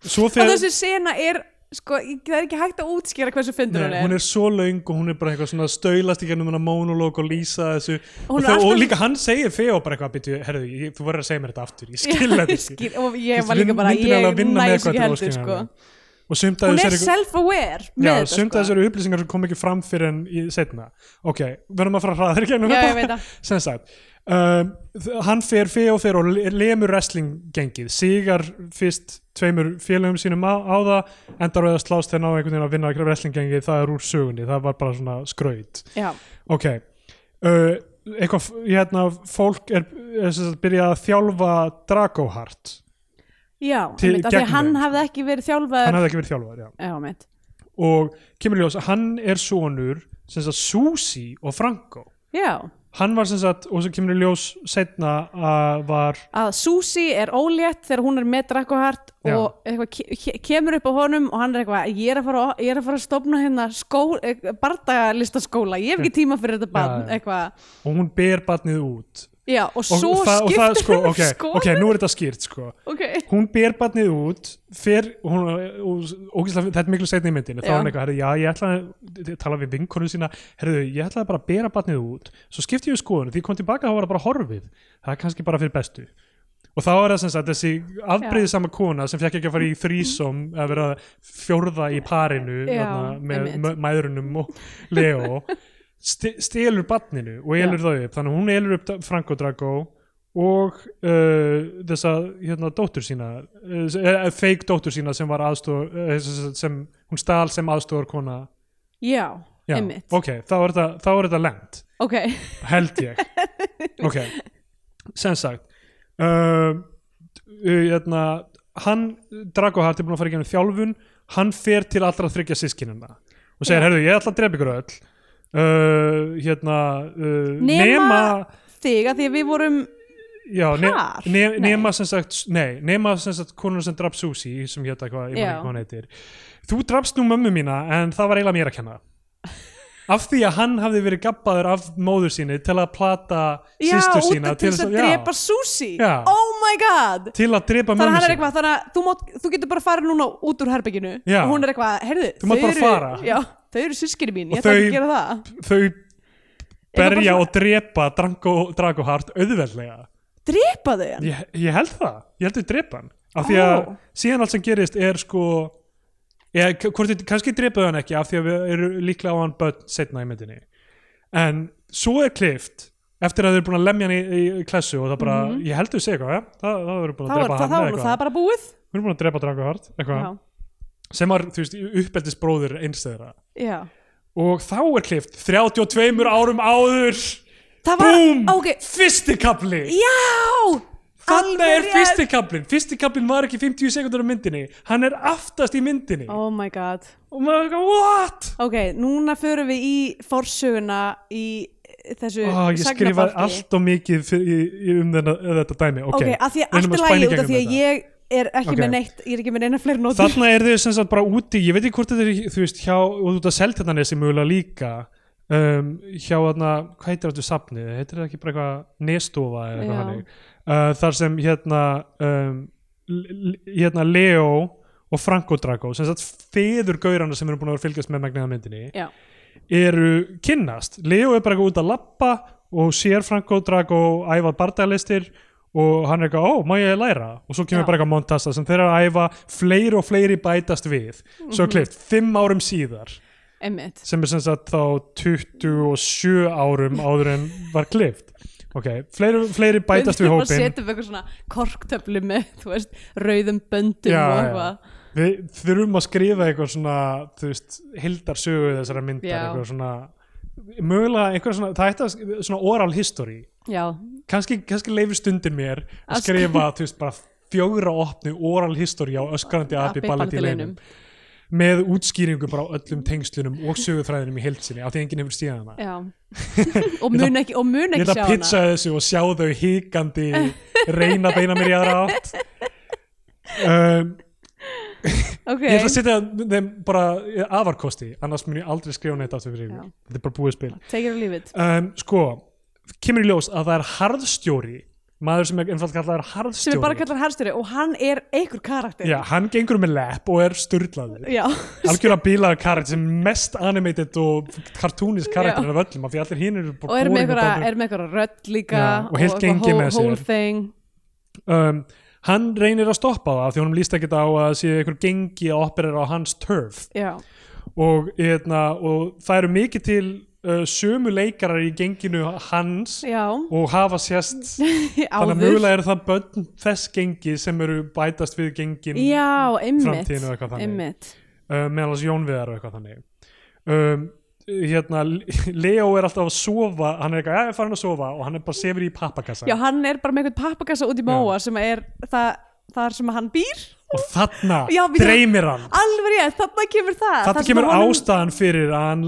Speaker 1: svo
Speaker 2: og
Speaker 1: þegar
Speaker 2: þessi sena er sko, ég- það er ekki hægt að útskýra hversu fyndur
Speaker 1: Nei, hún er svo laung og hún er bara eitthvað svona stöylast í gennum hennar monolog og lýsa þessu og,
Speaker 2: Hún er
Speaker 1: þau,
Speaker 2: alltaf-
Speaker 1: og líka hann segir Feo bara eitthvað byrju, herðu, ég, þú verður að segja mér þetta aftur ég skil þetta ekki
Speaker 2: skil, og ég
Speaker 1: Þú
Speaker 2: var
Speaker 1: veist,
Speaker 2: líka bara,
Speaker 1: myndin er alveg
Speaker 2: ég
Speaker 1: að vinna með
Speaker 2: næs
Speaker 1: hvað þetta
Speaker 2: ekki
Speaker 1: er
Speaker 2: heldur sko.
Speaker 1: óskiljanlegt. og sumt að
Speaker 2: hún
Speaker 1: þessu
Speaker 2: er
Speaker 1: er eitthvað-
Speaker 2: self-aware
Speaker 1: Já,
Speaker 2: með
Speaker 1: sumt að
Speaker 2: þetta
Speaker 1: þessu
Speaker 2: sko.
Speaker 1: eru upplýsingar sem kom ekki fram fyrir en í setna ok, verðum að fara hraðar í gennum
Speaker 2: Já, ég veit það.
Speaker 1: sem sagt um, þ- hann fer Feo fer og le- lemur wrestling gengið, sigar fyrst tveimur félögum sínum á, á það endar á að slást þegar ná einhvern veginn að vinna wrestling gengið, það er úr sögunni, það var bara svona skraut
Speaker 2: Já.
Speaker 1: ok uh, eitthvað, f- hérna, fólk er, er sem sagt, byrjað að þjálfa Dragohart,
Speaker 2: Já,
Speaker 1: Til-
Speaker 2: einmitt, af því að
Speaker 1: gegnum
Speaker 2: hann
Speaker 1: þeim,
Speaker 2: hafði ekki verið
Speaker 1: hann
Speaker 2: þjálfaður
Speaker 1: hefði ekki verið þjálfar já.
Speaker 2: Já, mitt
Speaker 1: og kemur í ljós að hann er sonur sem sagt Susi og Franco
Speaker 2: Já,
Speaker 1: hann var sem sagt, og sem kemur í ljós setna að var
Speaker 2: að Susi er ólétt þegar hún er með Dracohart
Speaker 1: Já.
Speaker 2: og eitthvað ke- ke- kemur upp á honum og hann er eitthvað, ég er að fara, ég er að, fara að stofna hérna skó, eh, bardagalistaskóla ég hef ekki tíma fyrir þetta
Speaker 1: Já,
Speaker 2: barn
Speaker 1: já.
Speaker 2: eitthvað,
Speaker 1: og hún ber barnið út
Speaker 2: já, og svo
Speaker 1: og það, og það
Speaker 2: skiptir
Speaker 1: sko,
Speaker 2: um
Speaker 1: ok,
Speaker 2: skoðun.
Speaker 1: ok, nú er þetta skýrt sko
Speaker 2: ok,
Speaker 1: hún ber barnið út fer, hún, og, og, þetta er miklu setni í myndinu þá
Speaker 2: Já.
Speaker 1: er hann eitthvað, herri, já, ég ætla að tala við vinkonu sína, herru, ég ætlaði bara að bera barnið út, svo skipti ég um skoðun því ég kom tilbaka þá var það bara horfið, það er kannski bara fyrir bestu og þá er það sem sagt þessi afbreyðisama kona sem fekk ekki að fara í þrísom að vera fjórða í parinu
Speaker 2: Já,
Speaker 1: þarna, með
Speaker 2: einmitt.
Speaker 1: mæ- mæðrunum og Leo sti- stelur barninu og elur það upp þannig að hún elur upp Franco Drago og uh, þessa hérna dóttur sína uh, fake dóttur sína sem var aðstóð uh, sem, sem hún stal sem aðstóðar kona
Speaker 2: já,
Speaker 1: Já,
Speaker 2: einmitt
Speaker 1: ok, þá er þetta, þá er þetta lengt
Speaker 2: ok,
Speaker 1: held ég ok, sem sagt uh, hérna, hann Drago Hart er búin að fara í gennum þjálfun hann fer til allra þryggja sískinina og segir, herðu, ég ætla að drepa ykkur öll uh, hérna uh,
Speaker 2: Nema-
Speaker 1: nema
Speaker 2: þig að því að við vorum
Speaker 1: Já, ne
Speaker 2: Par?
Speaker 1: ne
Speaker 2: Nei.
Speaker 1: nema sem sagt nei, nema sem sagt konur sem draf Susi sem hérna hvað, ég man
Speaker 2: Já.
Speaker 1: ekki hvað hann heitir Þú drafst nú mömmu mína en það var eiginlega mér að kenna af því að hann hafði verið gabbaður af móður síni til að plata
Speaker 2: já,
Speaker 1: sýstur
Speaker 2: út
Speaker 1: sína
Speaker 2: til þess að
Speaker 1: já,
Speaker 2: drepa Susi
Speaker 1: Já.
Speaker 2: oh my god
Speaker 1: til að drepa mömmu
Speaker 2: þannig að hann er
Speaker 1: sína
Speaker 2: eitthvað, þannig að þú, mátt, þú getur bara farið núna út úr herbygginu
Speaker 1: Já.
Speaker 2: og hún er eitthvað, heyrðu,
Speaker 1: Þú mátt bara
Speaker 2: eru
Speaker 1: fara.
Speaker 2: já, þau eru sískinni mín,
Speaker 1: Og
Speaker 2: ég ætla ekki
Speaker 1: þau-
Speaker 2: að gera það
Speaker 1: þau
Speaker 2: bara
Speaker 1: berja
Speaker 2: svona-
Speaker 1: og drepa Drago, Drago Hart auðveldlega
Speaker 2: drepa þau hann,
Speaker 1: ég, ég held það, ég held þau drepa hann af því að
Speaker 2: Ó.
Speaker 1: síðan allt sem gerist er sko ég, hvort, þau- kannski drepaðu hann ekki af því að við erum líklega á hann börn setna í myndinni en svo er klift eftir að þau eru búin að lemja hann í, í klassu og það bara, ég held þau segja eitthvað ja? það, það eru búin
Speaker 2: þá
Speaker 1: að
Speaker 2: var
Speaker 1: drepa
Speaker 2: Mhm. það,
Speaker 1: hann
Speaker 2: þá
Speaker 1: eða
Speaker 2: var það
Speaker 1: eitthvað,
Speaker 2: bara búið
Speaker 1: við erum búin að drepa Drago Hart eitthvað,
Speaker 2: já,
Speaker 1: sem var, þú veist, uppeldisbróðir eins þeirra
Speaker 2: já
Speaker 1: og þá er klift 32 árum áður
Speaker 2: það var,
Speaker 1: Búm!
Speaker 2: ok,
Speaker 1: Fyrsti kapli!
Speaker 2: já
Speaker 1: Þannig
Speaker 2: alveg
Speaker 1: er
Speaker 2: rétt.
Speaker 1: fyrsti kaplinn Fyrsti kaplinn var ekki 50 sekundur á myndinni Hann er aftast í myndinni
Speaker 2: oh my god
Speaker 1: Og maður er eitthvað, what?
Speaker 2: ok, núna förum við í forsöguna í þessu
Speaker 1: Ó, Ah, ég skrifaði
Speaker 2: sagnabálki.
Speaker 1: allt og mikið fyr, í, í, um þennan, þetta dæmi
Speaker 2: ok,
Speaker 1: Ok,
Speaker 2: af því að
Speaker 1: reynum
Speaker 2: allt er
Speaker 1: spæna í
Speaker 2: lægi út af
Speaker 1: gegnum
Speaker 2: því að
Speaker 1: þetta.
Speaker 2: ég er ekki
Speaker 1: Ok.
Speaker 2: með neitt, ég er ekki með neina fleiri nótum
Speaker 1: Þarna er þau sem sagt bara úti Ég veit ekki hvort þetta er, þú veist, hjá Og þú ert að selta þannig sem mögulega líka um, Hjá þarna, hvað heitir þetta safnið? Heitir þetta ekki bara eitthvað nestofa eða eitthvað
Speaker 2: Já.
Speaker 1: hannig uh, Þar sem hérna um, l- l- Hérna Leo og Franco Drago sem sagt feður gaurana sem eru búin að vera að fylgjast með megniða myndinni
Speaker 2: já,
Speaker 1: eru kynnast Leo er bara eitthvað út að lappa og sér Franco Drago æfa bardagalistir og hann er eitthvað, ó, má ég læra og svo kemur
Speaker 2: Já.
Speaker 1: bara eitthvað montasta sem þeir eru að æfa fleiri og fleiri bætast við svo er
Speaker 2: Mhm.
Speaker 1: klift, fimm árum síðar
Speaker 2: emmitt
Speaker 1: sem er sem sagt þá 27 árum áður en var klift ok, fleiri, fleiri bætast við
Speaker 2: og
Speaker 1: hópin
Speaker 2: setjum við eitthvað svona korktöflu með, þú veist, rauðum böndum
Speaker 1: Já,
Speaker 2: og
Speaker 1: já.
Speaker 2: eitthvað
Speaker 1: við þurfum að skrifa eitthvað svona þú veist, hildarsögu þessara myndar
Speaker 2: Já.
Speaker 1: eitthvað svona mögulega eitthvað svona, það ætti að sk- svona oral history
Speaker 2: já,
Speaker 1: kannski, kannski leifir stundin mér að
Speaker 2: Að
Speaker 1: skrifa þú veist bara fjögra opni oral history á öskrandi api
Speaker 2: Abbi
Speaker 1: ballet í
Speaker 2: Ballet í
Speaker 1: leinum með útskýringum bara á öllum tengslunum og sögufræðinum í heilsinni af því enginn hefur stíðan hana
Speaker 2: já og mun ekki, og mun
Speaker 1: ég
Speaker 2: ekki
Speaker 1: ætla
Speaker 2: sjá
Speaker 1: að
Speaker 2: hana
Speaker 1: pizza þessu og sjá þau hikandi reyna að beina mér í aðra átt um,
Speaker 2: ok,
Speaker 1: ég ætla að setja þeim bara afarkosti annars mun ég aldrei skrifa neitt aftur fyrir
Speaker 2: Já.
Speaker 1: ykkur. þetta er bara búið spil
Speaker 2: take it or leave it
Speaker 1: um, sko, kemur í ljós að það er harðstjóri maður sem er einfalt kallar
Speaker 2: sem
Speaker 1: harðstjóri
Speaker 2: er bara kallar herstjóri og hann er einhver karakter
Speaker 1: Já, hann gengur með lepp og er sturlaður
Speaker 2: já,
Speaker 1: algjörða bílaður karakter sem er mest animated og kartúnis karakter
Speaker 2: Já.
Speaker 1: af öllum af því allir hinn eru
Speaker 2: og
Speaker 1: bara
Speaker 2: er með
Speaker 1: boring
Speaker 2: einhverja,
Speaker 1: dálítið-
Speaker 2: er með einhverja rödd líka
Speaker 1: Já, og heilt
Speaker 2: eitthvað
Speaker 1: gengi með
Speaker 2: whole- whole
Speaker 1: sér.
Speaker 2: thing.
Speaker 1: um, hann reynir að stoppa það af því honum líst ekkert á að sé einhver gengi að operera á hans turf
Speaker 2: já,
Speaker 1: og, eitna, og það eru mikið til uh, sömu leikarar í genginu hans
Speaker 2: já,
Speaker 1: og hafa sérst þannig að
Speaker 2: áður
Speaker 1: mögulega eru það börn þess gengi sem eru bætast við gengin
Speaker 2: já, einmitt
Speaker 1: framtíðinu og eitthvað þannig.
Speaker 2: einmitt,
Speaker 1: uh, meðal hans Jónviðar og eitthvað þannig um, hérna Leo er alltaf að sofa hann er eitthvað, já ég er farin að sofa og hann er bara sefur í pappakassa
Speaker 2: já, hann er bara með einhvern pappakassa út í móa sem er það, þar sem hann býr
Speaker 1: og þarna
Speaker 2: Já, býtu-
Speaker 1: dreymir hann
Speaker 2: alveg ég, þarna kemur það
Speaker 1: þarna
Speaker 2: Það sem
Speaker 1: kemur
Speaker 2: honum-
Speaker 1: ástæðan fyrir að hann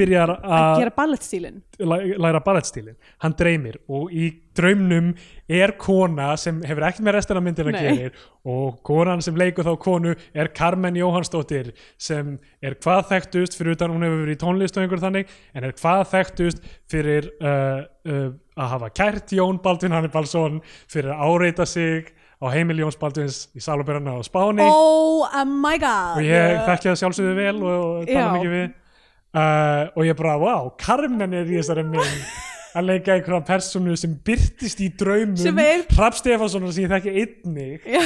Speaker 1: byrjar
Speaker 2: að
Speaker 1: að
Speaker 2: gera ballettstílin
Speaker 1: læ- læra barætstílin hann dreymir og í draumnum er kona sem hefur ekkert með restina myndina
Speaker 2: Nei.
Speaker 1: gerir og konan sem leikur þá konu er Carmen Jóhansdóttir sem er hvað þekktust fyrir utan hún hefur verið í tónlist og einhver þannig en er hvað þekktust fyrir uh, uh, að hafa kært Jón Baldvin Hannibalsson fyrir að áreita sig á heimil Jóns Baldvins í Salubjörna á Spáni
Speaker 2: oh my god
Speaker 1: og ég þekki það sjálfsögðu vel og, og tala
Speaker 2: Já.
Speaker 1: mikið við uh, og ég bara, wow, Carmen er í þessari mynd að leika einhverja personu sem byrtist í
Speaker 2: Sem
Speaker 1: draumum
Speaker 2: er-
Speaker 1: Hrafn Stefánssonar sem ég þekki einnig
Speaker 2: Já.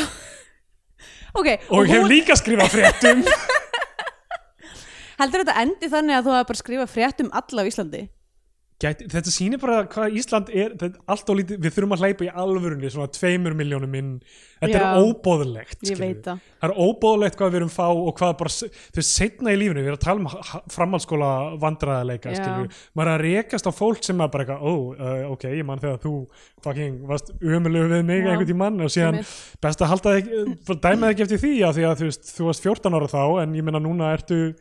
Speaker 2: ok,
Speaker 1: og ég hef
Speaker 2: hún,
Speaker 1: líka skrifað fréttum
Speaker 2: heldur þetta endi þannig að þú hafa bara skrifað frétt um alla á Íslandi
Speaker 1: Gæti, þetta sýnir bara hvað Ísland er þetta, er allt og lítið, við þurfum að hleypa í alvörunni svona tveimur miljónum inn þetta
Speaker 2: Já.
Speaker 1: er óbóðlegt
Speaker 2: Ég veit það.
Speaker 1: það er óbóðlegt hvað við erum fá og hvað bara, s- þú veist, setna í lífinu við erum að tala um ha- ha- framhaldsskóla vandræðarleika
Speaker 2: Já.
Speaker 1: skilur við, maður er að rekast á fólk sem er bara eitthvað, ó, uh, ok, ég mann þegar þú fucking varst umulegu við mig
Speaker 2: Já.
Speaker 1: einhvern tímann og síðan best að halda þig, eh, dæma þig ekki eftir því já, því að þú veist, þú varst 14 ára þá en ég meina núna ertu,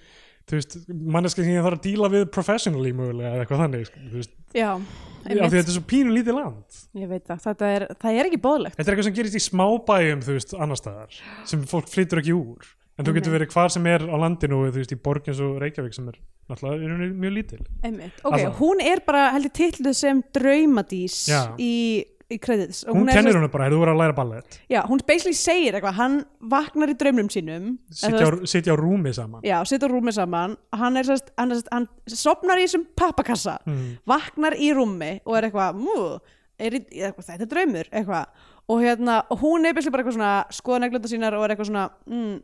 Speaker 1: þú veist manneska sem ég þarf að díla við professionally mögulega eða eitthvað þannig, sko, þú veist
Speaker 2: já,
Speaker 1: af því
Speaker 2: einmitt,
Speaker 1: þetta er svo pínu lítið land
Speaker 2: ég veit það þetta er, það er ekki bóðlegt
Speaker 1: þetta er eitthvað sem gerist í smábæjum, þú veist, annar staðar sem fólk flyttur ekki úr en þú getur
Speaker 2: Einmitt.
Speaker 1: verið hvar sem er á landinu og þú veist, í borg eins og Reykjavík sem er náttúrulega er hún mjög lítil
Speaker 2: einmitt. ok,
Speaker 1: Allavega.
Speaker 2: hún er bara heldur titluð sem draumadís
Speaker 1: Já.
Speaker 2: í, í credits Og
Speaker 1: hún,
Speaker 2: er
Speaker 1: kennir
Speaker 2: svo-
Speaker 1: hún bara, "Heyrðu, þú verður að læra ballett
Speaker 2: já, hún basically segir eitthvað, hann vaknar í draumnum sínum eða þú
Speaker 1: sitja á, sitja á rúmi saman
Speaker 2: Já, situr rúmi saman hann, er, sest, hann, er, sest, hann sopnar í þessum pappakassa
Speaker 1: Mm.
Speaker 2: vaknar í rúmi og er eitthvað mú, er, í- eitthvað, þetta er draumur eitthvað. og hérna, og hún er byrjuð bara eitthvað svona skoðaneglunda sínar og er eitthvað svona mm,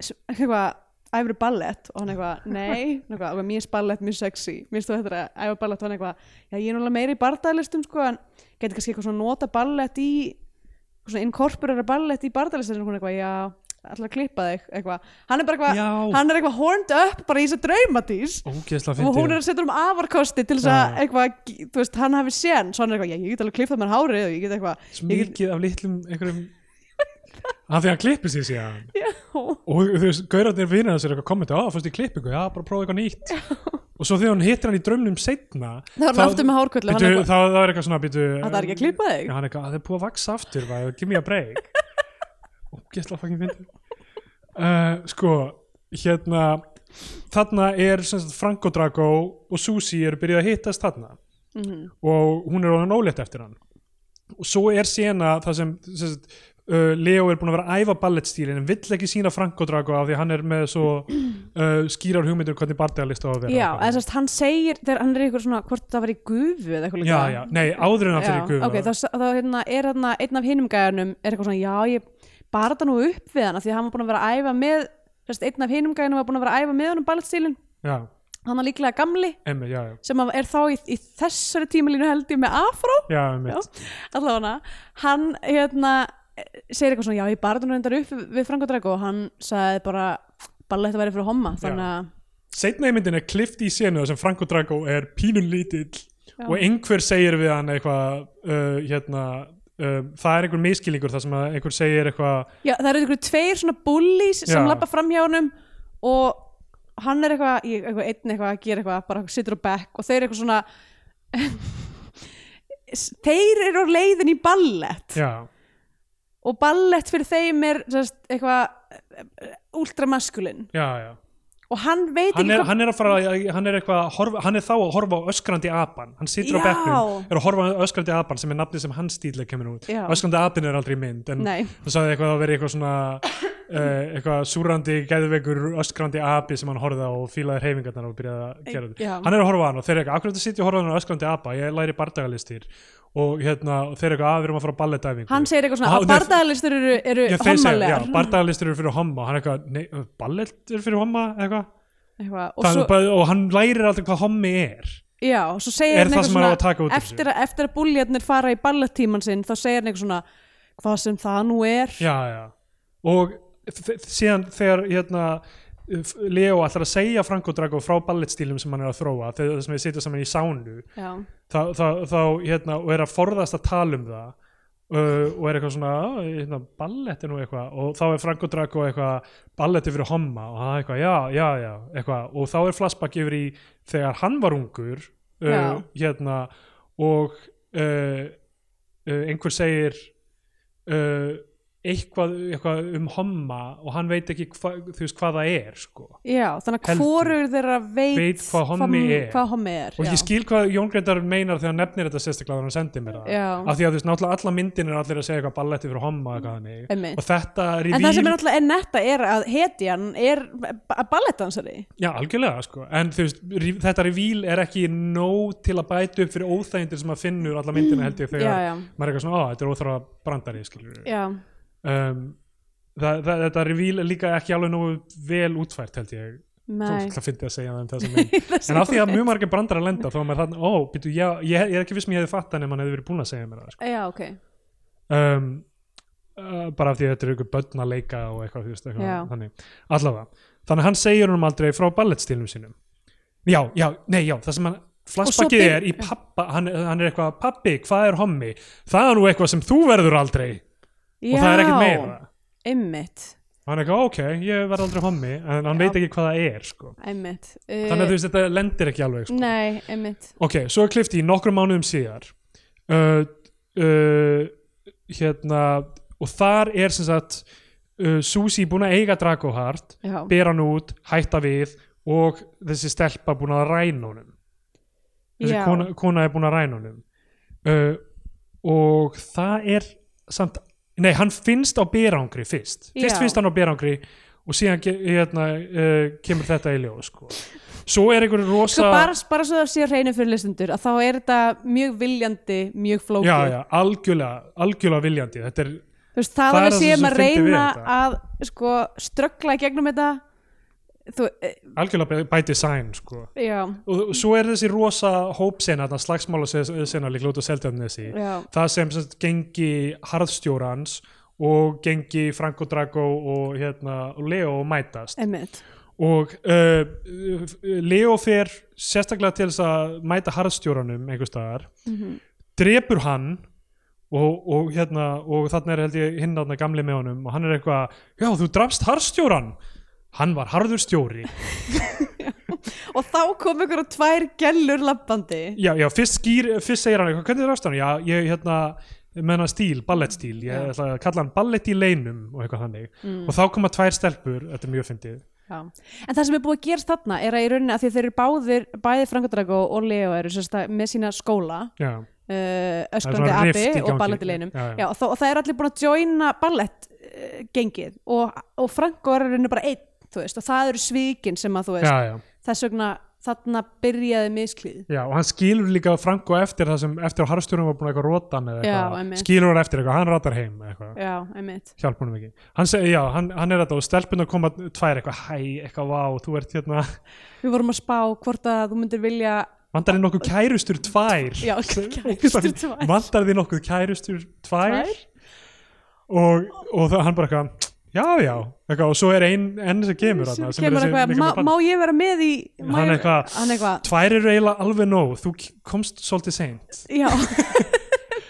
Speaker 2: s- eitthvað æfri ballett og hann eitthvað, nei Hann eitthvað, "Ok, mér er ballett mjög sexy, mér stóð þetta að æfa ballett og hann eitthvað, já ég er náttúrulega meira í bardagalistum sko, en geti kannski eitthvað svona nota ballett í svona inkorporera ballett í bardalistin og hún eitthvað, já, ætla að klippa þig eitthvað, hann er bara eitthvað,
Speaker 1: Já.
Speaker 2: hann er eitthvað horned up bara í þess að draumadís
Speaker 1: ógeðslega
Speaker 2: og hún er
Speaker 1: fyndið
Speaker 2: að setja um afarkosti til þess að eitthvað, þú veist, hann hafi sén svo hann er eitthvað, já, ég get alveg klippað mér hárið og ég get eitthvað,
Speaker 1: Svo
Speaker 2: ég get,
Speaker 1: mikið af litlum einhverjum af því að hann klippir sér síðan
Speaker 2: já,
Speaker 1: og þú veist, gaurarnir vinir hans er eitthvað kommenta, á, fórst í klippingu, já, bara prófa eitthvað nýtt og svo þegar hann hittir hann í draumnum setna
Speaker 2: það var hann aftur með hárkvöldu hann
Speaker 1: býtu,
Speaker 2: er
Speaker 1: eitthvað,
Speaker 2: eitthvað,
Speaker 1: þá, þá er eitthvað svona býtu,
Speaker 2: það er ekki að klippa þig
Speaker 1: já, hann er eitthvað, "Ah, það er búið að vaksa aftur bara, give me a break og gæstlega fucking fyndið uh, sko, hérna þarna er sem sagt, Franco Drago og Susi eru byrjuð að hittast þarna
Speaker 2: Mhm.
Speaker 1: og hún er orðin ólétt eftir hann og svo er sena það sem, sem sagt, uh, Leo er búin að vera að æfa ballettstílin en vill ekki sína Franco Drago af því að hann er með svo uh, skýrar hugmyndir um hvernig bardagalist á að vera
Speaker 2: já,
Speaker 1: Eitthvað.
Speaker 2: eða þess að hann segir, þegar hann er eitthvað svona hvort það var í gufu eða eitthvað
Speaker 1: já,
Speaker 2: líka
Speaker 1: já, nei, áður en að fyrir guðum
Speaker 2: ok, þá, þá hérna, er hann einn af hinum gæjanum er eitthvað svona, já, ég bara það nú upp við hann af því að hann var búin að vera að æfa með þess, einn af hinum gæjanum var búin að vera að æfa með honum ballettstílin,
Speaker 1: já,
Speaker 2: hann er líklega gamli
Speaker 1: emmi, já, já,
Speaker 2: sem að er þá í, í þessari tímalínu held ég með afró
Speaker 1: já, emmi
Speaker 2: allavega hann hérna segir eitthvað svona, já ég barði nú reyndar upp við Frank og Drago og hann sagði bara ballett að vera fyrir homma þannig að
Speaker 1: Seinna í myndin er klift í senu þar sem Franco Drago er pínun lítill
Speaker 2: Já.
Speaker 1: og einhver segir við hann eitthvað uh, hérna Uh, það er einhver miskilningur þar sem að einhver segir eitthvað
Speaker 2: já, það eru einhverju tveir svona bullies sem
Speaker 1: Já.
Speaker 2: lappa fram hjá honum og hann er eitthvað, ég, eitthvað einn eitthvað að gera eitthvað, bara sittur á bekk og þeir eru eitthvað svona S- þeir eru á leiðin í ballett
Speaker 1: já,
Speaker 2: og ballett fyrir þeim er sest, eitthvað eh, ultramaskulin
Speaker 1: já, já.
Speaker 2: og hann veit
Speaker 1: Hann,
Speaker 2: ekki
Speaker 1: er,
Speaker 2: hvað-
Speaker 1: hann er að fara að- hann er, eitthvað, að horfa, hann er þá að horfa á öskrandi apan hann situr á
Speaker 2: Já.
Speaker 1: bekknum, er að horfa á öskrandi apan sem er nafni sem hans stíðlega kemur út
Speaker 2: Já.
Speaker 1: öskrandi apin er aldrei í mynd en
Speaker 2: Nei.
Speaker 1: hann sagði eitthvað að vera eitthvað svona uh, eitthvað súrandi, geðveikur öskrandi api sem hann horfði á og fílaði reyfingarnar og byrjaði að gera þetta
Speaker 2: Já.
Speaker 1: hann er að horfa á hann og þeir eru eitthvað, akkur þetta sitja og horfa á hann á öskrandi apa, ég læri bardagalistir og, hérna, og þeir eru eitthvað að við erum að fara á balletæfingu
Speaker 2: hann segir eitthvað svona
Speaker 1: Ah,
Speaker 2: að
Speaker 1: nei,
Speaker 2: bardagalistur eru, eru
Speaker 1: Já, þeir segja, já,
Speaker 2: hommalegar
Speaker 1: bardagalistir eru fyrir homma og hann er eitthvað, nei, ballett eru fyrir homma eitthvað,
Speaker 2: Eitthvað, og,
Speaker 1: og,
Speaker 2: svo,
Speaker 1: svo, og hann lærir alltaf hvað hommi er
Speaker 2: já, og svo segir
Speaker 1: Er
Speaker 2: hann
Speaker 1: það
Speaker 2: eitthvað
Speaker 1: sem hann á að taka út úr
Speaker 2: eftir, að, eftir að búljarnir fara í ballettíman sinn þá segir hann eitthvað svona hvað sem það nú er
Speaker 1: já, já. og þ- þ- síðan þegar hérna, f- Leo ætlar að segja Franko Drago frá ballettstílum sem hann er að þróa þegar þessum við sitja saman í sánu
Speaker 2: Já.
Speaker 1: þá, þá, þá hérna, og er að forðast að tala um það uh, og er eitthvað svona "Ah, hérna, ballett er nú eitthvað og þá er Frank og Drago eitthvað ballett yfir homma og það er eitthvað já, já, já eitthvað. og þá er flashback yfir í þegar hann var ungur uh,
Speaker 2: Já.
Speaker 1: hérna og uh, uh, einhver segir uh, eitthvað, eitthvað um homma og hann veit ekki hva, þú veist hvað það er sko
Speaker 2: já, þannig að
Speaker 1: Heldur.
Speaker 2: hvorur þeirra veit,
Speaker 1: Veit hvað hommi er.
Speaker 2: hvað hommi er
Speaker 1: og
Speaker 2: já.
Speaker 1: ég skil hvað Jón Greitar meinar þegar hann nefnir þetta sérstaklega þegar hann sendir mér það
Speaker 2: Já.
Speaker 1: af því að þú veist náttúrulega alla myndin er allir að segja eitthvað balletti fyrir homma eitthvað þannig
Speaker 2: Einmitt.
Speaker 1: og þetta
Speaker 2: en það sem er
Speaker 1: revíl,
Speaker 2: náttúrulega er netta er að hetjan er ba- ballettdansari
Speaker 1: já algjörlega sko en þú veist, re- þetta revíl er ekki nóg til að bæta upp fyrir óþægindir sem að finnur alla myndina held ég
Speaker 2: já,
Speaker 1: þegar
Speaker 2: já,
Speaker 1: maður er eitthvað svona, á þetta er óþara brandari skilur við
Speaker 2: já,
Speaker 1: um, það, það, þetta revíl er líka ekki alveg nógu vel útfært held ég
Speaker 2: nei
Speaker 1: það finnst ég að segja það um þessa mynd en af því að mjög margir brandar að lenda þá er maður þannig, ó, býtu, já, ég, ég er ekki viss mér hefði fatt hann ef hann hefði verið búin að segja mér það sko.
Speaker 2: já, ok,
Speaker 1: um, uh, bara af því að þetta eru ykkur börn að leika og eitthvað, þú veist,
Speaker 2: Já.
Speaker 1: eitthvað þannig, allavega, þannig að hann segir honum aldrei frá ballettstílum sínum já, já, nei, já, það sem hann flashbackið
Speaker 2: byr-
Speaker 1: er í pappa, hann, hann er eitthvað pappi, hvað er hommi, það er nú eitthvað sem þú verður aldrei
Speaker 2: já
Speaker 1: og það er ekkert meira
Speaker 2: einmitt,
Speaker 1: og hann er eitthvað, ok, ég verð aldrei hommi en hann
Speaker 2: Já.
Speaker 1: veit ekki hvað það er, sko
Speaker 2: einmitt Uh,
Speaker 1: þannig að þú veist, þetta lendir ekki alveg, sko
Speaker 2: nei, einmitt,
Speaker 1: ok, svo er klifti í nokkrum mánuðum síðar uh, uh, hérna og þar er sem sagt uh, Susi búin að eiga Dragohart
Speaker 2: já
Speaker 1: bera hann út, hætta við og þessi stelpa búin að ræna honum þessi
Speaker 2: Já.
Speaker 1: kona, kona er búin að ræna honum uh, og það er samt, nei hann finnst á berangri fyrst, fyrst
Speaker 2: Já.
Speaker 1: finnst hann á berangri og síðan ge- hérna, uh, kemur þetta í ljós sko. svo er einhver rosa
Speaker 2: sko bara, bara svo það sé reynu fyrir listendur að þá er þetta mjög viljandi mjög flókið
Speaker 1: já, já, algjörlega, algjörlega viljandi þetta er,
Speaker 2: Þú veist, það
Speaker 1: Það er
Speaker 2: alveg
Speaker 1: það
Speaker 2: séum
Speaker 1: sem
Speaker 2: að
Speaker 1: svo fyndið við
Speaker 2: reyna
Speaker 1: þetta.
Speaker 2: að sko ströggla í gegnum þetta þú, eh,
Speaker 1: algjörlega by design sko.
Speaker 2: já,
Speaker 1: og, og svo er þessi rosa hópsena, þarna slagsmála sena líklega út á Seldjarnesi
Speaker 2: já,
Speaker 1: það sem, sem sagt, gengi harðstjórans og gengi Franco Drago og hérna, og Leo mætast
Speaker 2: emmitt
Speaker 1: og uh, Leo fer sérstaklega til þess að mæta harðstjóranum einhver staðar
Speaker 2: Mhm.
Speaker 1: drepur hann og, og hérna og þarna er held ég hinn þarna gamli með honum og hann er eitthvað, já þú drafst harðstjóran hann var harður stjóri
Speaker 2: og þá kom ykkur og tvær gellur lappandi
Speaker 1: já, já, fyrst, skýr, fyrst segir hann eitthvað hvernig drafst hann, já ég hérna með hann stíl, ballettstíl, ég
Speaker 2: Já. Mm.
Speaker 1: ætla að kalla hann ballett í leinum og eitthvað þannig og þá koma tvær stelpur, þetta er mjög fyndið
Speaker 2: já. en það sem er búið að gerast þarna er að í rauninni að því að þeir eru báðir bæði Frankodrago og Leo eru sérst, með sína skóla
Speaker 1: já,
Speaker 2: uh,
Speaker 1: Það er
Speaker 2: öskrandi
Speaker 1: svona rift í
Speaker 2: abi og
Speaker 1: gangi.
Speaker 2: ballettileinum
Speaker 1: Já, já.
Speaker 2: Já, og, þó- og það er allir búin að joina ballett uh, gengið og, og Franko er í rauninni bara einn þú veist, og það eru svíkin sem að þú veist
Speaker 1: já, já
Speaker 2: þess vegna þarna byrjaði misklíð
Speaker 1: Já, og hann skilur líka Franko eftir það sem eftir að harfstjórnum var búin að eitthvað róta hann eða
Speaker 2: Já,
Speaker 1: eitthvað,
Speaker 2: einmitt.
Speaker 1: skilur hann eftir eitthvað, hann ratar heim eða eitthvað,
Speaker 2: já, einmitt
Speaker 1: hjálp honum ekki hann segi, já, hann, hann er þetta og stelpunar koma tvær eitthvað, hæ, eitthvað, vá, þú ert hérna
Speaker 2: við vorum að spá hvort að þú myndir vilja
Speaker 1: vantar þið nokkuð kærustur tvær
Speaker 2: Já, kærustur tvær.
Speaker 1: vantar þið nokkuð kærustur tvær, og, og það, hann bara eitthvað, já, já eitthvað, og svo er ein enn sem kemur
Speaker 2: Svo
Speaker 1: þarna, sem er
Speaker 2: kemur
Speaker 1: þessi
Speaker 2: eitthvað,
Speaker 1: Nicole
Speaker 2: má,
Speaker 1: Kidman.
Speaker 2: má ég vera með í má
Speaker 1: Hann
Speaker 2: ég-
Speaker 1: eitthvað-
Speaker 2: hann eitthvað
Speaker 1: tvær eru eiginlega alveg nóg, þú komst svolítið seint
Speaker 2: já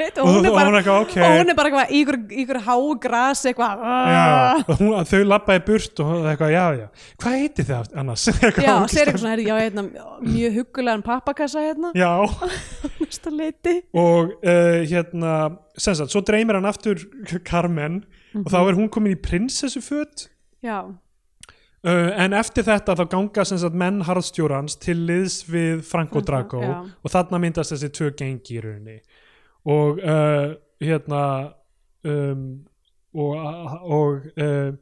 Speaker 2: Veit, og
Speaker 1: Og
Speaker 2: hún
Speaker 1: þú-
Speaker 2: er
Speaker 1: og
Speaker 2: bara
Speaker 1: hún er eitthvað, ok.
Speaker 2: og hún er bara eitthvað í ykkur, ykkur hágras eitthvað Ah.
Speaker 1: Já, og hún, að þau labbaði burt og það eitthvað, já, já, hvað heiti þið aft- annars? Eitthvað
Speaker 2: já,
Speaker 1: ógeðslega-
Speaker 2: segir eitthvað svona, herri, já, hérna, mjög huggulegan pappakassa hérna,
Speaker 1: Já,
Speaker 2: næsta leiti
Speaker 1: og uh, hérna, sem sagt, svo dreymir hann aftur Carmen og þá er hún komin í prinsessuföt
Speaker 2: já,
Speaker 1: uh, en eftir þetta þá ganga sem sagt menn harðstjórans til liðs við Franco
Speaker 2: Franco,
Speaker 1: Drago
Speaker 2: já.
Speaker 1: og þarna myndast þessi tvö gengi í rauninni og uh, hérna um, og, og uh,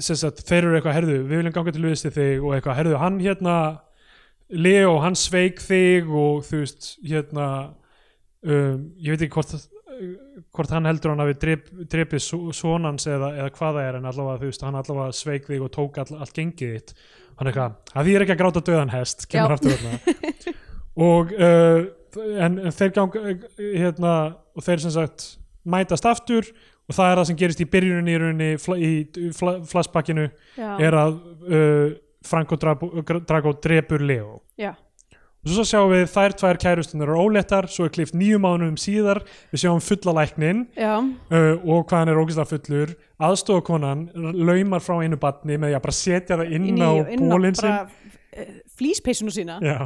Speaker 1: sem sagt, þeir eru eitthvað herðu, við viljum ganga til liðs við þig og eitthvað herðu, hann hérna Leo, hann sveik þig og þú veist, hérna um, ég veit ekki hvort hvort hann heldur hann hafi drep, drepið so- son hans eða, eða hvað það er en allavega þú veist, hann allavega sveik þig og tók all, allt gengið þitt, hann er eitthvað að því er ekki að gráta döðan hest, kemur
Speaker 2: Já.
Speaker 1: aftur þarna og uh, en, en þeir gang hérna, og þeir sem sagt mætast aftur og það er það sem gerist í byrjuninni í rauninni fla, í fla, flashbackinu
Speaker 2: já,
Speaker 1: er að uh, Franco Drago, Drago drepur Leo
Speaker 2: já,
Speaker 1: og svo sjáum við þær tvær kærustunar eru óléttar, svo er klift nýju mánuðum síðar við sjáum fulla læknin
Speaker 2: já,
Speaker 1: uh, og hvað hann er ógislega fullur aðstofakonan laumar frá einu batni með því að bara setja það inn,
Speaker 2: inn
Speaker 1: á
Speaker 2: í, inn á
Speaker 1: bólinn sinn
Speaker 2: bara eh, flíspeysuna sína
Speaker 1: Já.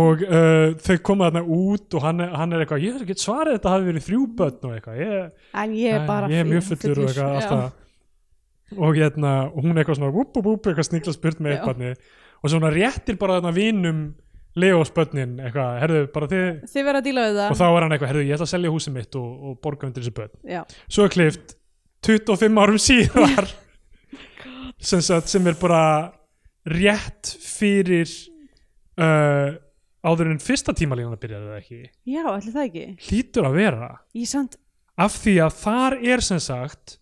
Speaker 1: og uh, þau koma þarna út og hann, hann er eitthvað, ég get svarið að þetta hafi verið þrjú börn og eitthvað ég,
Speaker 2: en ég er bara
Speaker 1: ég er mjög
Speaker 2: fí-
Speaker 1: fullur og eitthvað
Speaker 2: já.
Speaker 1: alltaf og hérna, og hún er eitthvað svona vúp, vúp, vúp, eitthvað sníkla spurt með
Speaker 2: Já.
Speaker 1: eitthvað og svona réttir bara þarna vinum Leos börnin, eitthvað, herðu, bara þið
Speaker 2: þið verða að díla við
Speaker 1: og
Speaker 2: það
Speaker 1: þá er hann eitthvað, herðu, ég ætla að selja húsið mitt og, og borga undir þessi börn
Speaker 2: já,
Speaker 1: svo er klift 25 árum síðar sem, sagt, sem er bara rétt fyrir uh, áður en fyrsta tímalíðan að byrja það ekki
Speaker 2: já ætli það ekki
Speaker 1: hlýtur að vera
Speaker 2: ég samt,
Speaker 1: af því að þar er sem sagt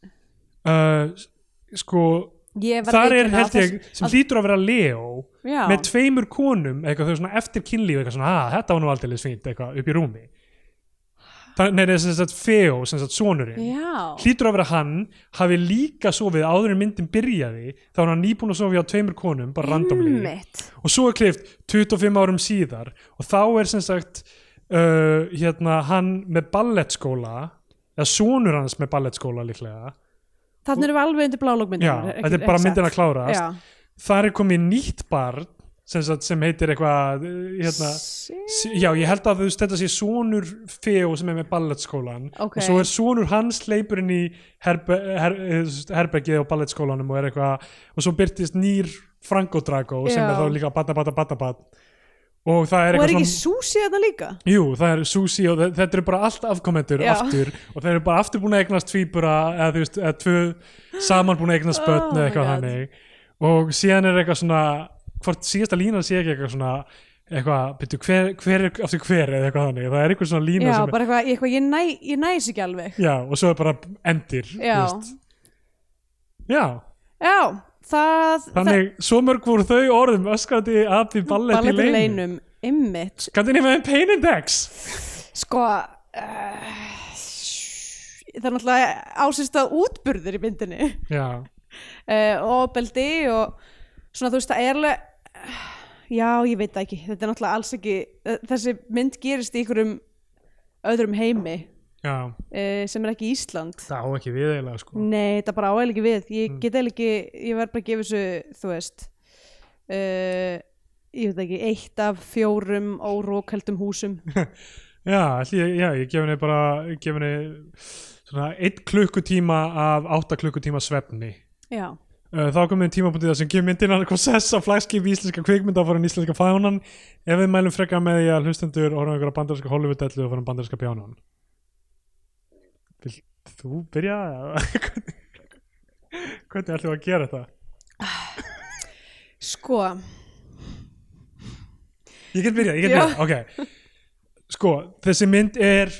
Speaker 1: uh, sko
Speaker 2: ég verð
Speaker 1: þar
Speaker 2: að
Speaker 1: er
Speaker 2: viðurkenna
Speaker 1: held
Speaker 2: að
Speaker 1: ég
Speaker 2: þess-
Speaker 1: sem
Speaker 2: að-
Speaker 1: hlýtur að vera Leo
Speaker 2: já,
Speaker 1: með tveimur konum eitthvað þau svona eftir kynlíf eitthvað svona að þetta var nú aldrei fínt eitthvað upp í rúmi það, nei, það er sem sagt Feo sem sagt sonurinn
Speaker 2: já,
Speaker 1: hlýtur að vera hann hafi líka sofið áður en myndin byrjaði þá var hann nýbúin að sofið á tveimur konum bara randomlega
Speaker 2: Einmitt.
Speaker 1: og svo er klift 25 árum síðar og þá er sem sagt uh, hérna hann með ballettskóla eða sonur hans með ballettskóla líklega
Speaker 2: þannig erum við alveg undir blálókmyndin
Speaker 1: já, þetta er bara myndin að klárast
Speaker 2: já,
Speaker 1: þar er komið nýtt barn sem, sagt, sem heitir eitthvað uh, hérna,
Speaker 2: Shit.
Speaker 1: s- já ég held að þú veist, þetta sé sonur feo sem er með ballettskólan
Speaker 2: Ok.
Speaker 1: og svo er sonur hans leipur inn í herbe, her, eh, þú veist, herbergið á ballettskólanum og er eitthvað og svo byrtist nýr Franco Drago sem
Speaker 2: Já.
Speaker 1: er þá líka batna batna batna batna og það er
Speaker 2: og er
Speaker 1: eitthvað
Speaker 2: ekki Susi þarna líka
Speaker 1: Jú, það er Susi og þe- þetta eru bara allt afkomendur
Speaker 2: Já.
Speaker 1: aftur og þeir eru bara aftur búin að eignast tvíbura eða þú veist, eða tvö saman búin að eignast börn
Speaker 2: Oh
Speaker 1: eða
Speaker 2: my
Speaker 1: eitthvað
Speaker 2: God.
Speaker 1: þannig og síðan er eitthvað svona hvort síðasta línan sé ekki eitthvað svona eitthvað, byrju, hver, hver er aftur hver eða eitthvað þannig, það er eitthvað svona lína
Speaker 2: já,
Speaker 1: sem
Speaker 2: bara eitthvað, eitthvað ég, næ, ég næs ekki alveg
Speaker 1: já, og svo er bara endir þú
Speaker 2: já,
Speaker 1: veist. já
Speaker 2: já það,
Speaker 1: þannig, svo mörg voru þau orðum öskrandi að því
Speaker 2: það
Speaker 1: ballet í
Speaker 2: í
Speaker 1: leinu
Speaker 2: leinum ymmit,
Speaker 1: Scandinavian Pain Index
Speaker 2: sko uh, það er náttúrulega ásýrst að útburður í myndinni
Speaker 1: já,
Speaker 2: uh, og beldi og svona þú veist það er alveg já ég veit það ekki, þetta er náttúrulega alls ekki eh, þessi mynd gerist í einhverjum öðrum heimi
Speaker 1: já,
Speaker 2: uh, sem er ekki Ísland
Speaker 1: það á ekki við eiginlega sko
Speaker 2: Nei, þetta bara áæglega ekki við Ég get eiginlega ekki, ég verð bara að gefa þessu þú veist uh, ég veit ekki, eitt af fjórum órókaldum húsum
Speaker 1: Já, ætli ég- já, ég gef henni bara ég gef henni svona eitt klukkutíma af átta klukkutíma svefni
Speaker 2: Já,
Speaker 1: Uh, þá komum við tímapunktið þar sem gefur myndina hvað sess á flagskip íslenska kvikmynda að fara en íslenska fánan ef við mælum frekar með því að hlustendur horfum einhverja bandarinska Hollywood-dellu og fara um bandarinska bjánan Vilt þú byrja? eða Hvernig hvernig ætlum við að gera þetta?
Speaker 2: sko
Speaker 1: Ég get byrjað, ég get
Speaker 2: Já.
Speaker 1: byrjað, ok Sko, þessi mynd er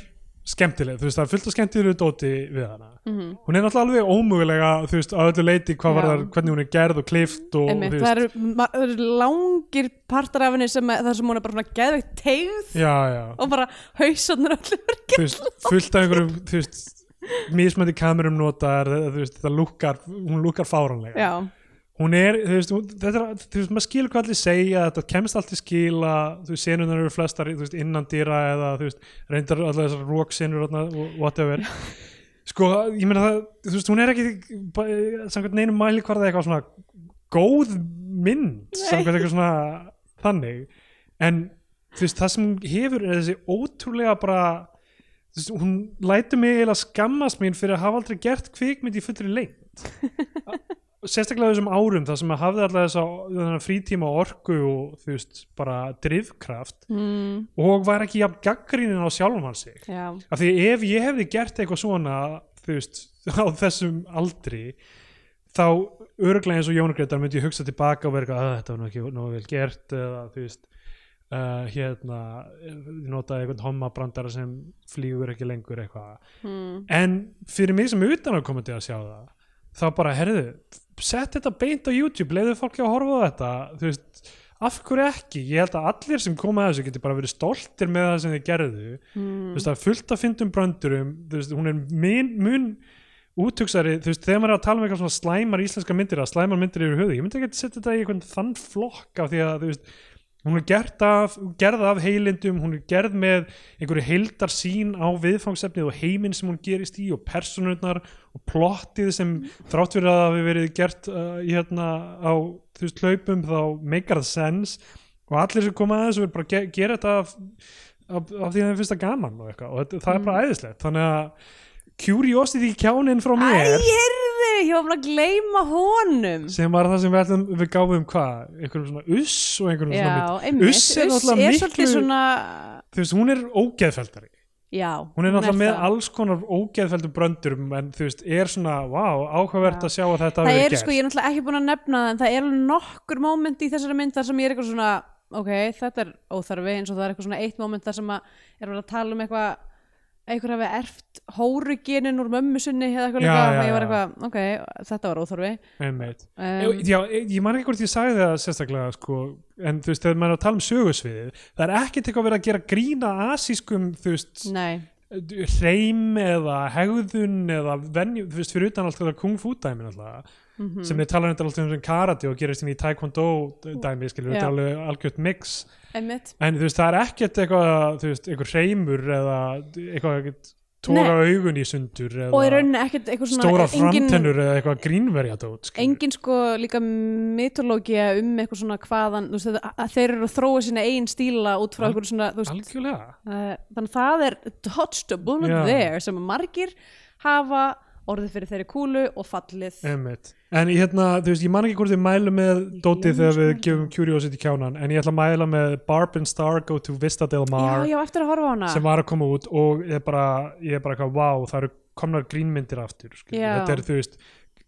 Speaker 1: skemmtileg, þú veist, það er fullt af skemmtilegu dóti við hana.
Speaker 2: Mhm.
Speaker 1: Hún er náttúrulega alveg ómögulega, þú veist, að öllu leiti hvað
Speaker 2: Já.
Speaker 1: var þar, hvernig hún er gerð og klift og,
Speaker 2: Einmitt,
Speaker 1: þú
Speaker 2: það eru ma- það eru langir partar af henni sem að, það sem hún er bara svona geðveikt tegð
Speaker 1: já, já,
Speaker 2: og bara hausarnir allir verkið
Speaker 1: þú veist, fullt af einhverjum, þú veist, mismöndi kamerum notar, þú veist, það lukkar, hún lukkar fáranlega.
Speaker 2: Já,
Speaker 1: Hún er, þú veist, hún, þetta er, þú veist, maður skilur hvað allir segja, þetta kemst allt í skila, þú veist, senunar eru flestar, þú veist, innan dýra eða, þú veist, reyndar allar þessar róksenur, whatever. sko, ég meina það, þú veist, hún er ekki ba- samkvæmt neinum mæli hvarða eitthvað svona góð mynd samkvæmt eitthvað svona þannig en þú veist, það sem hún hefur er þessi ótrúlega bara þú veist, hún lætur mig eiginlega skammast mín fyrir að hafa aldrei gert kvikmynd í fullri lengt sérstaklega á þessum árum þar sem að hafði alltaf þessa þennan frítíma og orku og þú veist, bara drifkraft
Speaker 2: mm,
Speaker 1: og var ekki jafn gaggrínin á sjálfum hans sig
Speaker 2: já.
Speaker 1: af því ef ég hefði gert eitthvað svona þú veist, á þessum aldri þá öruglega eins og Jón Greitar myndi ég hugsa tilbaka og vera eitthvað að þetta var nú ekki nógu vel gert eða þú veist uh, hérna, ég notaði einhvern hommabrandara sem flýgur ekki lengur eitthvað
Speaker 2: Mm,
Speaker 1: en fyrir mig sem utan að koma til að sjá það þá bara, herðu, sett þetta beint á YouTube, leiðu fólki að horfa á þetta þú veist, af hverju ekki ég held að allir sem koma að þessu geti bara verið stoltir með það sem þið gerðu
Speaker 2: mm,
Speaker 1: þú veist, það er fullt af fyndum bröndurum þú veist, hún er mun, mun útugsari, þú veist, þegar maður er að tala um eitthvað svona slæmar íslenska myndir, að slæmar myndir yfir höfuð, ég myndi ekki að setja þetta í einhvern þann flokk af því að, þú veist, hún er gerð af, gerð af heilindum hún er gerð með einhverju heildar sín á viðfangsefnið og heiminn sem hún gerist í og personurnar og plottið sem þrátt fyrir að það hafi verið gert uh, í hérna á þú veist hlaupum þá meikar það sense og allir sem koma að þessu er bara að ge- gera þetta af, af, af því að þeim finnst það gaman og, eitthvað, og þetta, það er
Speaker 2: Mm.
Speaker 1: bara æðislegt þannig að curiosity kjánin frá
Speaker 2: Æ,
Speaker 1: mér
Speaker 2: heyrðu, ég var bara að gleyma honum
Speaker 1: sem var það sem við, ætlum, við gáfum um hvað, einhverjum svona uss og einhverjum svona
Speaker 2: Já,
Speaker 1: mynd.
Speaker 2: einmitt
Speaker 1: Uss er náttúrulega
Speaker 2: er svolítið
Speaker 1: miklu-
Speaker 2: svona
Speaker 1: þú veist, hún er ógeðfeldari
Speaker 2: Já,
Speaker 1: hún er náttúrulega með
Speaker 2: það.
Speaker 1: alls konar ógeðfeldum bröndurum en þú veist, er svona, vá, áhugavert
Speaker 2: Já.
Speaker 1: að sjá að þetta
Speaker 2: Það
Speaker 1: hafi
Speaker 2: er
Speaker 1: verið
Speaker 2: sko, ég er náttúrulega ekki búin að nefna það en það er alveg nokkur moment í þessari mynd þar sem ég er eitthvað svona ok, þetta er óþarfi eins og það er eitthvað svona eitt moment þar sem að er verið að tala um eitthvað einhver hafi erft hórugenin úr mömmu sinni eða eitthvað
Speaker 1: Já,
Speaker 2: líka
Speaker 1: já,
Speaker 2: og ég var
Speaker 1: já.
Speaker 2: eitthvað, ok, þetta var óþarfi
Speaker 1: Einmitt.
Speaker 2: um,
Speaker 1: Já, ég ég man ekki hvort ég sagði það sérstaklega sko, en þú veist, þegar maður er að tala um sögusviðið það er ekkert eitthvað verið að gera grína asískum, þú veist,
Speaker 2: Nei,
Speaker 1: hreim eða hegðun eða venju, þú veist, fyrir utan allt þetta kung fu dæmi náttúrulega,
Speaker 2: Mhm.
Speaker 1: sem við tala reyndar alltaf um sem karate og gerist inn í taekwondo dæmi, skilur,
Speaker 2: Já.
Speaker 1: þetta er alveg algjört mix
Speaker 2: einmitt
Speaker 1: en þú veist, það er ekkert eitthvað, þú veist, einhver hreimur eða eitthvað ekkert tóra augun í sundur
Speaker 2: og í
Speaker 1: eða
Speaker 2: rauninni ekkert eitthvað svona
Speaker 1: stóra
Speaker 2: engin-
Speaker 1: framtennur eða eitthvað grínverjadót skilur.
Speaker 2: engin sko líka mitológia um eitthvað svona hvaðan þú veist, að- að þeir eru að þróa sína eigin stíla út frá
Speaker 1: Al-
Speaker 2: eitthvað svona þú veist,
Speaker 1: algjörlega
Speaker 2: uh, þannig að það er touched a bullet
Speaker 1: Já.
Speaker 2: there sem að margir hafa orðið fyrir þeirri kúlu og fallið
Speaker 1: Einmitt. En ég hérna, þú veist, ég man ekki hvort við mælum með Dótið þegar við gefum Curiosity kjánan en ég ætla að mæla með Barb and Star Go to Vista Del Mar
Speaker 2: já, já, eftir að horfa á hana
Speaker 1: sem var að koma út og ég er bara, ég er bara eitthvað, wow, það eru komnar grínmyndir aftur, skilur.
Speaker 2: Já.
Speaker 1: þetta er þú veist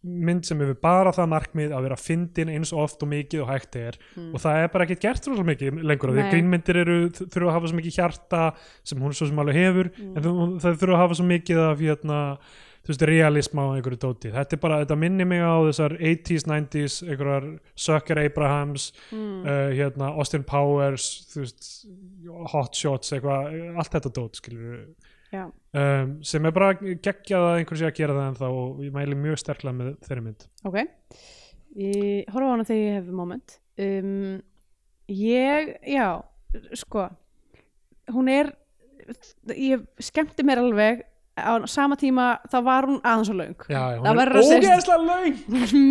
Speaker 1: mynd sem hefur bara það markmið að vera fyndin eins og oft og mikið og hægt er og það er bara ekkert gert rosa mikið lengur af því að
Speaker 2: Hmm. Nei.
Speaker 1: grínmyndir eru, þurfa að hafa svo mikið hjarta sem hún svo sem alveg hefur
Speaker 2: Hmm.
Speaker 1: en það, það þurfa að hafa svo mikið af hérna, þú veist, realisma á einhverju dóti þetta er bara, þetta minni mig á þessar 80s, 90s, einhverjar Sucker Abrahams
Speaker 2: Hmm, Mhm.
Speaker 1: uh, hérna, Austin Powers þú veist, Hot Shots, eitthvað allt þetta dót, skilur
Speaker 2: já.
Speaker 1: um, sem er bara geggjað að einhverju sé að gera það ennþá og ég mæli mjög sterklega með þeirri mynd
Speaker 2: ok ég horfa á hana þegar ég hef moment um, ég, já sko hún er ég skemmti mér alveg á sama tíma þá var hún aðeins og löng
Speaker 1: Já, já,
Speaker 2: Það
Speaker 1: hún er
Speaker 2: verður að segja-
Speaker 1: ógeðslega laung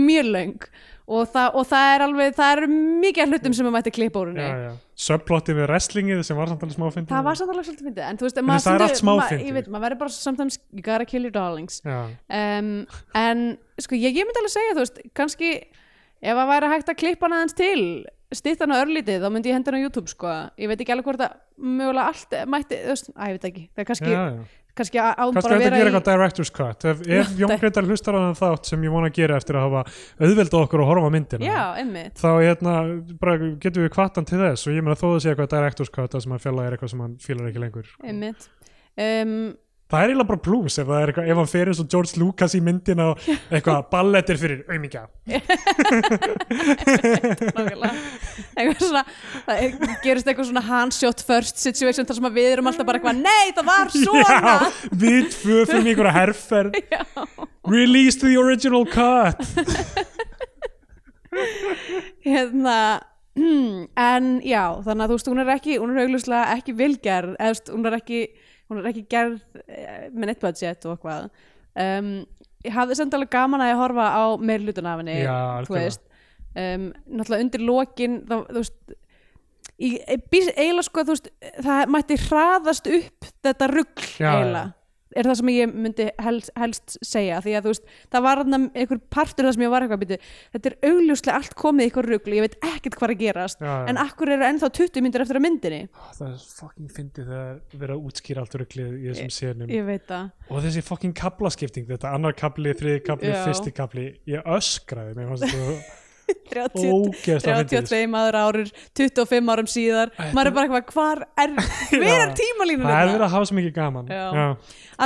Speaker 2: mjög löng og, það, og það er alveg, það eru mikið af hlutum sem að mætti klippa úr
Speaker 1: Mm.
Speaker 2: henni
Speaker 1: já, já. subplotið við wrestlingið sem var samt alveg smáfindi
Speaker 2: það var samt alveg svolítið fyndið en þú veist,
Speaker 1: En
Speaker 2: maður
Speaker 1: það er
Speaker 2: stundum-
Speaker 1: allt smá
Speaker 2: ma-
Speaker 1: fyndið.
Speaker 2: ég veit, maður verður bara sometimes you gotta kill your darlings
Speaker 1: já,
Speaker 2: um, en sko ég, ég myndi alveg segja þú veist, kannski ef að væri hægt að klippa hana aðeins til stýtt hana örlítið, þá myndi ég henda hana á YouTube sko, ég veit ekki alveg hvort að mögulega allt mætti, þú veist, að ég veit ekki það er kannski,
Speaker 1: já, já.
Speaker 2: kannski á hún
Speaker 1: Kannski
Speaker 2: bara
Speaker 1: hægt að
Speaker 2: að vera
Speaker 1: gera
Speaker 2: í
Speaker 1: eitthvað director's cut ef, ef Jón
Speaker 2: dæ-
Speaker 1: Greitar hlustar á þann þátt sem ég vona að gera eftir að hafa auðvelda okkur og horfa á myndina
Speaker 2: já, einmitt,
Speaker 1: þá hérna, bara, getum við kvartan til þess og ég meina þó að sé eitthvað director's cut það sem hann fjallar er eitthvað sem hann fílar ekki lengur
Speaker 2: einmitt um,
Speaker 1: það er eiginlega bara plus ef, það er eitthvað, ef hann fer eins og George Lucas í myndina og eitthvað ballettir fyrir auðmingja
Speaker 2: nákvæmlega. eitthvað svona það er, gerist eitthvað svona handshot first situation þar sem að við erum alltaf bara eitthvað nei, það var svona
Speaker 1: Já, við tvö fyrir mig einhverja herfer Release the original cut
Speaker 2: hérna en já, þannig að þú veist hún er ekki hún er augljóslega ekki vilgerð eða þú veist, hún er ekki, hún er ekki gerð eh, með neitt budget og hvað um, ég hafði samt alveg gaman að ég horfa á meir hlutun af henni
Speaker 1: Já,
Speaker 2: þú
Speaker 1: algjörlega.
Speaker 2: veist um, náttúrulega undir lokin þá, þú veist í, e, bís- eiginlega sko þú veist það mætti hraðast upp þetta rugl
Speaker 1: Já,
Speaker 2: eiginlega er það sem ég myndi helst, helst segja því að þú veist, það var þarna einhver partur það sem ég var eitthvað byrju, þetta er augljóslega allt komið í eitthvað rugl, ég veit ekkert hvað er að gerast
Speaker 1: Já, já.
Speaker 2: en akkur eru ennþá 20 myndir eftir að myndinni
Speaker 1: Ah, Það er fucking fyndið þegar verið að útskýra allt rugglið í þessum senum
Speaker 2: ég veit það
Speaker 1: og þessi fucking kaplaskipting þetta annar kapli, þriði kapli,
Speaker 2: Já.
Speaker 1: fyrsti kapli ég öskraði mér fannst þetta
Speaker 2: 30,
Speaker 1: ógeðslega fyndið
Speaker 2: 32 maður árur 25 árum síðar,
Speaker 1: Æ,
Speaker 2: maður er bara eitthvað hvar er, hver er
Speaker 1: Já.
Speaker 2: tímalínun
Speaker 1: það er verið
Speaker 2: hérna?
Speaker 1: að hafa svo mikið gaman
Speaker 2: Já.
Speaker 1: Já.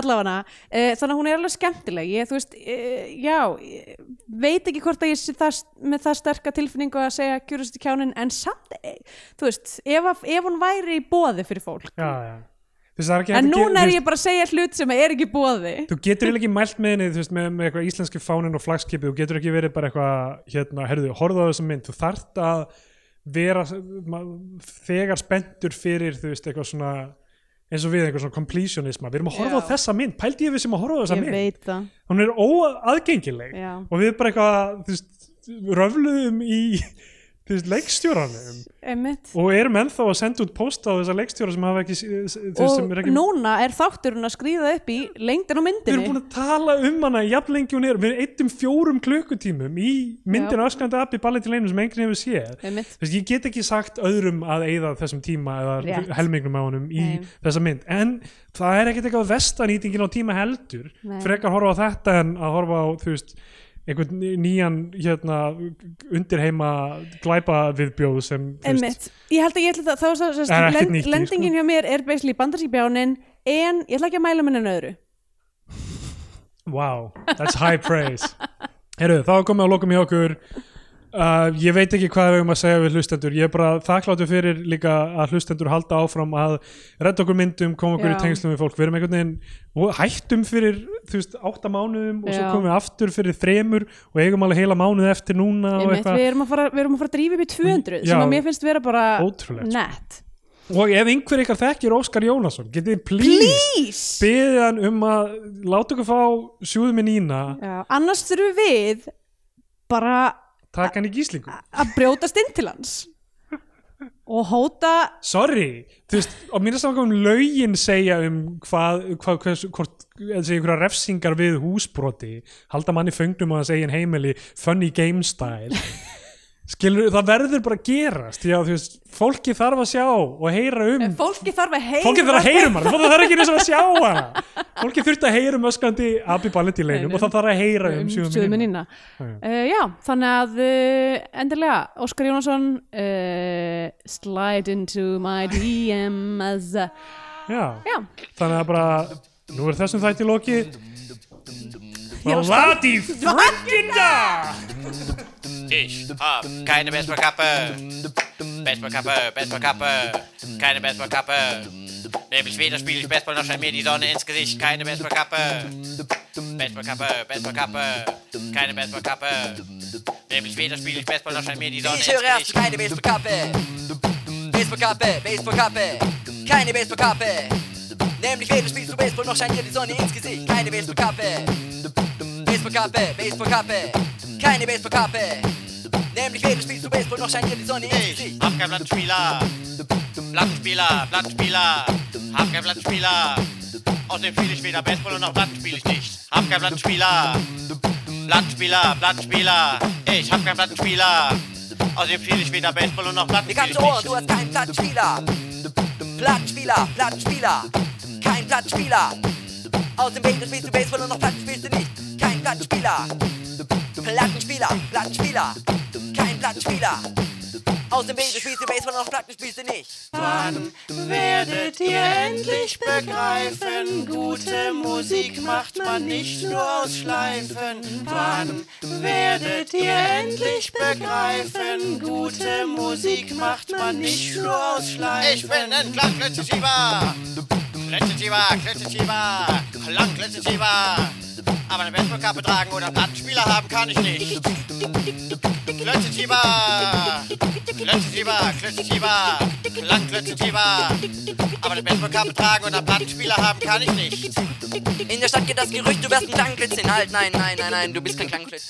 Speaker 2: allavega uh, þannig að hún er alveg skemmtileg ég, þú veist, uh, já ég veit ekki hvort að ég sé það, með það sterka tilfinningu að segja kjúrustu kjánin en samt, eh, þú veist ef, að- ef hún væri í bóði fyrir fólk
Speaker 1: Já, já. Þú veist, það er ekki
Speaker 2: en
Speaker 1: hægt að gera-
Speaker 2: núna
Speaker 1: þú
Speaker 2: er
Speaker 1: veist,
Speaker 2: ég bara að segja hlut sem er ekki í bóði
Speaker 1: Þú getur eiginlega ekki mælt með henni þú veist, með, með eitthvað íslenski fánin og flagskipi þú getur ekki verið bara eitthvað hérna, herðu, horfðu á þessa mynd þú þarft að vera ma- þegar spenntur fyrir þú veist eitthvað svona eins og við eitthvað svona completionisma við erum að horfa
Speaker 2: Já.
Speaker 1: á þessa mynd, pældi ég við sem að horfa á þessa
Speaker 2: ég
Speaker 1: mynd
Speaker 2: veit það
Speaker 1: hún er óaðgengileg
Speaker 2: Já.
Speaker 1: og við bara eitthvað þú veist, röfluðum í þú veist, leikstjóranum
Speaker 2: Einmitt.
Speaker 1: og erum ennþá að senda út posta á þessa leikstjóra sem hafa ekki s- s- þú veist,
Speaker 2: og
Speaker 1: sem er ekki
Speaker 2: núna er þátturinn að skrýða upp í lengdin á
Speaker 1: við erum
Speaker 2: myndinni
Speaker 1: búin að tala um hana jafn lengi hún er, við eittum fjórum klukkutímum í myndinu öskrandi appi ballið til einu sem enginn hefur séð
Speaker 2: Einmitt.
Speaker 1: Þess, ég get ekki sagt öðrum að eyða þessum tíma eða
Speaker 2: Rétt.
Speaker 1: helmingnum á honum í
Speaker 2: Nei.
Speaker 1: þessa mynd, en það er ekkert eitthvað vestanýtingin á tíma heldur
Speaker 2: Nei.
Speaker 1: frekar horfa á þetta en að horfa á þú veist, einhvern ný- nýjan hérna, undirheima glæpa viðbjóð sem þú veist,
Speaker 2: Einmitt. ég held að ég ætla það, það var
Speaker 1: Það er
Speaker 2: svo
Speaker 1: ekkert
Speaker 2: lend,
Speaker 1: nýtt í, sko.
Speaker 2: lendingin hjá mér er basically bandarskipjánin en ég ætla ekki að mæla minna nöðru
Speaker 1: Wow, that's high praise Herru, þá er komið að lokum hjá okkur uh, Ég veit ekki hvað við höfum að segja við hlustendur Ég er bara þakkláttu fyrir líka að hlustendur halda áfram að redda okkur myndum, koma okkur
Speaker 2: Já.
Speaker 1: í tengslum við fólk Við erum einhvern veginn, og hættum fyrir þú veist, átta mánuðum og svo
Speaker 2: Já.
Speaker 1: komum við aftur fyrir þremur og eigum alveg heila mánuð eftir núna og
Speaker 2: Einmitt,
Speaker 1: eitthvað
Speaker 2: við, erum að fara, við erum að fara að drífa upp í 200
Speaker 1: Já.
Speaker 2: sem að mér finnst vera bara
Speaker 1: Ótrúlegt, sko.
Speaker 2: nett
Speaker 1: Og ef einhver ykkar þekkir Óskar Jónasson getið þið please,
Speaker 2: Please!
Speaker 1: beðið hann um að láta okkur fá sjúðu minn ína
Speaker 2: Já, annars þurfum við bara
Speaker 1: taka hann í gíslingu
Speaker 2: að brjótast inn til hans og hóta
Speaker 1: sorry, þú veist, og mér er saman um lögin segja um hvað, hvað hvers, hvort, eða segja einhverja refsingar við húsbroti, halda manni föngnum á hans eigin heimili, funny game style skilur, það verður bara að gerast, já, þú veist fólki þarf að sjá og heyra um
Speaker 2: fólki þarf að heyra
Speaker 1: fólki þarf að heyra um hana, það þarf ekki eins og að sjá hana fólki þurft að heyra um öskandi Abbi Ballet í leinum og það þarf að heyra um sjöðum
Speaker 2: sjöðuminina uh, já, þannig að uh, endilega, Óskar Jónasson uh, slide into my DMs
Speaker 1: já,
Speaker 2: já,
Speaker 1: þannig að bara nú er þessum þætti lokið
Speaker 2: Já,
Speaker 1: og lati frökkinda
Speaker 3: Ich hab keine Baseballkappe. Baseballkappe, Baseballkappe, keine Baseballkappe. Nämlich weder spiele ich Baseball noch scheint mir die Sonne ins Gesicht. Keine Baseballkappe. Baseballkappe, Baseballkappe, keine Baseballkappe. Nämlich weder spiele ich Baseball noch scheint mir die Sonne ins
Speaker 4: Ich höre erst
Speaker 3: Gesicht.
Speaker 4: keine Baseballkappe. Baseballkappe, Baseballkappe, keine Baseballkappe. Nämlich weder spielst du Baseball noch scheint dir die Sonne ins Gesicht. Keine Baseballkappe. Baseballkappe, Baseballkappe, keine Baseballkappe. Nämlich weder spielst du Baseball noch scheint dir die Sonne ins
Speaker 3: Ich
Speaker 4: Gesicht.
Speaker 3: hab keinen Plattenspieler. Plattenspieler, Plattenspieler. Hab keinen Plattenspieler. Außerdem spiele ich weder Baseball noch Plattenspiel ich nicht. Hab keinen Plattenspieler. Plattenspieler, Plattenspieler. Ich hab keinen Plattenspieler. Außerdem spiele ich weder Baseball noch
Speaker 4: Mir
Speaker 3: Plattenspiel
Speaker 4: kannst
Speaker 3: ich
Speaker 4: Ohren, du
Speaker 3: nicht.
Speaker 4: hast keinen Plattenspieler. Plattenspieler, Plattenspieler, kein Plattenspieler. Aus dem Weg des spielst du Baseball und noch Platten spielst du nicht. Kein Plattenspieler. Plattenspieler, Plattenspieler, kein Plattenspieler. Aus dem Weg des spielst du Baseball und noch Platten spielst du nicht.
Speaker 5: werdet ihr endlich begreifen, gute Musik macht man nicht nur aus Schleifen. Wann werdet ihr endlich begreifen, gute Musik macht man nicht nur aus Schleifen.
Speaker 3: Ich bin ein Klangklitzeschieber. Klitzeschieber, Klitzeschieber, Klangklitzeschieber. Aber eine Baseballkappe tragen oder einen Plattenspieler haben kann ich nicht. Klötzeschieber! Klötzeschieber, Klötzeschieber, Klangklötzeschieber. Aber eine Baseballkappe tragen und einen Plattenspieler haben kann ich nicht.
Speaker 4: In der Stadt geht das Gerücht, du wärst ein Klangklitz. Halt, nein, nein, nein, nein, du bist kein Klangklitz.